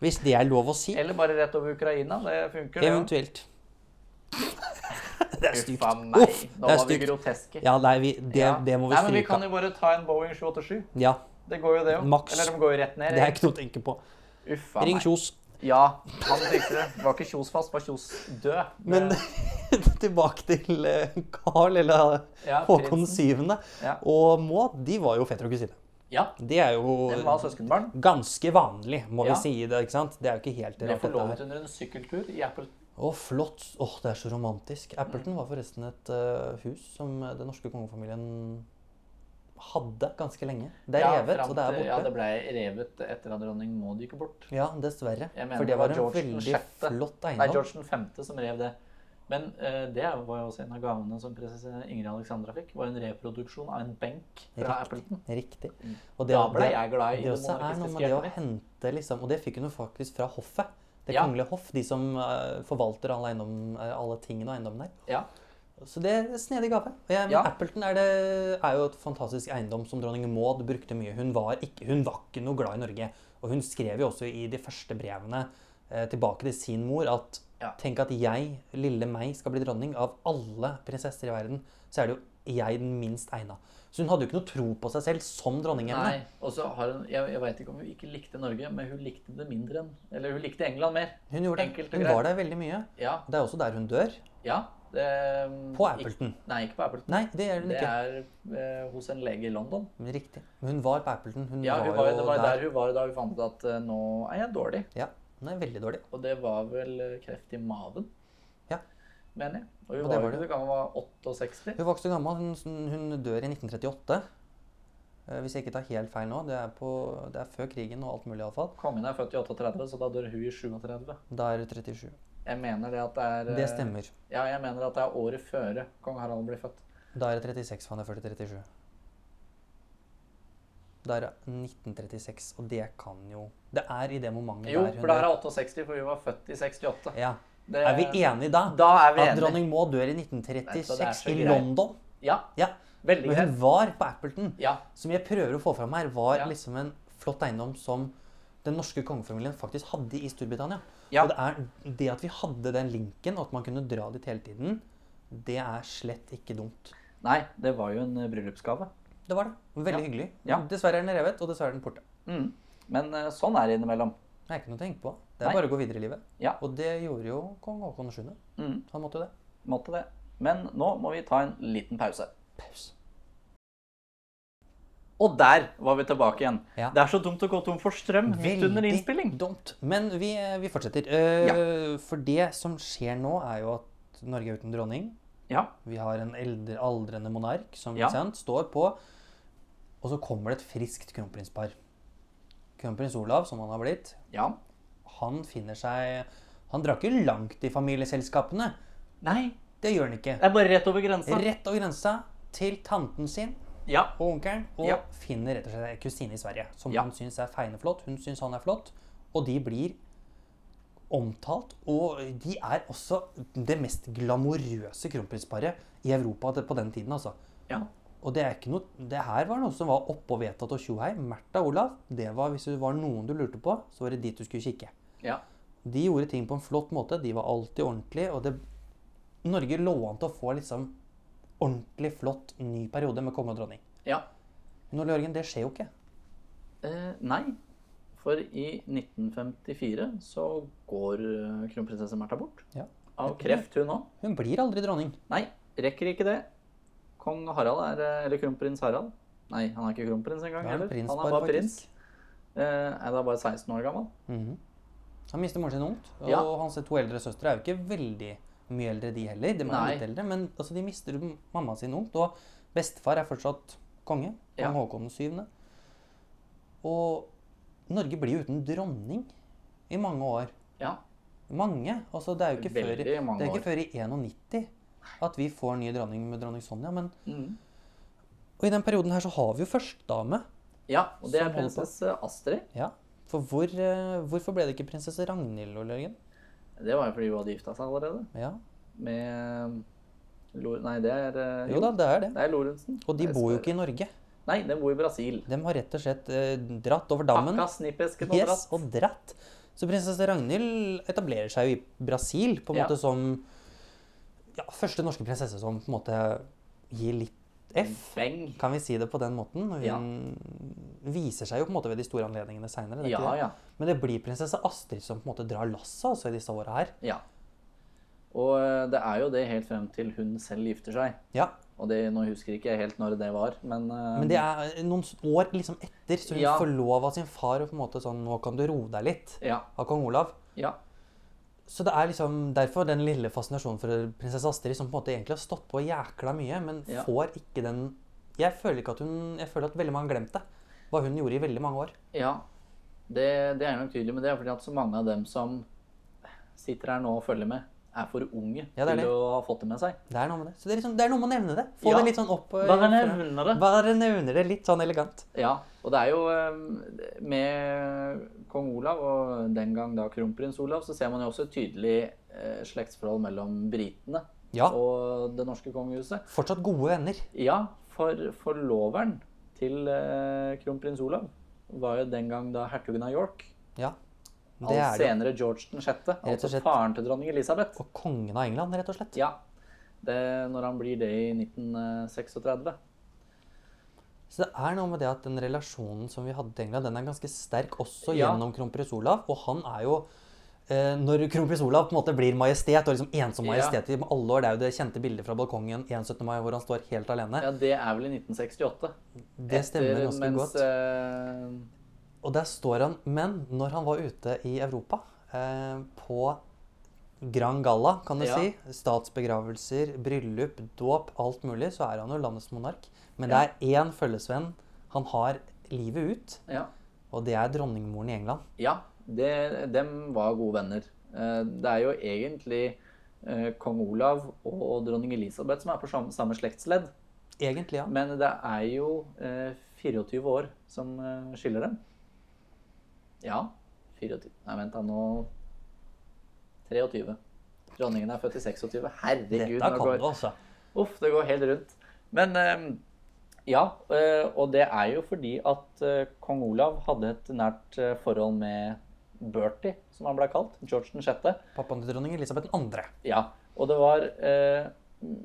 Speaker 2: Hvis det er lov å si.
Speaker 1: eller bare rett over Ukraina. Det funker. det, ja.
Speaker 2: Eventuelt. *laughs* Det er stygt.
Speaker 1: Uffa meg,
Speaker 2: Uff,
Speaker 1: nå
Speaker 2: det er
Speaker 1: var vi
Speaker 2: stygt.
Speaker 1: groteske.
Speaker 2: Ja, nei, vi, det,
Speaker 1: Ja.
Speaker 2: det må vi
Speaker 1: Nei, men vi
Speaker 2: stryke
Speaker 1: kan
Speaker 2: av.
Speaker 1: jo bare ta en Boeing 787.
Speaker 2: Ja,
Speaker 1: Det går jo det òg.
Speaker 2: Maks.
Speaker 1: Eller de går jo rett ned.
Speaker 2: det er ikke noe å tenke på.
Speaker 1: Uffa
Speaker 2: Ring
Speaker 1: meg.
Speaker 2: Kjos.
Speaker 1: Ja, han fikser det. Det var ikke Kjos fast, det var Kjos død.
Speaker 2: Men *laughs*
Speaker 1: Det-
Speaker 2: tilbake til eh, Carl eller eh,
Speaker 1: *laughs* Ja,
Speaker 2: Håkon
Speaker 1: prinsen.
Speaker 2: 7.
Speaker 1: Ja.
Speaker 2: og Maud, de var jo fetter og kusine.
Speaker 1: Ja,
Speaker 2: Det er jo
Speaker 1: den var altså søskenbarn.
Speaker 2: ganske vanlig, må
Speaker 1: Ja.
Speaker 2: vi si det. ikke sant? Det er jo ikke helt
Speaker 1: Ble
Speaker 2: rart. dette
Speaker 1: forlovet
Speaker 2: her.
Speaker 1: under en sykkeltur i Apple.
Speaker 2: Å, flott. Åh, det er så romantisk. Appleton var forresten et eh, hus som eh, den norske kongefamilien hadde ganske lenge. Det er
Speaker 1: Ja,
Speaker 2: revet,
Speaker 1: fram
Speaker 2: og det er
Speaker 1: til- Ja,
Speaker 2: borte.
Speaker 1: det ble revet etter at dronning Maud gikk bort.
Speaker 2: Ja, dessverre.
Speaker 1: Jeg mener
Speaker 2: For
Speaker 1: det
Speaker 2: det
Speaker 1: var
Speaker 2: var en
Speaker 1: George den
Speaker 2: veldig
Speaker 1: sjette.
Speaker 2: flott
Speaker 1: Nei,
Speaker 2: eiendom.
Speaker 1: George 5. som rev det. Men eh, det var jo også en av gavene som prinsesse Ingrid Alexandra fikk, var en reproduksjon av en benk fra Appleton. Mm.
Speaker 2: Riktig. Og
Speaker 1: Da ble jeg glad i
Speaker 2: det
Speaker 1: det
Speaker 2: også er noe
Speaker 1: monarkistiske
Speaker 2: med det å
Speaker 1: hjertet
Speaker 2: hente liksom, Og det fikk hun jo faktisk fra hoffet. Det
Speaker 1: Ja.
Speaker 2: kongelige hoff, de som eh, forvalter alle, eiendom, eh, alle tingene og eiendommen der.
Speaker 1: Ja,
Speaker 2: Så det er en snedig gave. Og Jeg, men
Speaker 1: Ja.
Speaker 2: Appleton er, det, er jo et fantastisk eiendom som dronning Maud brukte mye. Hun var, ikke, hun var ikke noe glad i Norge. Og hun skrev jo også i de første brevene eh, tilbake til sin mor at
Speaker 1: Ja.
Speaker 2: tenk at jeg, lille meg, skal bli dronning. Av alle prinsesser i verden, så er det jo jeg den minst egna. Så hun hadde jo ikke noe tro på seg selv som dronning.
Speaker 1: Nei.
Speaker 2: Emne.
Speaker 1: Og så har hun Jeg, jeg veit ikke om hun ikke likte Norge, men hun likte det mindre enn Eller hun likte England mer.
Speaker 2: Hun gjorde det.
Speaker 1: Enkelt og
Speaker 2: Hun
Speaker 1: greit.
Speaker 2: var der veldig mye.
Speaker 1: Ja.
Speaker 2: Det er også der hun dør.
Speaker 1: ja det, um,
Speaker 2: På
Speaker 1: ikke-
Speaker 2: Appleton.
Speaker 1: Nei, ikke på Appleton.
Speaker 2: Nei, det gjør hun
Speaker 1: Det
Speaker 2: ikke.
Speaker 1: er eh, hos en lege i London.
Speaker 2: Men Riktig. Men Hun var på Appleton. Hun,
Speaker 1: Ja, hun
Speaker 2: var,
Speaker 1: var,
Speaker 2: jo
Speaker 1: det var
Speaker 2: der.
Speaker 1: der hun var da hun fant ut at eh, nå er jeg dårlig.
Speaker 2: Ja. Hun er veldig dårlig.
Speaker 1: Og det var vel eh, kreft i maven,
Speaker 2: Ja.
Speaker 1: mener jeg. Og hun
Speaker 2: Og det
Speaker 1: var jo
Speaker 2: var
Speaker 1: ikke så gammel, hun var 68.
Speaker 2: Hun var ikke så gammel. Hun, sånn, hun dør i 1938. Eh, Hvis jeg ikke tar helt feil nå. Det er, på, det er før krigen og alt mulig, iallfall.
Speaker 1: Kongen er født i 38, så da dør hun i 37.
Speaker 2: Da er hun 37.
Speaker 1: Jeg mener det at det er eh,
Speaker 2: Det stemmer.
Speaker 1: Ja, jeg mener at det er året før kong Harald blir født.
Speaker 2: Da er hun 36, for han er 40 37. Da er hun 1936, og det kan jo Det er i det momentet
Speaker 1: Jo,
Speaker 2: der hun
Speaker 1: for da er
Speaker 2: dør.
Speaker 1: hun 68, for hun var født i 68.
Speaker 2: Ja.
Speaker 1: Det,
Speaker 2: Er vi enige da?
Speaker 1: Eh, Da er vi
Speaker 2: At
Speaker 1: enige.
Speaker 2: dronning Maud dør i
Speaker 1: Vet du, det er
Speaker 2: 1936
Speaker 1: så
Speaker 2: i
Speaker 1: greit.
Speaker 2: London.
Speaker 1: Ja,
Speaker 2: Ja.
Speaker 1: veldig
Speaker 2: Men hun
Speaker 1: greit.
Speaker 2: var på Appleton.
Speaker 1: Ja,
Speaker 2: Som jeg prøver å få fram her, var
Speaker 1: Ja.
Speaker 2: liksom en flott eiendom som den norske kongefamilien faktisk hadde i Storbritannia.
Speaker 1: Ja.
Speaker 2: Og det, er, det at vi hadde den linken, og at man kunne dra dit hele tiden, det er slett ikke dumt.
Speaker 1: Nei, det var jo en eh, bryllupsgave.
Speaker 2: Det var det. Veldig
Speaker 1: Ja.
Speaker 2: hyggelig.
Speaker 1: Ja.
Speaker 2: Dessverre er den revet, og dessverre er den borte.
Speaker 1: Mm. Men eh, sånn er det innimellom.
Speaker 2: Det er ikke noe å tenke på. Det er
Speaker 1: Nei.
Speaker 2: bare å gå videre i livet.
Speaker 1: Ja.
Speaker 2: Og det gjorde jo kong Haakon 7.
Speaker 1: Mm.
Speaker 2: Han måtte jo det.
Speaker 1: Måtte det. Men nå må vi ta en liten pause. Pause. Og der var vi tilbake igjen.
Speaker 2: Ja.
Speaker 1: Det er så dumt å gå tom for strøm midt under innspilling.
Speaker 2: dumt. Men vi, vi fortsetter. Eh, For det som skjer nå, er jo at Norge er uten dronning.
Speaker 1: Ja.
Speaker 2: Vi har en eldre, aldrende monark som
Speaker 1: Ja.
Speaker 2: ikke sant, står på. Og så kommer det et friskt kronprinspar. Kronprins Olav, som han har blitt,
Speaker 1: ja.
Speaker 2: han finner seg Han drar ikke langt i familieselskapene.
Speaker 1: Nei,
Speaker 2: Det gjør han ikke.
Speaker 1: det er bare rett over grensa.
Speaker 2: Rett over grensa til tanten sin
Speaker 1: Ja.
Speaker 2: og onkelen, og
Speaker 1: Ja.
Speaker 2: finner rett og slett en kusine i Sverige, som
Speaker 1: Ja.
Speaker 2: han syns er feineflott, hun syns han er flott, og de blir omtalt, og de er også det mest glamorøse kronprinsparet i Europa det- på den tiden, altså.
Speaker 1: ja.
Speaker 2: Og det, er ikke noe, det her var noe som var oppe og vedtatt og tjohei. Märtha og Olav, det var, hvis det var noen du lurte på, så var det dit du skulle kikke.
Speaker 1: ja.
Speaker 2: De gjorde ting på en flott måte, de var alltid ordentlige, og det, Norge lå an til å få liksom ordentlig flott ny periode med konge og dronning.
Speaker 1: ja.
Speaker 2: Men Ole Jørgen, det skjer jo ikke.
Speaker 1: Eh, nei. For i 1954 så går eh, kronprinsesse Märtha bort.
Speaker 2: Ja.
Speaker 1: Av kreft, hun òg.
Speaker 2: Hun blir aldri dronning.
Speaker 1: Nei, rekker ikke det. Kong Harald er eh, Eller kronprins Harald. Nei, han er ikke kronprins engang.
Speaker 2: Da er han
Speaker 1: heller. Han
Speaker 2: prinspar,
Speaker 1: er bare prins.
Speaker 2: faktisk.
Speaker 1: Eh, nei, da er bare 16 år gammel.
Speaker 2: Mhm. Han mister moren sin ungt, og
Speaker 1: Ja.
Speaker 2: hans to eldre søstre er jo ikke veldig mye eldre, de heller. De er
Speaker 1: Nei.
Speaker 2: litt eldre, men altså, de mister m- mammaen sin ungt, og bestefar er fortsatt konge. Kong
Speaker 1: Ja.
Speaker 2: Haakon 7. Og Norge blir jo uten dronning i mange år.
Speaker 1: Ja.
Speaker 2: Mange. Altså, det er jo ikke før,
Speaker 1: Veldig mange
Speaker 2: det er
Speaker 1: år.
Speaker 2: ikke før i 91 at vi får ny dronning med dronning Sonja. Men,
Speaker 1: Mm.
Speaker 2: og i den perioden her så har vi jo førstedame.
Speaker 1: ja, og det
Speaker 2: Som
Speaker 1: er
Speaker 2: holder på.
Speaker 1: prinsesse Astrid.
Speaker 2: Ja, for hvor, eh, hvorfor ble det ikke prinsesse Ragnhild, Ole Jørgen?
Speaker 1: Det var jo fordi hun hadde gifta seg allerede.
Speaker 2: Ja.
Speaker 1: Med Lor Nei, det er eh,
Speaker 2: Jo da, det er det.
Speaker 1: Det er Lorentzen.
Speaker 2: Og de bor jo ikke i Norge.
Speaker 1: Nei, den bor i Brasil.
Speaker 2: De har rett og slett eh, dratt over dammen
Speaker 1: Pakka snippesken og
Speaker 2: yes,
Speaker 1: dratt.
Speaker 2: og dratt. Så prinsesse Ragnhild etablerer seg jo i Brasil på en
Speaker 1: Ja.
Speaker 2: måte som ja, første norske prinsesse som på en måte gir litt F.
Speaker 1: Feng.
Speaker 2: Kan vi si det på den måten? Hun
Speaker 1: Ja.
Speaker 2: viser seg jo på en måte ved de store anledningene seinere.
Speaker 1: Ja, ja.
Speaker 2: Men det blir prinsesse Astrid som på en måte drar lasset altså, i disse åra her.
Speaker 1: Ja. Og eh, det er jo det helt frem til hun selv gifter seg.
Speaker 2: Ja,
Speaker 1: Og det, nå husker jeg ikke helt når det var, men, eh,
Speaker 2: Men det er noen s- år liksom etter, så hun
Speaker 1: Ja.
Speaker 2: får lov av sin far og på en måte sånn Nå kan du roe deg litt.
Speaker 1: Ja.
Speaker 2: Av kong Olav.
Speaker 1: ja.
Speaker 2: Så det er liksom derfor den lille fascinasjonen for prinsesse Astrid, som på en måte egentlig har stått på jækla mye, men
Speaker 1: Ja.
Speaker 2: får ikke den Jeg føler ikke at hun Jeg føler at veldig mange har glemt det. Hva hun gjorde i veldig mange år.
Speaker 1: Ja, det, det er nok tydelig, men det er fordi at så mange av dem som sitter her nå og følger med, er for unge
Speaker 2: Ja, det er det.
Speaker 1: til å ha fått det med seg.
Speaker 2: Det er noe med det. Så det er, liksom, det er noe med å nevne det. Få
Speaker 1: Ja.
Speaker 2: det litt sånn opp eh,
Speaker 1: Bare
Speaker 2: fra-
Speaker 1: nevner det.
Speaker 2: Bare nevner det litt sånn elegant.
Speaker 1: Ja, og det er jo eh, med kong Olav og den gang da kronprins Olav, så ser man jo også et tydelig eh, slektsforhold mellom britene
Speaker 2: Ja.
Speaker 1: og det norske kongehuset.
Speaker 2: Fortsatt gode venner.
Speaker 1: Ja, for forloveren til eh, kronprins Olav var jo den gang da hertugen av York,
Speaker 2: Ja. Det
Speaker 1: og
Speaker 2: er det.
Speaker 1: senere George den sjette,
Speaker 2: og
Speaker 1: altså
Speaker 2: slett.
Speaker 1: faren til dronning Elisabeth.
Speaker 2: Og kongen av England, rett og slett.
Speaker 1: Ja. Det, når han blir det i 1936.
Speaker 2: Så det er noe med det at den relasjonen som vi hadde til England, den er ganske sterk også
Speaker 1: Ja.
Speaker 2: gjennom kronprins Olav. Og han er jo eh, Når kronprins Olav på en måte blir majestet, og liksom ensom
Speaker 1: Ja.
Speaker 2: majestet i alle år, det er jo det kjente bildet fra balkongen 1.17. mai hvor han står helt alene.
Speaker 1: Ja, det er vel i 1968.
Speaker 2: det stemmer
Speaker 1: Etter-
Speaker 2: ganske
Speaker 1: mens,
Speaker 2: godt.
Speaker 1: eh,
Speaker 2: Og der står han. Men når han var ute i Europa, eh, på Grand Galla, kan du
Speaker 1: Ja.
Speaker 2: si, statsbegravelser, bryllup, dåp, alt mulig, så er han jo landets monark. Men
Speaker 1: Ja.
Speaker 2: det er én følgesvenn han har livet ut.
Speaker 1: ja.
Speaker 2: Og det er dronningmoren i England.
Speaker 1: ja det, dem var gode venner. Eh, det er jo egentlig eh, kong Olav og dronning Elisabeth som er på samme, samme slektsledd.
Speaker 2: Egentlig, ja.
Speaker 1: Men det er jo eh, 24 år som eh, skiller dem. Ja. 24 Nei, vent da, nå 23. Dronningen er født i 26. Herregud,
Speaker 2: Dette
Speaker 1: nå
Speaker 2: kan
Speaker 1: går
Speaker 2: du, altså.
Speaker 1: Uff, det går helt rundt. Men eh, Ja, eh, og det er jo fordi at eh, kong Olav hadde et nært eh, forhold med Bertie, som han ble kalt. George den sjette.
Speaker 2: Pappaen til dronning Elisabeth 2.
Speaker 1: Ja, og det var eh,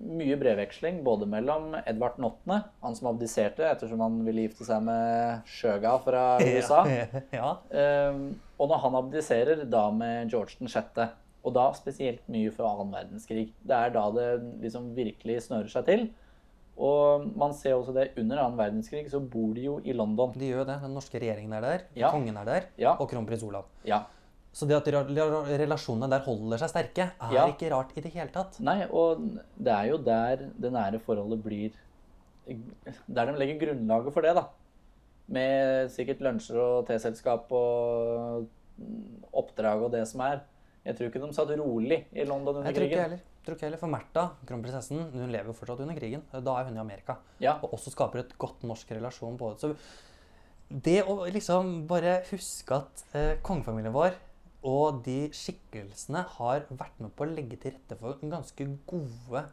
Speaker 1: mye brevveksling både mellom Edvard den åttende, han som abdiserte ettersom han ville gifte seg med Sjøga fra
Speaker 2: *laughs*
Speaker 1: USA,
Speaker 2: ja.
Speaker 1: eh, og når han abdiserer, da med George den sjette. Og da spesielt mye før annen verdenskrig. Det er da det liksom virkelig snører seg til. Og man ser også det under annen verdenskrig, så bor de jo i London.
Speaker 2: De gjør jo det. Den norske regjeringen er der,
Speaker 1: Ja.
Speaker 2: kongen er der,
Speaker 1: Ja.
Speaker 2: og kronprins Olav.
Speaker 1: Ja.
Speaker 2: Så det at de ra- ra- relasjonene der holder seg sterke, er
Speaker 1: Ja.
Speaker 2: ikke rart i det hele tatt.
Speaker 1: Nei, og det er jo der det nære forholdet blir Der de legger grunnlaget for det, da. Med sikkert lunsjer og teselskap og oppdrag og det som er. Jeg tror ikke de satt rolig i London under
Speaker 2: Jeg tror ikke
Speaker 1: krigen.
Speaker 2: heller. Tror ikke heller. For Märtha, kronprinsessen, hun lever jo fortsatt under krigen. Eh, Da er hun i Amerika.
Speaker 1: Ja,
Speaker 2: Og også skaper et godt norsk relasjon på det. Så det å liksom bare huske at eh, kongefamilien vår og de skikkelsene har vært med på å legge til rette for ganske gode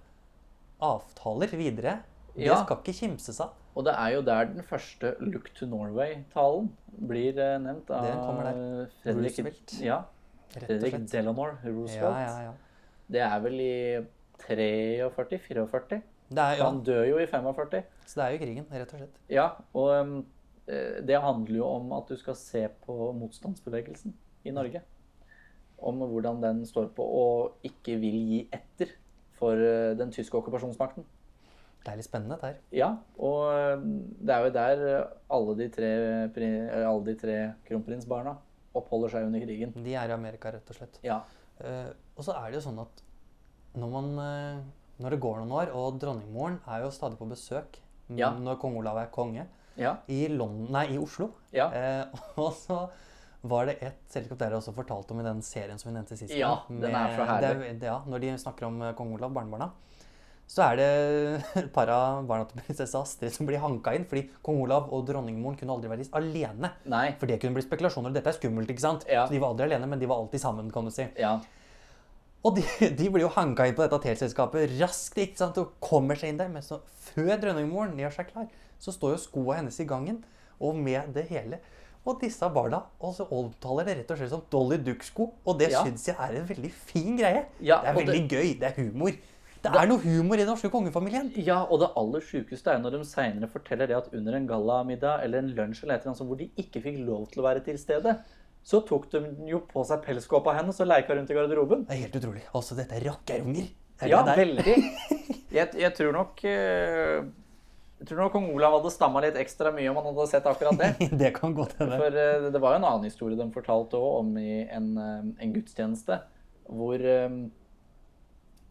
Speaker 2: avtaler videre, det
Speaker 1: Ja.
Speaker 2: skal ikke kimses av.
Speaker 1: og det er jo der den første Look to Norway-talen blir eh, nevnt av
Speaker 2: Den kommer
Speaker 1: Fredrik,
Speaker 2: Roosevelt.
Speaker 1: ja,
Speaker 2: Rett og
Speaker 1: Fredrik
Speaker 2: slett.
Speaker 1: Delano
Speaker 2: Ja,
Speaker 1: Roosevelt.
Speaker 2: ja, ja.
Speaker 1: Det er vel i 43-44.
Speaker 2: Det er, ja.
Speaker 1: Han dør jo i 45.
Speaker 2: Så det er jo krigen, rett og slett.
Speaker 1: Ja, og um, eh, det handler jo om at du skal se på motstandsbevegelsen i Norge. Om hvordan den står på og ikke vil gi etter for eh, den tyske okkupasjonsmakten.
Speaker 2: Det er litt spennende dette her.
Speaker 1: Ja, og eh, det er jo der eh, alle de tre, pri- eller alle de tre kronprinsbarna oppholder seg under krigen.
Speaker 2: De er i Amerika, rett og slett.
Speaker 1: Ja,
Speaker 2: Eh, og så er det jo sånn at når, man, eh, når det går noen år, og dronningmoren er jo stadig på besøk n-
Speaker 1: Ja.
Speaker 2: når kong Olav er konge,
Speaker 1: ja,
Speaker 2: i, London, nei, i Oslo
Speaker 1: ja.
Speaker 2: eh, *laughs* Og så var det et selskap dere også fortalte om i den serien som vi nevnte sist.
Speaker 1: Ja,
Speaker 2: gang,
Speaker 1: den er så
Speaker 2: det
Speaker 1: herlig.
Speaker 2: det- ja, når de snakker om eh, kong Olav, barnebarna, så er det *laughs* et par av barna til prinsesse Astrid som blir hanka inn fordi kong Olav og dronningmoren kunne aldri være alene.
Speaker 1: Nei,
Speaker 2: For det kunne bli spekulasjoner. Dette er skummelt, ikke sant?
Speaker 1: Ja.
Speaker 2: Så de var aldri alene, men de var alltid sammen, kan du si.
Speaker 1: ja,
Speaker 2: Og de, *laughs* de blir jo hanka inn på dette teleselskapet raskt ikke sant? og kommer seg inn der. Men så, før dronningmoren gjør seg klar, så står jo skoa hennes i gangen. Og med det hele. Og disse barna og så omtaler det rett og slett som Dolly Duck-sko. Og det
Speaker 1: Ja.
Speaker 2: syns jeg er en veldig fin greie.
Speaker 1: Ja,
Speaker 2: det er
Speaker 1: og
Speaker 2: veldig gøy. Det er humor. Det er noe humor i den norske kongefamilien.
Speaker 1: Ja, og det aller sjukeste er når de seinere forteller det at under en gallamiddag eller en lunsj eller et eller annet sånt hvor de ikke fikk lov til å være til stede, så tok de jo på seg pelskåpa hennes og leika rundt i garderoben.
Speaker 2: Det er helt utrolig. Altså, dette er rakkerunger. Det er
Speaker 1: Ja,
Speaker 2: det der.
Speaker 1: veldig. *laughs* Jeg, jeg tror nok eh, Jeg tror nok kong Olav hadde stamma litt ekstra mye om han hadde sett akkurat det.
Speaker 2: *laughs* det kan godt hende.
Speaker 1: For eh, det var jo en annen historie de fortalte også om i en, eh, en gudstjeneste, hvor eh,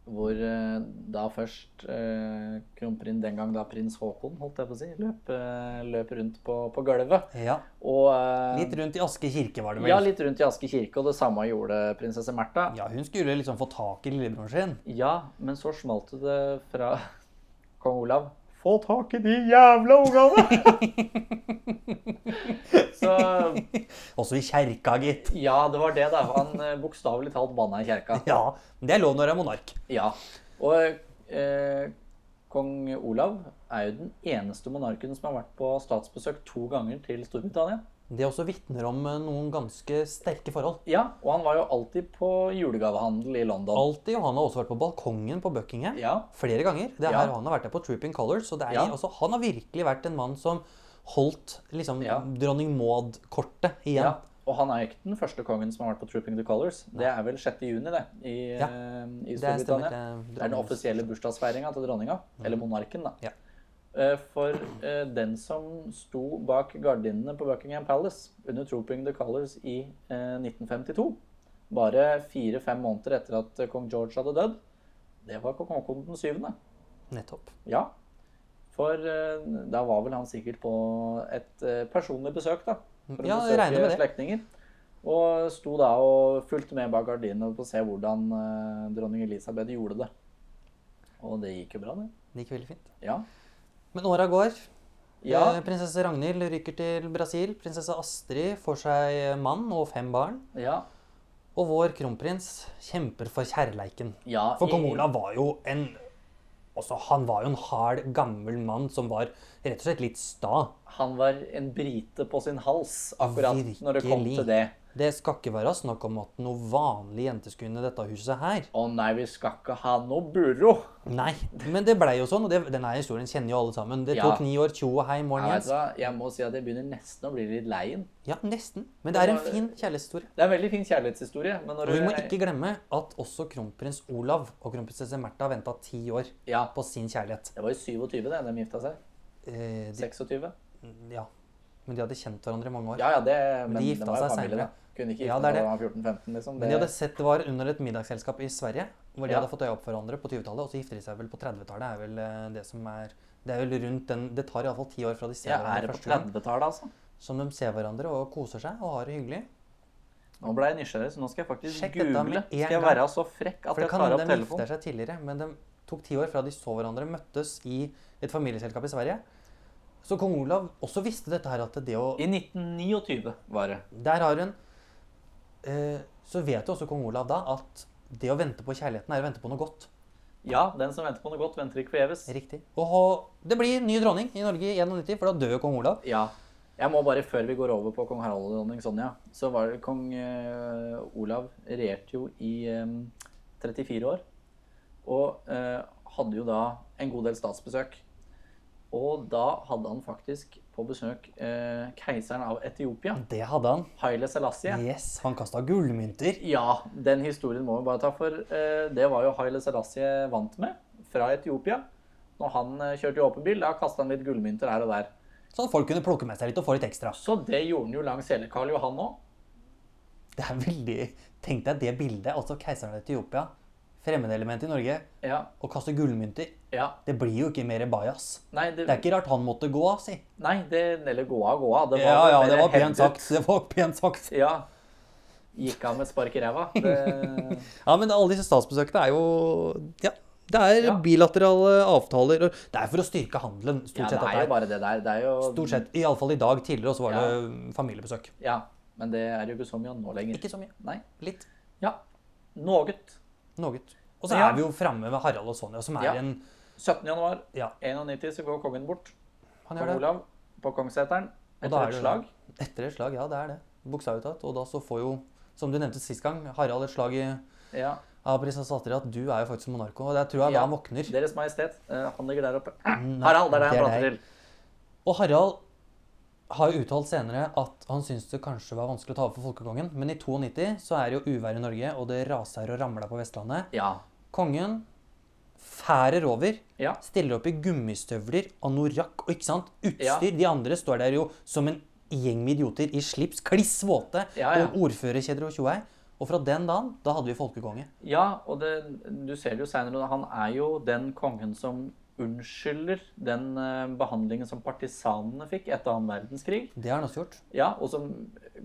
Speaker 1: hvor eh, da først eh, kronprins, den gang da prins Haakon, holdt jeg på å si, løp, eh, løp rundt på, på gulvet.
Speaker 2: Ja.
Speaker 1: Og eh,
Speaker 2: Litt rundt i Aske kirke, var det vel.
Speaker 1: ja, litt rundt i Aske kirke, og det samme gjorde prinsesse Märtha.
Speaker 2: Ja, hun skulle liksom få tak i lillebroren sin.
Speaker 1: Ja, men så smalt det fra *laughs* kong Olav. Få tak i de jævla ungene! *laughs* så
Speaker 2: Også i kjerka, gitt.
Speaker 1: ja, det var det, da. Han eh, bokstavelig talt banna i kjerka.
Speaker 2: *laughs* Ja, men det er lov når det er monark.
Speaker 1: Ja. Og eh, kong Olav er jo den eneste monarken som har vært på statsbesøk to ganger til Storbritannia.
Speaker 2: Det også vitner om eh, noen ganske sterke forhold.
Speaker 1: Ja, og han var jo alltid på julegavehandel i London.
Speaker 2: Alltid Johan har også vært på balkongen på Buckingham.
Speaker 1: Ja.
Speaker 2: Flere ganger. Det er
Speaker 1: Ja.
Speaker 2: her han har vært der på Trooping Colors. Så det er
Speaker 1: Ja.
Speaker 2: altså, han har virkelig vært en mann som holdt liksom,
Speaker 1: Ja.
Speaker 2: dronning Maud-kortet igjen.
Speaker 1: ja. Og han er ikke den første kongen som har vært på Trooping the Colors. Det er vel 6. juni, det, i,
Speaker 2: Ja.
Speaker 1: eh, i
Speaker 2: Det stemmer.
Speaker 1: Storbritannia.
Speaker 2: Det,
Speaker 1: Det er den offisielle bursdagsfeiringa til dronninga, eller monarken, da.
Speaker 2: Ja.
Speaker 1: Eh, For eh, den som sto bak gardinene på Buckingham Palace under Trooping the Colors i eh, 1952, bare fire-fem måneder etter at eh, kong George hadde dødd, det var kong Haakon den syvende.
Speaker 2: Nettopp.
Speaker 1: Ja. For eh, da var vel han sikkert på et eh, personlig besøk, da. For å
Speaker 2: Ja, jeg regner
Speaker 1: besøke
Speaker 2: med det.
Speaker 1: slektninger. Og sto da og fulgte med bak gardinene for å se hvordan eh, dronning Elisabeth gjorde det. Og det gikk jo bra, det.
Speaker 2: Det gikk veldig fint.
Speaker 1: Ja.
Speaker 2: Men åra går.
Speaker 1: Ja,
Speaker 2: Eh, Prinsesse Ragnhild rykker til Brasil. Prinsesse Astrid får seg mann og fem barn.
Speaker 1: ja,
Speaker 2: Og vår kronprins kjemper for kjærleiken.
Speaker 1: ja
Speaker 2: For kong
Speaker 1: i-
Speaker 2: Olav var jo en Også, han var jo en hard, gammel mann som var rett og slett litt sta.
Speaker 1: Han var en brite på sin hals akkurat når det kom
Speaker 2: Ah, Virkelig.
Speaker 1: til det.
Speaker 2: Det skal ikke være snakk om at noen vanlige jenter skulle inn i dette huset her.
Speaker 1: Å nei, vi skal ikke ha noe burro.
Speaker 2: Nei, men det blei jo sånn, og det, denne historien kjenner jo alle sammen. Det
Speaker 1: Ja.
Speaker 2: tok ni år, tjo og hei, morgen,
Speaker 1: Jeg, vet
Speaker 2: Jens.
Speaker 1: hva, jeg må si at jeg begynner nesten å bli litt leien.
Speaker 2: Ja, nesten. Men det er en
Speaker 1: Det var-
Speaker 2: fin kjærlighetshistorie.
Speaker 1: Det er en veldig fin kjærlighetshistorie. Men når
Speaker 2: Og vi må
Speaker 1: du-
Speaker 2: ikke glemme at også kronprins Olav og kronprinsesse Märtha venta ti år
Speaker 1: Ja,
Speaker 2: på sin kjærlighet.
Speaker 1: det var jo 27 det, de gifta seg.
Speaker 2: Eh, de,
Speaker 1: 26.
Speaker 2: ja. Men de hadde kjent hverandre i mange år.
Speaker 1: Ja, ja, det,
Speaker 2: Men de
Speaker 1: det
Speaker 2: gifta
Speaker 1: var jo
Speaker 2: seg
Speaker 1: familie,
Speaker 2: senere.
Speaker 1: da. Kunne ikke gifte
Speaker 2: Ja,
Speaker 1: seg
Speaker 2: det er
Speaker 1: da
Speaker 2: det.
Speaker 1: de var 14-15, liksom.
Speaker 2: Men de hadde sett det var under et middagsselskap i Sverige, hvor de
Speaker 1: Ja.
Speaker 2: hadde fått øya opp for hverandre på 20-tallet, og så gifter de seg vel på 30-tallet. er vel eh, Det som er, det er vel rundt den, det tar iallfall ti år fra de ser
Speaker 1: ja, er
Speaker 2: hverandre
Speaker 1: det på
Speaker 2: første gang.
Speaker 1: 30-tallet, altså?
Speaker 2: Som de ser hverandre og koser seg og har det hyggelig.
Speaker 1: Nå ble jeg nysgjerrig, så nå skal jeg faktisk
Speaker 2: Sjekk dette med
Speaker 1: google.
Speaker 2: en
Speaker 1: Skal jeg
Speaker 2: gang.
Speaker 1: være så frekk at
Speaker 2: For det
Speaker 1: jeg
Speaker 2: kan
Speaker 1: tar
Speaker 2: hende
Speaker 1: opp
Speaker 2: de gifter
Speaker 1: telefonen?
Speaker 2: seg tidligere, men det tok ti år fra de så hverandre, møttes i et familieselskap i Sverige. Så kong Olav også visste dette her at det å
Speaker 1: I 1929 var det.
Speaker 2: Der har hun eh, Så vet jo også kong Olav da at det å vente på kjærligheten er å vente på noe godt.
Speaker 1: Ja, den som venter på noe godt, venter ikke forgjeves.
Speaker 2: Riktig. Og ha- det blir ny dronning i Norge i 91, for da dør jo kong Olav.
Speaker 1: Ja. Jeg må bare, før vi går over på kong Harald og dronning Sonja, så var det kong eh, Olav regjerte jo i em, 34 år. Og eh, hadde jo da en god del statsbesøk. Og da hadde han faktisk på besøk eh, keiseren av Etiopia,
Speaker 2: Det hadde han.
Speaker 1: Haile Selassie.
Speaker 2: Yes, Han kasta gullmynter.
Speaker 1: Ja, den historien må vi bare ta for. eh, Det var jo Haile Selassie vant med fra Etiopia. Når han eh, kjørte i åpen bil, da kasta han litt gullmynter her og der.
Speaker 2: Sånn at folk kunne plukke med seg litt og få litt ekstra.
Speaker 1: Så det gjorde han jo langs hele Karl Johan òg.
Speaker 2: Det er veldig Tenk deg det bildet. Altså keiseren av Etiopia, fremmedelement i Norge,
Speaker 1: Ja,
Speaker 2: og kaste gullmynter.
Speaker 1: ja.
Speaker 2: Det blir jo ikke mer bajas.
Speaker 1: Nei, det,
Speaker 2: Det er ikke rart han måtte gå, si.
Speaker 1: nei, det eller gå av, gå av. Det
Speaker 2: Ja, ja,
Speaker 1: mer
Speaker 2: det var
Speaker 1: hevdet.
Speaker 2: pent sagt. Det var pent sagt.
Speaker 1: Ja. Gikk av med spark i ræva.
Speaker 2: *laughs*
Speaker 1: Det-
Speaker 2: Ja, men alle disse statsbesøkene er jo Ja. Det er
Speaker 1: Ja.
Speaker 2: bilaterale avtaler. og Det er for å styrke handelen,
Speaker 1: Ja, det
Speaker 2: stort
Speaker 1: er
Speaker 2: sett.
Speaker 1: jo
Speaker 2: dette her.
Speaker 1: bare det der. Det er jo
Speaker 2: Stort sett. Iallfall i dag. Tidligere også var det familiebesøk.
Speaker 1: Ja. Men det er jo ikke så mye nå lenger.
Speaker 2: Ikke så mye.
Speaker 1: Nei.
Speaker 2: Litt.
Speaker 1: Ja. Noget.
Speaker 2: Noe. Og så
Speaker 1: Ja.
Speaker 2: er vi jo framme med Harald og Sonja, som er
Speaker 1: Ja.
Speaker 2: en
Speaker 1: 17. januar
Speaker 2: Ja,
Speaker 1: 91 så går kongen bort.
Speaker 2: han
Speaker 1: Kong
Speaker 2: gjør det.
Speaker 1: Olav på Kongsseteren.
Speaker 2: Og
Speaker 1: Etter
Speaker 2: da er
Speaker 1: et
Speaker 2: det-
Speaker 1: slag.
Speaker 2: Etter et slag, ja, det er det. Bokstavelig talt. Og da så får jo, som du nevnte sist gang, Harald et slag i,
Speaker 1: Ja.
Speaker 2: av prinsesse Astrid at du er jo faktisk monarko. Og jeg tror jeg
Speaker 1: Ja.
Speaker 2: da han våkner.
Speaker 1: Deres Majestet, eh, han ligger der oppe. Harald, det er det
Speaker 2: Mm, det
Speaker 1: han
Speaker 2: er
Speaker 1: prater
Speaker 2: deg.
Speaker 1: til.
Speaker 2: Og Harald har jo uttalt senere at han syns det kanskje var vanskelig å ta over for folkekongen, men i 92 så er det jo uvær i Norge, og det raser og ramler på Vestlandet.
Speaker 1: Ja.
Speaker 2: Kongen færer over,
Speaker 1: Ja.
Speaker 2: stiller opp i gummistøvler, anorakk og ikke sant,
Speaker 1: Ja.
Speaker 2: utstyr. De andre står der jo som en gjeng med idioter i slips, kliss våte,
Speaker 1: Ja, ja.
Speaker 2: og ordførerkjeder og tjoei. Og fra den dagen, da hadde vi folkekonge.
Speaker 1: ja, og det, du ser det jo seinere, han er jo den kongen som unnskylder den eh, behandlingen som partisanene fikk etter annen verdenskrig.
Speaker 2: Det har han også gjort.
Speaker 1: Ja, og som eh,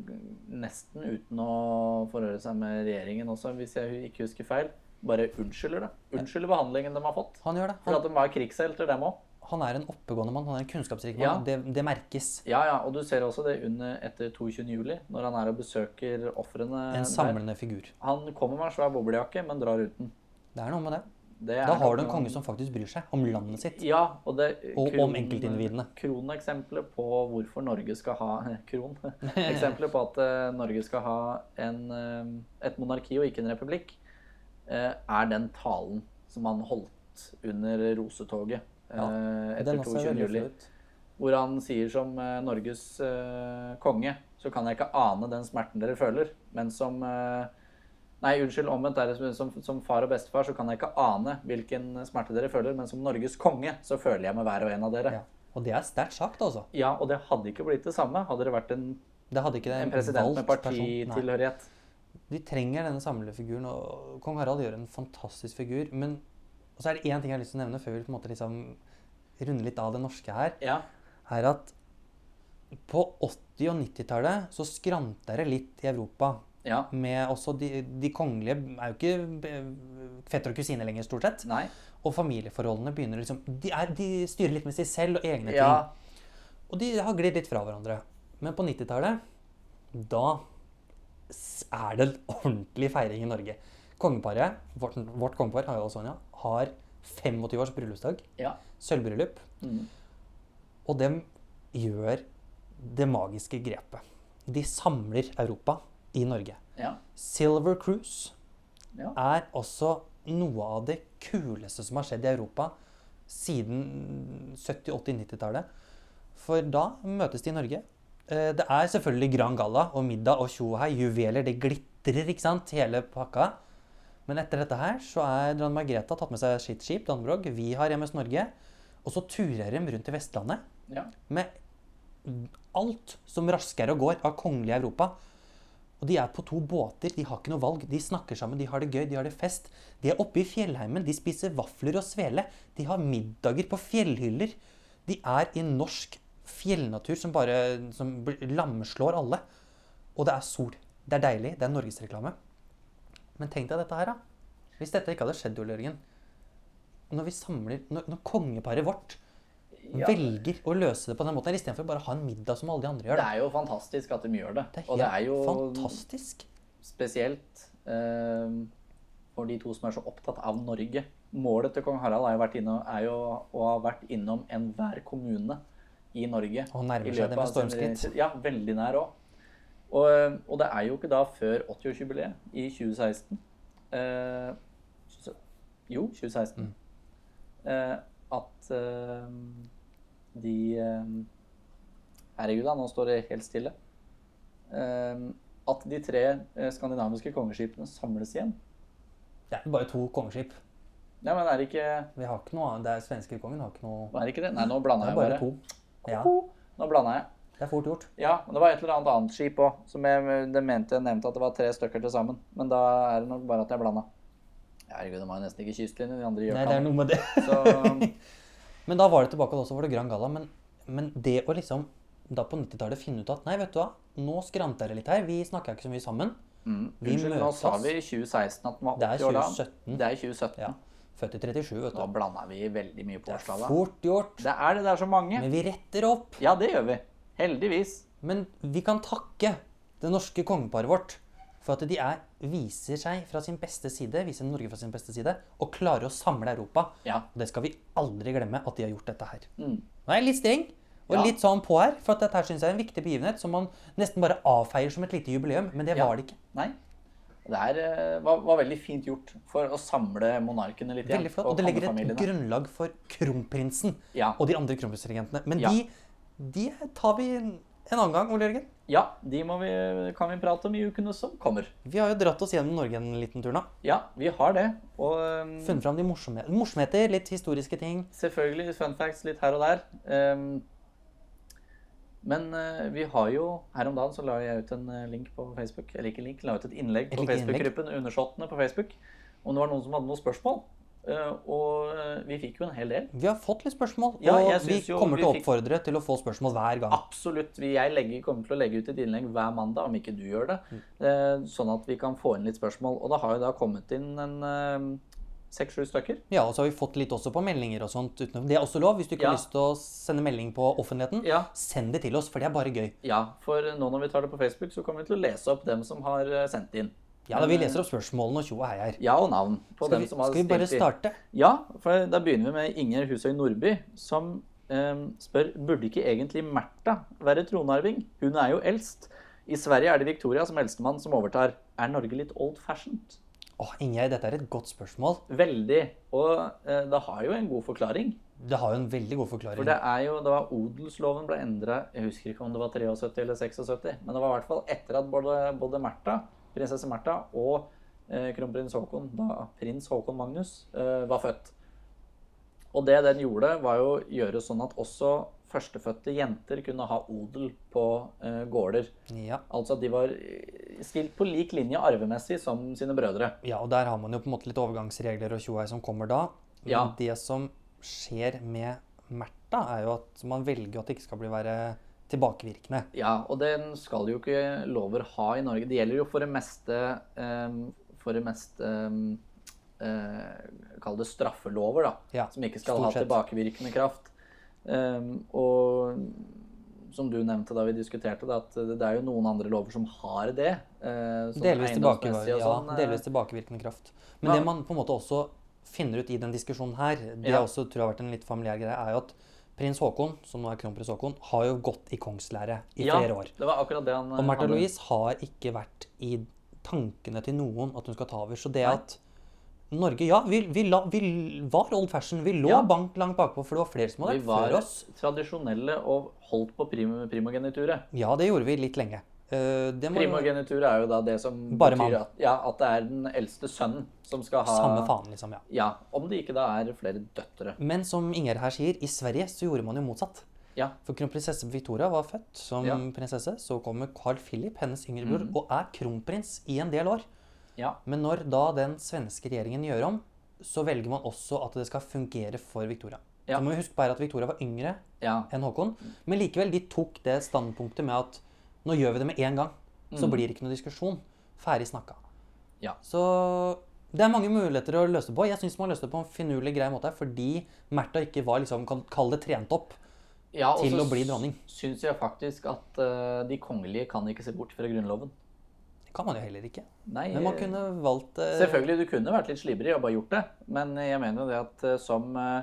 Speaker 1: nesten uten å forhøre seg med regjeringen også, hvis jeg ikke husker feil, bare unnskylder det. Unnskylder behandlingen de har fått.
Speaker 2: Han gjør det.
Speaker 1: For
Speaker 2: Han,
Speaker 1: at de var krigshelter, dem òg.
Speaker 2: han er en oppegående mann, han er en kunnskapsrik
Speaker 1: Ja.
Speaker 2: mann. Det, det merkes.
Speaker 1: Ja, ja, og du ser også det under etter 22. juli, når han er og besøker ofrene.
Speaker 2: En samlende figur.
Speaker 1: der. Han kommer med en svær boblejakke, men drar uten.
Speaker 2: Det er noe med det.
Speaker 1: Det
Speaker 2: Da
Speaker 1: er
Speaker 2: har du
Speaker 1: nok
Speaker 2: en
Speaker 1: noen-
Speaker 2: konge som faktisk bryr seg om landet sitt.
Speaker 1: Ja, og det eh,
Speaker 2: Og om enkeltindividene.
Speaker 1: Kroneksempelet på hvorfor Norge skal ha *laughs*
Speaker 2: *laughs*
Speaker 1: Kron. Eksempelet på at eh, Norge skal ha en, eh, et monarki og ikke en republikk, eh, er den talen som han holdt under rosetoget eh,
Speaker 2: Ja,
Speaker 1: etter
Speaker 2: Den også
Speaker 1: 22.
Speaker 2: er veldig
Speaker 1: juli.
Speaker 2: flott ut.
Speaker 1: Hvor han sier som eh, Norges eh, konge, så kan jeg ikke ane den smerten dere føler. Men som eh, Nei, unnskyld, omvendt er det som- som, som far og bestefar, så kan jeg ikke ane hvilken smerte dere føler. Men som Norges konge, så føler jeg med hver og en av dere.
Speaker 2: Ja. Og det er sterkt sagt, altså.
Speaker 1: Ja, og det hadde ikke blitt det samme hadde det vært en,
Speaker 2: Det hadde ikke det
Speaker 1: en president med
Speaker 2: valgt person. Nei.
Speaker 1: partitilhørighet.
Speaker 2: De trenger denne samlefiguren, og kong Harald gjør en fantastisk figur. Men og så er det én ting jeg har lyst til å nevne før vi på en måte liksom runder litt av det norske her,
Speaker 1: Ja.
Speaker 2: er at på 80- og 90-tallet så skranta det litt i Europa.
Speaker 1: ja.
Speaker 2: Med også de, de kongelige er jo ikke eh, fetter og kusine lenger, stort sett.
Speaker 1: Nei.
Speaker 2: Og familieforholdene begynner liksom De, er, de styrer litt med seg selv og egne
Speaker 1: Ja.
Speaker 2: ting. Og de har glidd litt fra hverandre. Men på 90-tallet, da s- *laughs* er det en ordentlig feiring i Norge. Kongeparet, vårt, vårt kongepar, Harald og Sonja, har 25 års bryllupsdag.
Speaker 1: Ja.
Speaker 2: Sølvbryllup.
Speaker 1: Mm.
Speaker 2: Og de gjør det magiske grepet. De samler Europa i Norge.
Speaker 1: Ja.
Speaker 2: Silver Cruise
Speaker 1: Ja.
Speaker 2: er også noe av det kuleste som har skjedd i Europa siden 70-, 80-, 90-tallet. For da møtes de i Norge. Eh, Det er selvfølgelig Grand Galla og middag og tjo og hei. Juveler, det glitrer, ikke sant? Hele pakka. Men etter dette her så er Dronning Margrethe har tatt med seg sitt skip, Dannebrog. Vi har MS Norge. Og så turer de rundt i Vestlandet
Speaker 1: ja.
Speaker 2: med alt som raskere går av kongelig Europa. Og de er på to båter, de har ikke noe valg. De snakker sammen, de har det gøy, de har det fest. De er oppe i fjellheimen, de spiser vafler og svele. De har middager på fjellhyller. De er i norsk fjellnatur som bare som bl- lamslår alle. Og det er sol. Det er deilig. Det er norgesreklame. Men tenk deg dette her, da. Hvis dette ikke hadde skjedd, Ole Jørgen. Når vi samler Når, når kongeparet vårt
Speaker 1: Ja.
Speaker 2: velger å løse det på den måten her, istedenfor bare å ha en middag som alle de andre gjør.
Speaker 1: Det
Speaker 2: da.
Speaker 1: er jo fantastisk at de gjør det.
Speaker 2: Det er
Speaker 1: og
Speaker 2: helt
Speaker 1: det er jo
Speaker 2: fantastisk.
Speaker 1: spesielt eh, for de to som er så opptatt av Norge. Målet til kong Harald er jo, vært innom, er jo å ha vært innom enhver kommune i Norge.
Speaker 2: Og nærmer
Speaker 1: i
Speaker 2: seg det med
Speaker 1: av sin-
Speaker 2: stormskritt.
Speaker 1: Ja, veldig nær òg. Og, eh, og det er jo ikke da før 80-årsjubileet i 2016 eh, så- Jo, 2016.
Speaker 2: Mm.
Speaker 1: Eh, at eh, de eh, Herregud, da, nå står det helt stille. Eh, at de tre eh, skandinaviske kongeskipene samles igjen.
Speaker 2: Det er bare to kongeskip.
Speaker 1: Nei, men er det ikke,
Speaker 2: Vi har ikke noe annet. Det er svenske kongen har ikke noe
Speaker 1: er det ikke det? Nei, nå
Speaker 2: Det
Speaker 1: blanda
Speaker 2: er
Speaker 1: jeg
Speaker 2: bare
Speaker 1: bare.
Speaker 2: to. Ja,
Speaker 1: Nå blanda jeg.
Speaker 2: det er fort gjort.
Speaker 1: Ja, men det var et eller annet annet skip òg, som jeg det mente jeg nevnte at det var tre stykker til sammen. Men da er det nok bare at jeg blanda. Herregud, de har jo nesten ikke kystlinje, de andre gjør
Speaker 2: Nei, det er *laughs*
Speaker 1: ikke
Speaker 2: noe med det.
Speaker 1: Så
Speaker 2: Men da var det tilbake også for det Grand Galla. Men, men det å liksom da på 90-tallet finne ut at nei, vet du hva, nå skranter det litt her. Vi snakker ikke så mye sammen.
Speaker 1: mm,
Speaker 2: Vi
Speaker 1: Unnskyld, nå
Speaker 2: møtes.
Speaker 1: sa vi i 2016 at den var
Speaker 2: Det er
Speaker 1: 80 år da.
Speaker 2: 2017.
Speaker 1: Det er 2017.
Speaker 2: Ja. Født i 37, vet
Speaker 1: Da
Speaker 2: du.
Speaker 1: blanda vi veldig mye på
Speaker 2: Det er
Speaker 1: årstallet.
Speaker 2: fort gjort.
Speaker 1: Det er det, det er så mange.
Speaker 2: Men vi retter opp.
Speaker 1: Ja, det gjør vi. Heldigvis.
Speaker 2: Men vi kan takke det norske kongeparet vårt for at de er, viser seg fra sin beste side, viser Norge fra sin beste side, og klarer å samle Europa.
Speaker 1: Ja.
Speaker 2: Og det skal vi aldri glemme at de har gjort dette her.
Speaker 1: Mm.
Speaker 2: Nå er jeg litt streng og
Speaker 1: Ja.
Speaker 2: litt sånn på her, for at dette her syns jeg er en viktig begivenhet som man nesten bare avfeier som et lite jubileum, men det
Speaker 1: Ja.
Speaker 2: var det ikke.
Speaker 1: Nei. Det er, eh, var, var veldig fint gjort for å samle monarkene litt igjen.
Speaker 2: Veldig flott. Og det legger et
Speaker 1: kongefamiliene.
Speaker 2: grunnlag for kronprinsen
Speaker 1: Ja.
Speaker 2: og de andre kronprinsregentene. Men
Speaker 1: Ja.
Speaker 2: de, de tar vi en en annen gang, Ole Jørgen.
Speaker 1: ja, de må vi, kan vi prate om i ukene som kommer.
Speaker 2: Vi har jo dratt oss gjennom Norge en liten tur nå.
Speaker 1: Ja, vi har det. Og um,
Speaker 2: Funnet fram de morsomme, morsomheter, litt historiske ting.
Speaker 1: selvfølgelig litt fun facts litt her og der. Um, men eh, vi har jo Her om dagen så la jeg ut en eh, link på Facebook. Eller ikke link, la ut et innlegg
Speaker 2: Et
Speaker 1: på
Speaker 2: lite innlegg.
Speaker 1: Facebook-gruppen Undersåttene på Facebook. Om det var noen som hadde noen spørsmål. Eh, og eh, vi fikk jo en hel del.
Speaker 2: Vi har fått litt spørsmål,
Speaker 1: Ja,
Speaker 2: og
Speaker 1: jeg
Speaker 2: vi
Speaker 1: synes jo
Speaker 2: kommer
Speaker 1: vi
Speaker 2: til å
Speaker 1: fikk-
Speaker 2: oppfordre til å få spørsmål hver gang.
Speaker 1: Absolutt. Vi- Jeg legger, kommer til å legge ut et innlegg hver mandag, om ikke du gjør det.
Speaker 2: Mm.
Speaker 1: eh, Sånn at vi kan få inn litt spørsmål. Og da har jo da kommet inn en seks-sju stykker.
Speaker 2: Ja, og så har vi fått litt også på meldinger og sånt utenom. Det er også lov. Hvis du ikke
Speaker 1: Ja.
Speaker 2: har lyst til å sende melding på offentligheten,
Speaker 1: Ja.
Speaker 2: send det til oss, for det er bare gøy.
Speaker 1: Ja, for nå når vi tar det på Facebook, så kommer vi til å lese opp dem som har eh, sendt inn.
Speaker 2: Ja, da Vi leser opp spørsmålene og tjo og hei her.
Speaker 1: Ja og navn på
Speaker 2: Skal
Speaker 1: dem
Speaker 2: vi,
Speaker 1: som har
Speaker 2: skal vi bare
Speaker 1: stilt inn.
Speaker 2: starte?
Speaker 1: Ja, for da begynner vi med Inger Husøy Nordby, som eh, spør burde ikke egentlig Märtha være tronarving? Hun er jo eldst. I Sverige er det Victoria som eldstemann som overtar. Er Norge litt old fashioned?
Speaker 2: Åh, Ingjerd, dette er et godt spørsmål.
Speaker 1: Veldig. Og eh, det har jo en god forklaring.
Speaker 2: Det har jo en veldig god
Speaker 1: For
Speaker 2: forklaring.
Speaker 1: det er jo da odelsloven ble endra, jeg husker ikke om det var 73 eller 76, men det var i hvert fall etter at både, både Märtha, prinsesse Märtha og eh, kronprins Haakon, da prins Haakon Magnus, eh, var født. Og det den gjorde, var jo å gjøre sånn at også førstefødte jenter kunne ha odel på eh, gårder.
Speaker 2: Ja.
Speaker 1: Altså at de var eh, stilt på lik linje arvemessig som sine brødre.
Speaker 2: ja, og der har man jo på en måte litt overgangsregler og tjo og hei som kommer da. Men
Speaker 1: Ja.
Speaker 2: det som skjer med Märtha, er jo at man velger at det ikke skal bli være tilbakevirkende.
Speaker 1: Ja, og den skal jo ikke lover ha i Norge. Det gjelder jo for det meste ehm, For det meste ehm, eh, Kall det straffelover, da.
Speaker 2: Ja,
Speaker 1: som ikke skal
Speaker 2: stort
Speaker 1: ha
Speaker 2: sett.
Speaker 1: tilbakevirkende kraft. Ehm, og som du nevnte da vi diskuterte det, at det er jo noen andre lover som har det. eh, sånn
Speaker 2: Delvis, tilbake,
Speaker 1: eiendomsmessig og
Speaker 2: ja,
Speaker 1: sånn, eh,
Speaker 2: delvis tilbakevirkende kraft. Men
Speaker 1: Ja.
Speaker 2: det man på en måte også finner ut i den diskusjonen her, det
Speaker 1: Ja.
Speaker 2: også tror jeg har vært en litt familiær greie, er jo at prins Haakon, som nå er kronprins Haakon, har jo gått i kongslære i
Speaker 1: Ja,
Speaker 2: flere år.
Speaker 1: det var akkurat det han
Speaker 2: Og Märtha
Speaker 1: han-
Speaker 2: Louise har ikke vært i tankene til noen at hun skal ta over. Så det
Speaker 1: Nei.
Speaker 2: at Norge Ja, vi, vi, la, vi var old fashion. Vi lå
Speaker 1: Ja.
Speaker 2: bank langt bakpå, for det var flere som
Speaker 1: Vi
Speaker 2: hadde vært
Speaker 1: var
Speaker 2: før oss.
Speaker 1: tradisjonelle og holdt på prim primogenituret.
Speaker 2: Ja, det gjorde vi litt lenge. Eh, det må
Speaker 1: Primogenitur er jo da det som
Speaker 2: Bare mann.
Speaker 1: betyr at, ja, at det er den eldste sønnen som skal ha
Speaker 2: Samme faen, liksom. ja.
Speaker 1: Ja, Om det ikke da er flere døtre.
Speaker 2: Men som Inger her sier, i Sverige så gjorde man jo motsatt.
Speaker 1: Ja.
Speaker 2: For kronprinsesse Victoria var født som
Speaker 1: Ja. Mhm.
Speaker 2: prinsesse. Så kommer Carl Philip, hennes yngre bror, og er kronprins i en del år.
Speaker 1: ja.
Speaker 2: Men når da den svenske regjeringen gjør om, så velger man også at det skal fungere for Victoria.
Speaker 1: Ja.
Speaker 2: Så må vi huske bare at Victoria var yngre
Speaker 1: ja.
Speaker 2: enn Håkon. Men likevel, de tok det standpunktet med at nå gjør vi det med en gang. Så blir det ikke noe diskusjon. Ferdig snakka.
Speaker 1: Mm. Ja.
Speaker 2: Så det er mange muligheter å løse det på. Jeg syns man løste det på en finurlig grei måte fordi Märtha ikke var liksom, kan kalle det trent opp.
Speaker 1: ja og
Speaker 2: Til
Speaker 1: så
Speaker 2: å bli dronning.
Speaker 1: Syns jeg faktisk at eh, de kongelige kan ikke se bort fra Grunnloven.
Speaker 2: Det kan man jo heller ikke.
Speaker 1: Nei,
Speaker 2: Men man kunne valgt eh,
Speaker 1: Selvfølgelig, du kunne vært litt slibrig og bare gjort det, men jeg mener jo det at eh, som eh,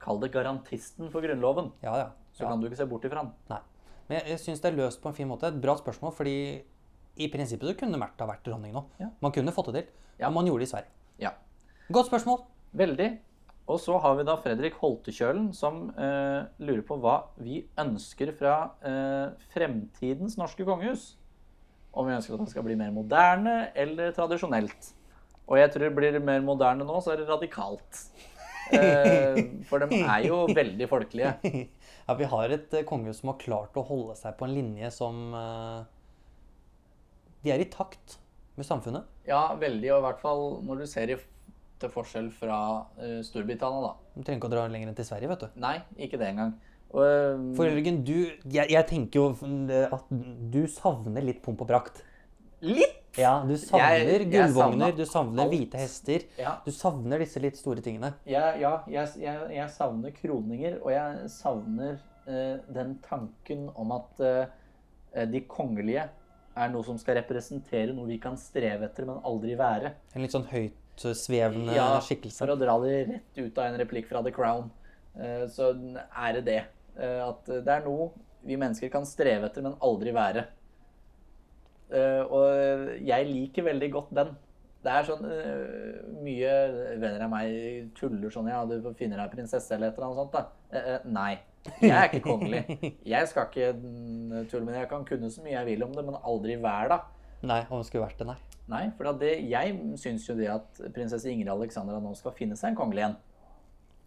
Speaker 1: Kall det garantisten for Grunnloven,
Speaker 2: Ja, ja.
Speaker 1: så kan du ikke se bort ifra den.
Speaker 2: Nei. Men jeg, jeg syns det er løst på en fin måte. Et bra spørsmål, fordi i prinsippet så kunne Märtha vært dronning nå.
Speaker 1: Ja.
Speaker 2: Man kunne fått det til.
Speaker 1: Ja.
Speaker 2: Men man gjorde det i Sverige.
Speaker 1: Ja.
Speaker 2: Godt spørsmål. *laughs*
Speaker 1: Veldig. Og så har vi da Fredrik Holtekjølen som eh, lurer på hva vi ønsker fra eh, fremtidens norske kongehus. Om vi ønsker at det skal bli mer moderne eller tradisjonelt. Og jeg tror det blir mer moderne nå, så er det radikalt. Eh, for de er jo veldig folkelige.
Speaker 2: Ja, vi har et eh, kongehus som har klart å holde seg på en linje som eh, De er i takt med samfunnet.
Speaker 1: Ja, veldig, og i hvert fall når du ser i, til forskjell fra eh, Storbritannia, da.
Speaker 2: Du trenger ikke å dra lenger enn til Sverige, vet du.
Speaker 1: Nei, ikke det engang. Og, eh,
Speaker 2: For Jørgen, du jeg, jeg tenker jo mm, at du savner litt pomp og prakt.
Speaker 1: litt!
Speaker 2: Ja, du savner
Speaker 1: jeg
Speaker 2: gullvogner,
Speaker 1: savner
Speaker 2: du savner
Speaker 1: alt.
Speaker 2: hvite hester.
Speaker 1: Ja.
Speaker 2: Du savner disse litt store tingene.
Speaker 1: Jeg, ja, jeg, jeg, jeg savner kroninger, og jeg savner eh, den tanken om at eh, de kongelige er noe som skal representere noe vi kan streve etter, men aldri være.
Speaker 2: En litt sånn høytsvevende
Speaker 1: Ja,
Speaker 2: eh, skikkelse.
Speaker 1: For å dra det rett ut av en replikk fra The Crown, eh, så er det det. Eh, at det er noe vi mennesker kan streve etter, men aldri være. Eh, og jeg liker veldig godt den. Det er sånn eh, Mye venner av meg tuller sånn Ja, du finner deg prinsesse eller et eller annet sånt, da. Eh, eh, nei. Jeg er ikke kongelig. Jeg skal ikke mm, tulle med det. Jeg kan kunne så mye jeg vil om det, men aldri være da.
Speaker 2: Nei, om det skulle vært det, nei.
Speaker 1: Nei, for at det, jeg syns jo det at prinsesse Ingrid Alexandra nå skal finne seg en kongelig en.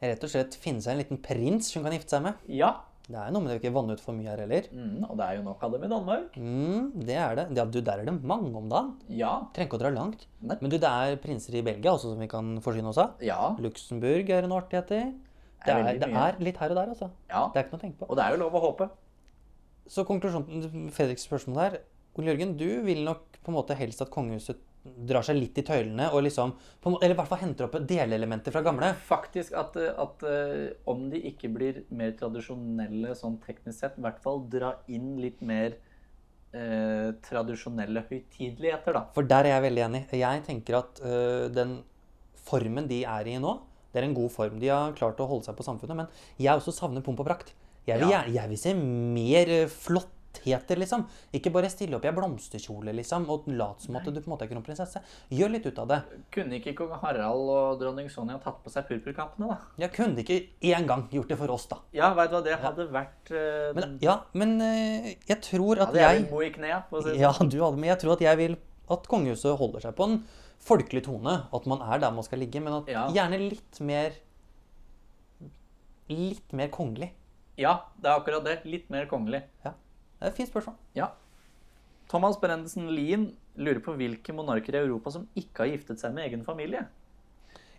Speaker 2: Rett og slett finne seg en liten prins hun kan gifte seg med.
Speaker 1: Ja.
Speaker 2: Det er jo noe med det å ikke vanne ut for mye her heller.
Speaker 1: Mm, og det er jo nok av dem i Danmark.
Speaker 2: Mm, det er det. Ja, du, der er det mange om dagen.
Speaker 1: Ja.
Speaker 2: Trenger ikke å dra langt.
Speaker 1: Nei.
Speaker 2: Men du, det er prinser i Belgia også som vi kan forsyne oss av.
Speaker 1: Ja.
Speaker 2: Luxembourg er en artighet i. Det er,
Speaker 1: veldig
Speaker 2: det
Speaker 1: mye.
Speaker 2: er litt her og der, altså.
Speaker 1: ja.
Speaker 2: Det er ikke noe å tenke på.
Speaker 1: Og det er jo lov å håpe.
Speaker 2: Så konklusjonen Fredriks spørsmål her. Ole Jørgen, du vil nok på en måte helst at kongehuset drar seg litt i tøylene og liksom på en måte, Eller i hvert fall henter opp delelementer fra gamle.
Speaker 1: Faktisk at, eh, at eh, om de ikke blir mer tradisjonelle sånn teknisk sett, i hvert fall dra inn litt mer eh, tradisjonelle høytideligheter, da.
Speaker 2: For der er jeg veldig enig. Jeg tenker at øh, den formen de er i nå, det er en god form. De har klart å holde seg på samfunnet, men jeg også savner pomp og prakt. Jeg vil,
Speaker 1: Ja.
Speaker 2: gjerne- jeg vil se mer øh, flottheter, liksom. Ikke bare stille opp i ei blomsterkjole, liksom, og late som at du på en måte er kronprinsesse. Gjør litt ut av det.
Speaker 1: Kunne ikke kong Harald og dronning Sonja tatt på seg purpurkappene, da?
Speaker 2: Jeg kunne ikke én gang gjort det for oss, da.
Speaker 1: Ja, veit du hva, det hadde vært eh,
Speaker 2: Men, ja, men øh, jeg tror at
Speaker 1: Hadde jeg
Speaker 2: jeg
Speaker 1: blitt mo i knea, for å si det sånn.
Speaker 2: Ja, du hadde, men jeg tror at jeg vil at kongehuset holder seg på en folkelig tone. At man er der man skal ligge, men at
Speaker 1: Ja.
Speaker 2: gjerne litt mer Litt mer kongelig.
Speaker 1: Ja, det er akkurat det. Litt mer kongelig.
Speaker 2: Ja. Det er et fint spørsmål.
Speaker 1: Ja. Thomas Brendesen Lien lurer på hvilke monarker i Europa som ikke har giftet seg med egen familie.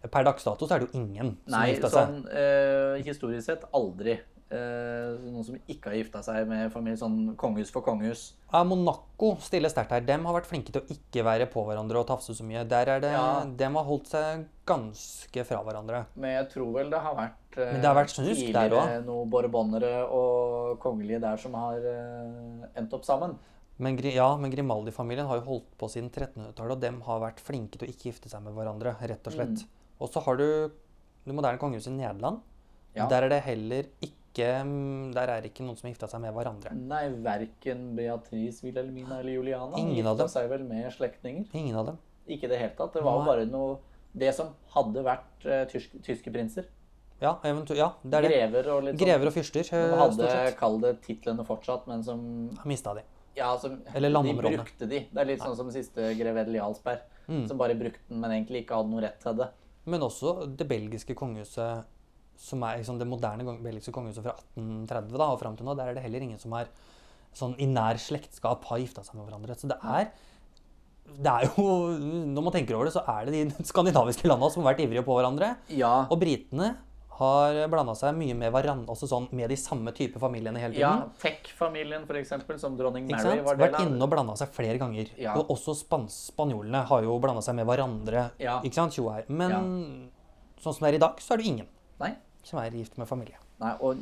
Speaker 2: Per dags dato så er det jo ingen som har
Speaker 1: Nei,
Speaker 2: gifta seg.
Speaker 1: sånn eh, historisk sett aldri. Eh, noen som ikke har gifta seg med familie, sånn kongehus for kongehus.
Speaker 2: Ja, Monaco stiller sterkt her. Dem har vært flinke til å ikke være på hverandre og tafse så mye. Der er det,
Speaker 1: Ja.
Speaker 2: Dem har holdt seg ganske fra hverandre.
Speaker 1: Men jeg tror vel det har vært eh,
Speaker 2: Men det har vært snusk der
Speaker 1: tidligere noen borbonere og kongelige der som har eh, endt opp sammen.
Speaker 2: Men, Gri- ja, men
Speaker 1: Mm.
Speaker 2: Grimaldi-familien har jo holdt på siden 1300-tallet, og dem har vært flinke til å ikke gifte seg med hverandre, rett og slett. Og så har du det moderne kongehuset i Nederland.
Speaker 1: Ja.
Speaker 2: Der er det heller ikke Der er ikke noen som har gifta seg med hverandre.
Speaker 1: Nei, verken Beatrice, Wilhelmina eller Juliana
Speaker 2: Ingen av
Speaker 1: gifta
Speaker 2: dem.
Speaker 1: seg vel med slektninger.
Speaker 2: Ingen av dem.
Speaker 1: Ikke i det hele tatt. Det var jo
Speaker 2: Nei.
Speaker 1: bare noe Det som hadde vært eh, tysk, tyske prinser.
Speaker 2: Ja, eventu ja det er det.
Speaker 1: Grever og litt sånn.
Speaker 2: Grever og fyrster.
Speaker 1: Som
Speaker 2: eh, Stort
Speaker 1: hadde,
Speaker 2: sett.
Speaker 1: kall det, titlene fortsatt, men som
Speaker 2: Har mista de.
Speaker 1: Ja, som
Speaker 2: Eller landområdene. Mm.
Speaker 1: De brukte de. Det er litt sånn som siste grevedel Jarlsberg, som bare brukte den, men egentlig ikke hadde noe rett til det.
Speaker 2: Men også det belgiske kongehuset, som er liksom det moderne gong- belgiske kongehuset fra 1830 da, og fram til nå, der er det heller ingen som har sånn i nær slektskap har gifta seg med hverandre. Så det er, det er jo Når man tenker over det, så er det de skandinaviske landa som har vært ivrige på hverandre.
Speaker 1: Ja,
Speaker 2: Og britene har blanda seg mye med hverandre, også sånn med de samme type familiene hele
Speaker 1: ja
Speaker 2: tiden.
Speaker 1: Tech-familien, for eksempel, som dronning
Speaker 2: Ikke
Speaker 1: Mary
Speaker 2: sant?
Speaker 1: var del
Speaker 2: Vært
Speaker 1: av.
Speaker 2: inne og blanda seg flere ganger.
Speaker 1: Ja.
Speaker 2: Og også spans spanjolene har jo blanda seg med hverandre.
Speaker 1: Ja.
Speaker 2: Ikke sant? tjo her. Men sånn som det er i dag, så er det jo ingen
Speaker 1: Nei.
Speaker 2: som er gift med familie.
Speaker 1: Nei, og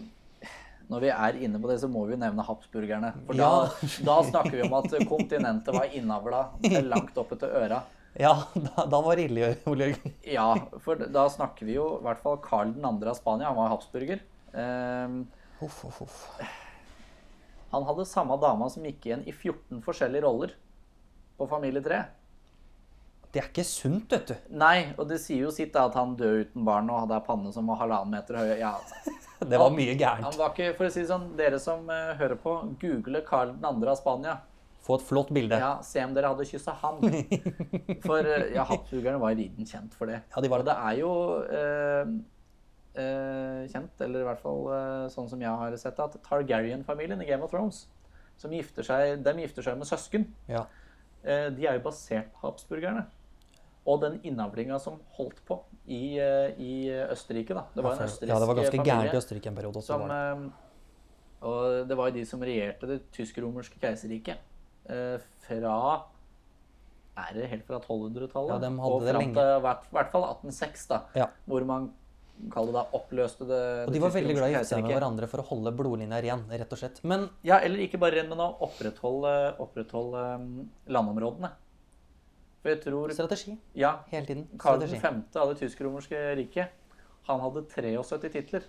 Speaker 1: når vi er inne på det, så må vi jo nevne habsburgerne. For da,
Speaker 2: Ja.
Speaker 1: da snakker vi om at kontinentet var innavla til langt oppe til øra.
Speaker 2: Ja, *laughs* da, da var det ille, Ole Jørgen.
Speaker 1: Ja, for da snakker vi jo i hvert fall Karl 2. av Spania. Han var habsburger. Ehm,
Speaker 2: Uff, uff, uff.
Speaker 1: han hadde samme dama som gikk igjen i 14 forskjellige roller på familietre.
Speaker 2: Det er ikke sunt, vet du. *laughs*
Speaker 1: Nei, og det sier jo sitt da at han døde uten barn og hadde ei panne som var halvannen meter høy. Ja, altså.
Speaker 2: Det var mye
Speaker 1: han
Speaker 2: gærent.
Speaker 1: var ikke, for å si det sånn, Dere som eh, hører på, google Karl 2. av Spania.
Speaker 2: Få et flott bilde. *laughs*
Speaker 1: Ja, se om dere hadde kyssa han. For eh, ja, habsburgerne var i viden kjent for det.
Speaker 2: Ja, de var
Speaker 1: Og det er jo eh, eh, kjent, eller i hvert fall eh, sånn som jeg har sett det, at Targaryen-familien i Game of Thrones som gifter seg, De gifter seg med søsken.
Speaker 2: Ja.
Speaker 1: Eh, de er jo basert på habsburgerne. Og den innavlinga som holdt på i, eh, i Østerrike, da. Det var en østerriksk
Speaker 2: ja, det var ganske
Speaker 1: familie
Speaker 2: gærent i Østerrike en periode. Også,
Speaker 1: som,
Speaker 2: var det.
Speaker 1: eh, og det var jo de som regjerte det tysk-romerske keiserriket eh, fra Er det helt fra 1200-tallet?
Speaker 2: Ja, dem hadde
Speaker 1: og
Speaker 2: det
Speaker 1: fram
Speaker 2: lenge.
Speaker 1: til i hvert- hvert fall 1806, da.
Speaker 2: Ja.
Speaker 1: Hvor man kaller det da oppløste det
Speaker 2: Og de
Speaker 1: det
Speaker 2: var veldig glad i å gifte seg med
Speaker 1: keiserriket.
Speaker 2: hverandre for å holde blodlinja ren, rett og slett. Men
Speaker 1: Ja, eller ikke bare ren, men å opprettholde, opprettholde um, landområdene. For jeg tror
Speaker 2: strategi
Speaker 1: Ja,
Speaker 2: hele tiden.
Speaker 1: Karl
Speaker 2: Strategi.
Speaker 1: 5. av det tysk-romerske riket, han hadde 73 titler.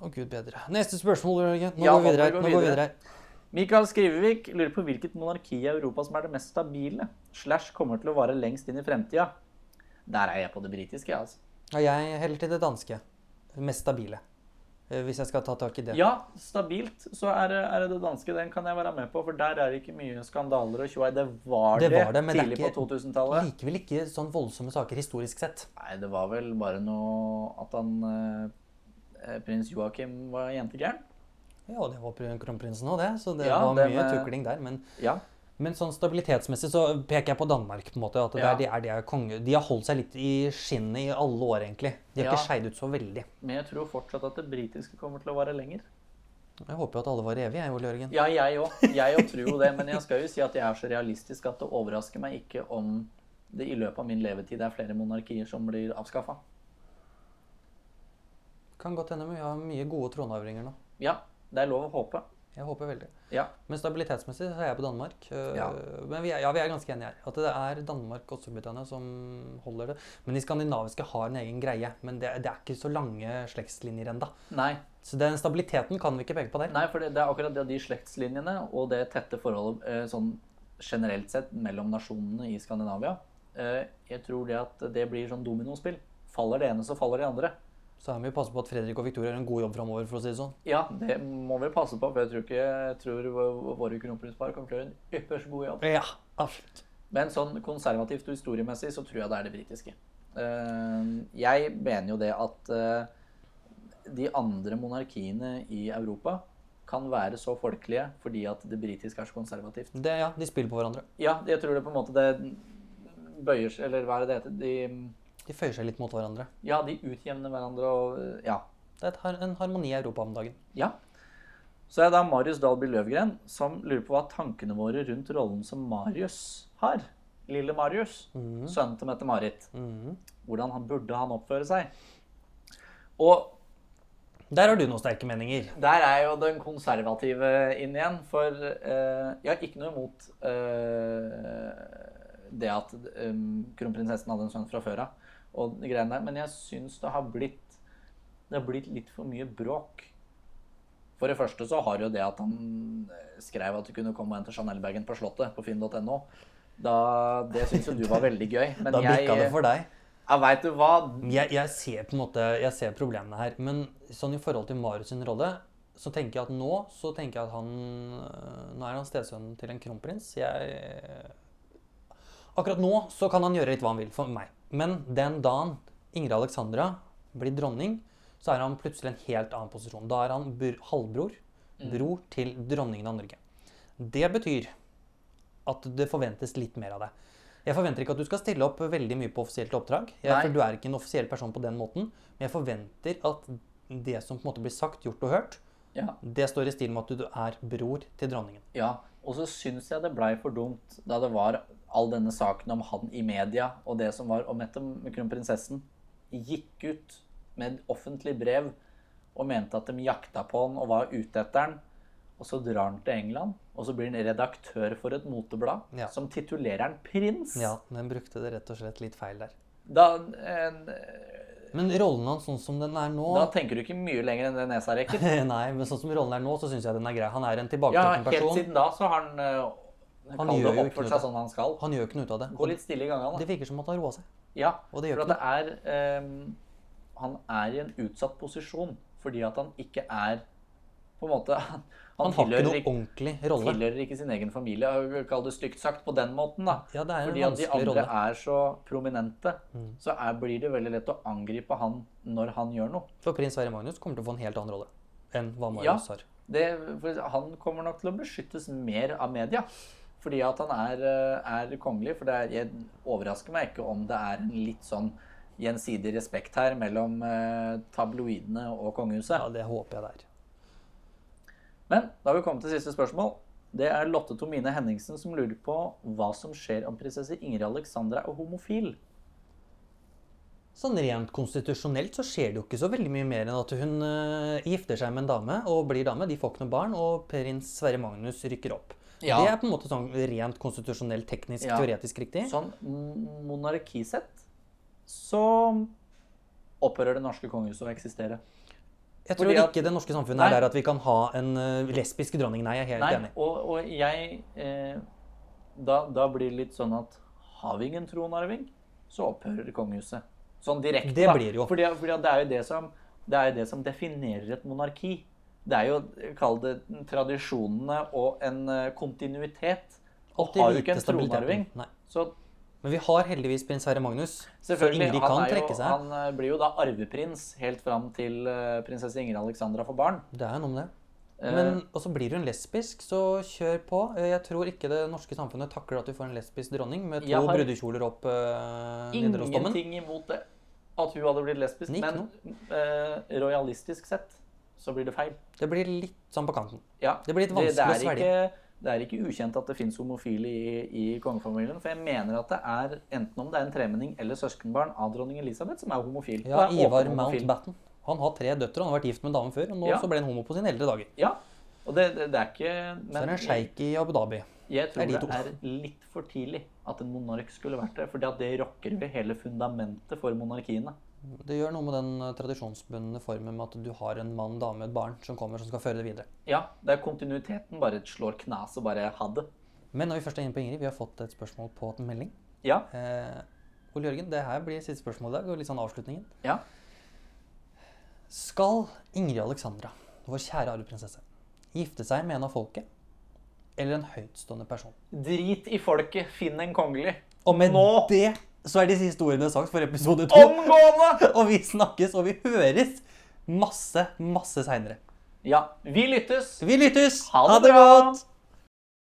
Speaker 2: Å, gud bedre. Neste spørsmål, Ole Jørgen. Nå
Speaker 1: Ja,
Speaker 2: går vi videre.
Speaker 1: nå
Speaker 2: her.
Speaker 1: går
Speaker 2: Nå
Speaker 1: vi
Speaker 2: går vi
Speaker 1: videre.
Speaker 2: videre. her.
Speaker 1: Mikael Skrivevik lurer på hvilket monarki i Europa som er det mest stabile, slash kommer til å vare lengst inn i fremtida. Der er jeg på det britiske, altså.
Speaker 2: Ja, jeg heller til det danske. Mest stabile. Eh, Hvis jeg skal ta tak i det.
Speaker 1: Ja, stabilt så er det, er det det danske. Den kan jeg være med på, for der er det ikke mye skandaler og tjoei. Det var det,
Speaker 2: Det var det, men det er
Speaker 1: tidlig
Speaker 2: ikke-
Speaker 1: på 2000-tallet.
Speaker 2: Likevel ikke sånn voldsomme saker historisk sett.
Speaker 1: Nei, det var vel bare noe at han eh, Prins Joakim var jentegæren.
Speaker 2: Ja, det var pr- kronprinsen og det, så det
Speaker 1: Ja,
Speaker 2: var
Speaker 1: det
Speaker 2: mye
Speaker 1: med-
Speaker 2: tukling der. Men,
Speaker 1: Ja.
Speaker 2: men sånn stabilitetsmessig så peker jeg på Danmark, på en måte. At det
Speaker 1: Ja.
Speaker 2: er, de, er, de, er konge. de har holdt seg litt i skinnet i alle år, egentlig. De har
Speaker 1: Ja.
Speaker 2: ikke skeid ut så veldig.
Speaker 1: Men jeg tror fortsatt at det britiske kommer til å vare lenger.
Speaker 2: Jeg håper jo at alle var evige, jeg, Ole Jørgen.
Speaker 1: Ja, jeg òg. Jeg òg tror jo det. Men jeg skal jo si at jeg er så realistisk at det overrasker meg ikke om det i løpet av min levetid er flere monarkier som blir avskaffa.
Speaker 2: Kan godt hende, men vi har mye gode tronarvinger nå.
Speaker 1: Ja, det er lov å håpe.
Speaker 2: Jeg håper veldig.
Speaker 1: Ja.
Speaker 2: Men stabilitetsmessig så er jeg på Danmark. Øh,
Speaker 1: Ja.
Speaker 2: Men vi er, ja, vi er ganske enige her. At det er Danmark og Storbritannia som holder det. Men de skandinaviske har en egen greie. Men det, det er ikke så lange slektslinjer ennå.
Speaker 1: Nei,
Speaker 2: Så den stabiliteten kan vi ikke peke på der.
Speaker 1: nei for det, det er akkurat det, de slektslinjene og det tette forholdet eh, sånn generelt sett mellom nasjonene i Skandinavia. Eh, jeg tror det at det blir sånn dominospill. Faller det ene, så faller det andre.
Speaker 2: Så her må vi passe på at Fredrik og Victoria gjør en god jobb framover, for å si det sånn.
Speaker 1: Ja, det må vi passe på, for jeg tror, ikke, jeg tror vå- våre kronprinspar kommer til å gjøre en ypperst god jobb.
Speaker 2: Ja, absolutt.
Speaker 1: Men sånn konservativt og historiemessig så tror jeg det er det britiske. Eh, Jeg mener jo det at eh, de andre monarkiene i Europa kan være så folkelige fordi at det britiske er så konservativt.
Speaker 2: Det, ja, de spiller på hverandre.
Speaker 1: Ja, jeg tror det på en måte det bøyer seg Eller hva er det det heter? De,
Speaker 2: De føyer seg litt mot hverandre.
Speaker 1: ja, de utjevner hverandre og eh, Ja.
Speaker 2: Det er et, har- en harmoni i Europa om dagen.
Speaker 1: Ja. Så er det da Marius Dalby Løvgren som lurer på hva tankene våre rundt rollen som Marius har. Lille Marius,
Speaker 2: Mm.
Speaker 1: sønnen til Mette-Marit. Hvordan han burde han oppføre seg? Og
Speaker 2: Der har du noen sterke meninger.
Speaker 1: der er jo den konservative inn igjen, for eh, jeg har ikke noe imot eh, det at um, kronprinsessen hadde en sønn fra før av. Og de greiene der. Men jeg syns det har blitt Det har blitt litt for mye bråk. For det første så har jo det at han eh, skrev at det kunne komme en til Chanel-bagen på Slottet på finn.no. Da, det syns jo du var veldig gøy. Men
Speaker 2: Da
Speaker 1: jeg,
Speaker 2: blikka det for deg.
Speaker 1: jeg veit du hva
Speaker 2: Jeg, jeg ser på en måte, jeg ser problemene her, men sånn i forhold til Marius sin rolle, så tenker jeg at nå, så tenker jeg at han, øh, nå er han stesønnen til en kronprins. Jeg, akkurat nå så kan han gjøre litt hva han vil for meg. Men den dagen Ingrid Alexandra blir dronning, så er han plutselig i en helt annen posisjon. Da er han br halvbror, bror til dronningen av Norge. Det betyr at det forventes litt mer av deg. Jeg forventer ikke at du skal stille opp veldig mye på offisielt oppdrag. Jeg,
Speaker 1: Nei.
Speaker 2: for du er ikke en offisiell person på den måten. Men jeg forventer at det som på en måte blir sagt, gjort og hørt,
Speaker 1: Ja.
Speaker 2: det står i stil med at du er bror til dronningen.
Speaker 1: Ja, og så syns jeg det blei for dumt da det var all denne saken om han i media, og det som var om etter kronprinsessen, gikk ut med et offentlig brev og mente at de jakta på han og var ute etter han. Og så drar han til England, og så blir han redaktør for et moteblad
Speaker 2: Ja.
Speaker 1: som titulerer han prins.
Speaker 2: Ja, den brukte det rett og slett litt feil der.
Speaker 1: Da, eh,
Speaker 2: Men rollen hans sånn som den er nå
Speaker 1: da tenker du ikke mye lenger enn det nesa rekker.
Speaker 2: *laughs* Nei, men sånn som rollen er nå, så syns jeg den er grei. Han er en
Speaker 1: Ja,
Speaker 2: tilbaketrukken
Speaker 1: helt
Speaker 2: person.
Speaker 1: siden da så har han eh,
Speaker 2: Han
Speaker 1: kall
Speaker 2: gjør
Speaker 1: det
Speaker 2: jo ikke
Speaker 1: oppført
Speaker 2: noe.
Speaker 1: seg sånn han skal.
Speaker 2: Han gjør jo ikke noe ut av det.
Speaker 1: Gå litt stille i gangene.
Speaker 2: Og Det virker som at han har roa seg.
Speaker 1: Ja,
Speaker 2: Og det gjør
Speaker 1: for at det er ehm, Han er i en utsatt posisjon fordi at han ikke er På en måte *laughs* Han,
Speaker 2: Han har ikke
Speaker 1: tilhører,
Speaker 2: noe
Speaker 1: ikke,
Speaker 2: ordentlig rolle.
Speaker 1: tilhører ikke sin egen familie, jeg vil kalle det stygt sagt, på den måten. da.
Speaker 2: Ja, det er en
Speaker 1: fordi at de
Speaker 2: vanskelig
Speaker 1: andre
Speaker 2: rolle. Mm.
Speaker 1: er så prominente, så er, blir det veldig lett å angripe han når han gjør noe.
Speaker 2: For prins Sverre Magnus kommer til å få en helt annen rolle enn
Speaker 1: Ja.
Speaker 2: hva Marius har.
Speaker 1: Det, for han kommer nok til å beskyttes mer av media. Fordi at han er, eh, er kongelig. For det er, jeg overrasker meg ikke om det er en litt sånn gjensidig respekt her mellom eh, tabloidene og kongehuset.
Speaker 2: Ja, det håper jeg det er.
Speaker 1: Men da har vi kommet til siste spørsmål. Det er Lotte Tomine Henningsen som lurer på hva som skjer om prinsesse Ingrid Alexandra er homofil.
Speaker 2: Sånn rent konstitusjonelt så skjer det jo ikke så veldig mye mer enn at hun eh, gifter seg med en dame og blir dame. De får ikke noe barn, og prins Sverre Magnus rykker opp.
Speaker 1: Ja.
Speaker 2: Det er på en måte sånn rent konstitusjonelt, teknisk,
Speaker 1: Ja.
Speaker 2: teoretisk riktig.
Speaker 1: Sånn m- monarkisett så opphører det norske kongehuset å eksistere.
Speaker 2: Jeg tror
Speaker 1: Fordi at-
Speaker 2: ikke det norske
Speaker 1: Nei.
Speaker 2: samfunnet er der at vi kan ha en eh, lesbisk dronning. Nei, jeg er helt
Speaker 1: Nei,
Speaker 2: enig.
Speaker 1: og, og jeg eh, da, da blir det litt sånn at har vi ingen tronarving, så opphører kongehuset. Sånn direkte,
Speaker 2: Det
Speaker 1: da.
Speaker 2: blir det jo.
Speaker 1: Fordi, fordi at det er jo det som, det er jo det som definerer et monarki. Det er jo, kall det tradisjonene og en eh, kontinuitet. Og
Speaker 2: Alltid
Speaker 1: har du ikke
Speaker 2: lite
Speaker 1: en
Speaker 2: stabilitet.
Speaker 1: tronarving,
Speaker 2: Nei.
Speaker 1: så
Speaker 2: Men vi har heldigvis prins Sverre Magnus, så
Speaker 1: selvfølgelig
Speaker 2: Ingrid
Speaker 1: han,
Speaker 2: kan
Speaker 1: er jo,
Speaker 2: trekke seg.
Speaker 1: han eh, blir jo da arveprins helt fram til eh, prinsesse Ingrid Alexandra får barn.
Speaker 2: Det er jo noe med det.
Speaker 1: Eh,
Speaker 2: Men, og så blir hun lesbisk, så kjør på. Eh, Jeg tror ikke det norske samfunnet takler at vi får en lesbisk dronning med
Speaker 1: Jeg
Speaker 2: to
Speaker 1: har
Speaker 2: brudekjoler opp uh, Nidarosdomen.
Speaker 1: Ingenting imot det. At hun hadde blitt lesbisk.
Speaker 2: Nei, ikke
Speaker 1: men eh, rojalistisk sett så blir det feil.
Speaker 2: Det blir litt sånn på kanten.
Speaker 1: Ja,
Speaker 2: Det blir litt vanskelig
Speaker 1: det,
Speaker 2: å
Speaker 1: er
Speaker 2: svelge.
Speaker 1: Ikke, det er ikke ukjent at det fins homofile i, i kongefamilien. For jeg mener at det er enten om det er en tremenning eller søskenbarn av dronning Elisabeth som er homofil. Og
Speaker 2: Ja,
Speaker 1: er
Speaker 2: Ivar
Speaker 1: åpen homofil.
Speaker 2: Mountbatten. Han har tre døtre, han har vært gift med en dame før, og nå
Speaker 1: Ja.
Speaker 2: så ble han homo på sine eldre dager.
Speaker 1: Ja, og det, det, det er ikke Men
Speaker 2: Så er det en sjeik i Abu Dhabi.
Speaker 1: jeg tror
Speaker 2: er de
Speaker 1: det er litt for tidlig at en monark skulle vært det. For det rokker ved hele fundamentet for monarkiene.
Speaker 2: Det gjør noe med den eh, tradisjonsbundne formen med at du har en mann, dame, et barn som kommer som skal føre det videre.
Speaker 1: Ja, det er kontinuiteten bare slår knas og bare ha det.
Speaker 2: Men når vi først er inne på Ingrid, vi har fått et spørsmål på en melding.
Speaker 1: Ja,
Speaker 2: Eh, Ole Jørgen, det her blir siste spørsmål i dag, og litt sånn avslutningen.
Speaker 1: ja.
Speaker 2: Skal Ingrid Alexandra, vår kjære arveprinsesse, gifte seg med en av folket eller en høytstående person?
Speaker 1: Drit i folket, finn en kongelig.
Speaker 2: Og med
Speaker 1: Nå!
Speaker 2: det så er de siste ordene sagt for episode to.
Speaker 1: Omgående!
Speaker 2: Og vi snakkes og vi høres masse, masse seinere.
Speaker 1: Ja, vi lyttes.
Speaker 2: Vi lyttes!
Speaker 1: Ha det bra!
Speaker 2: godt!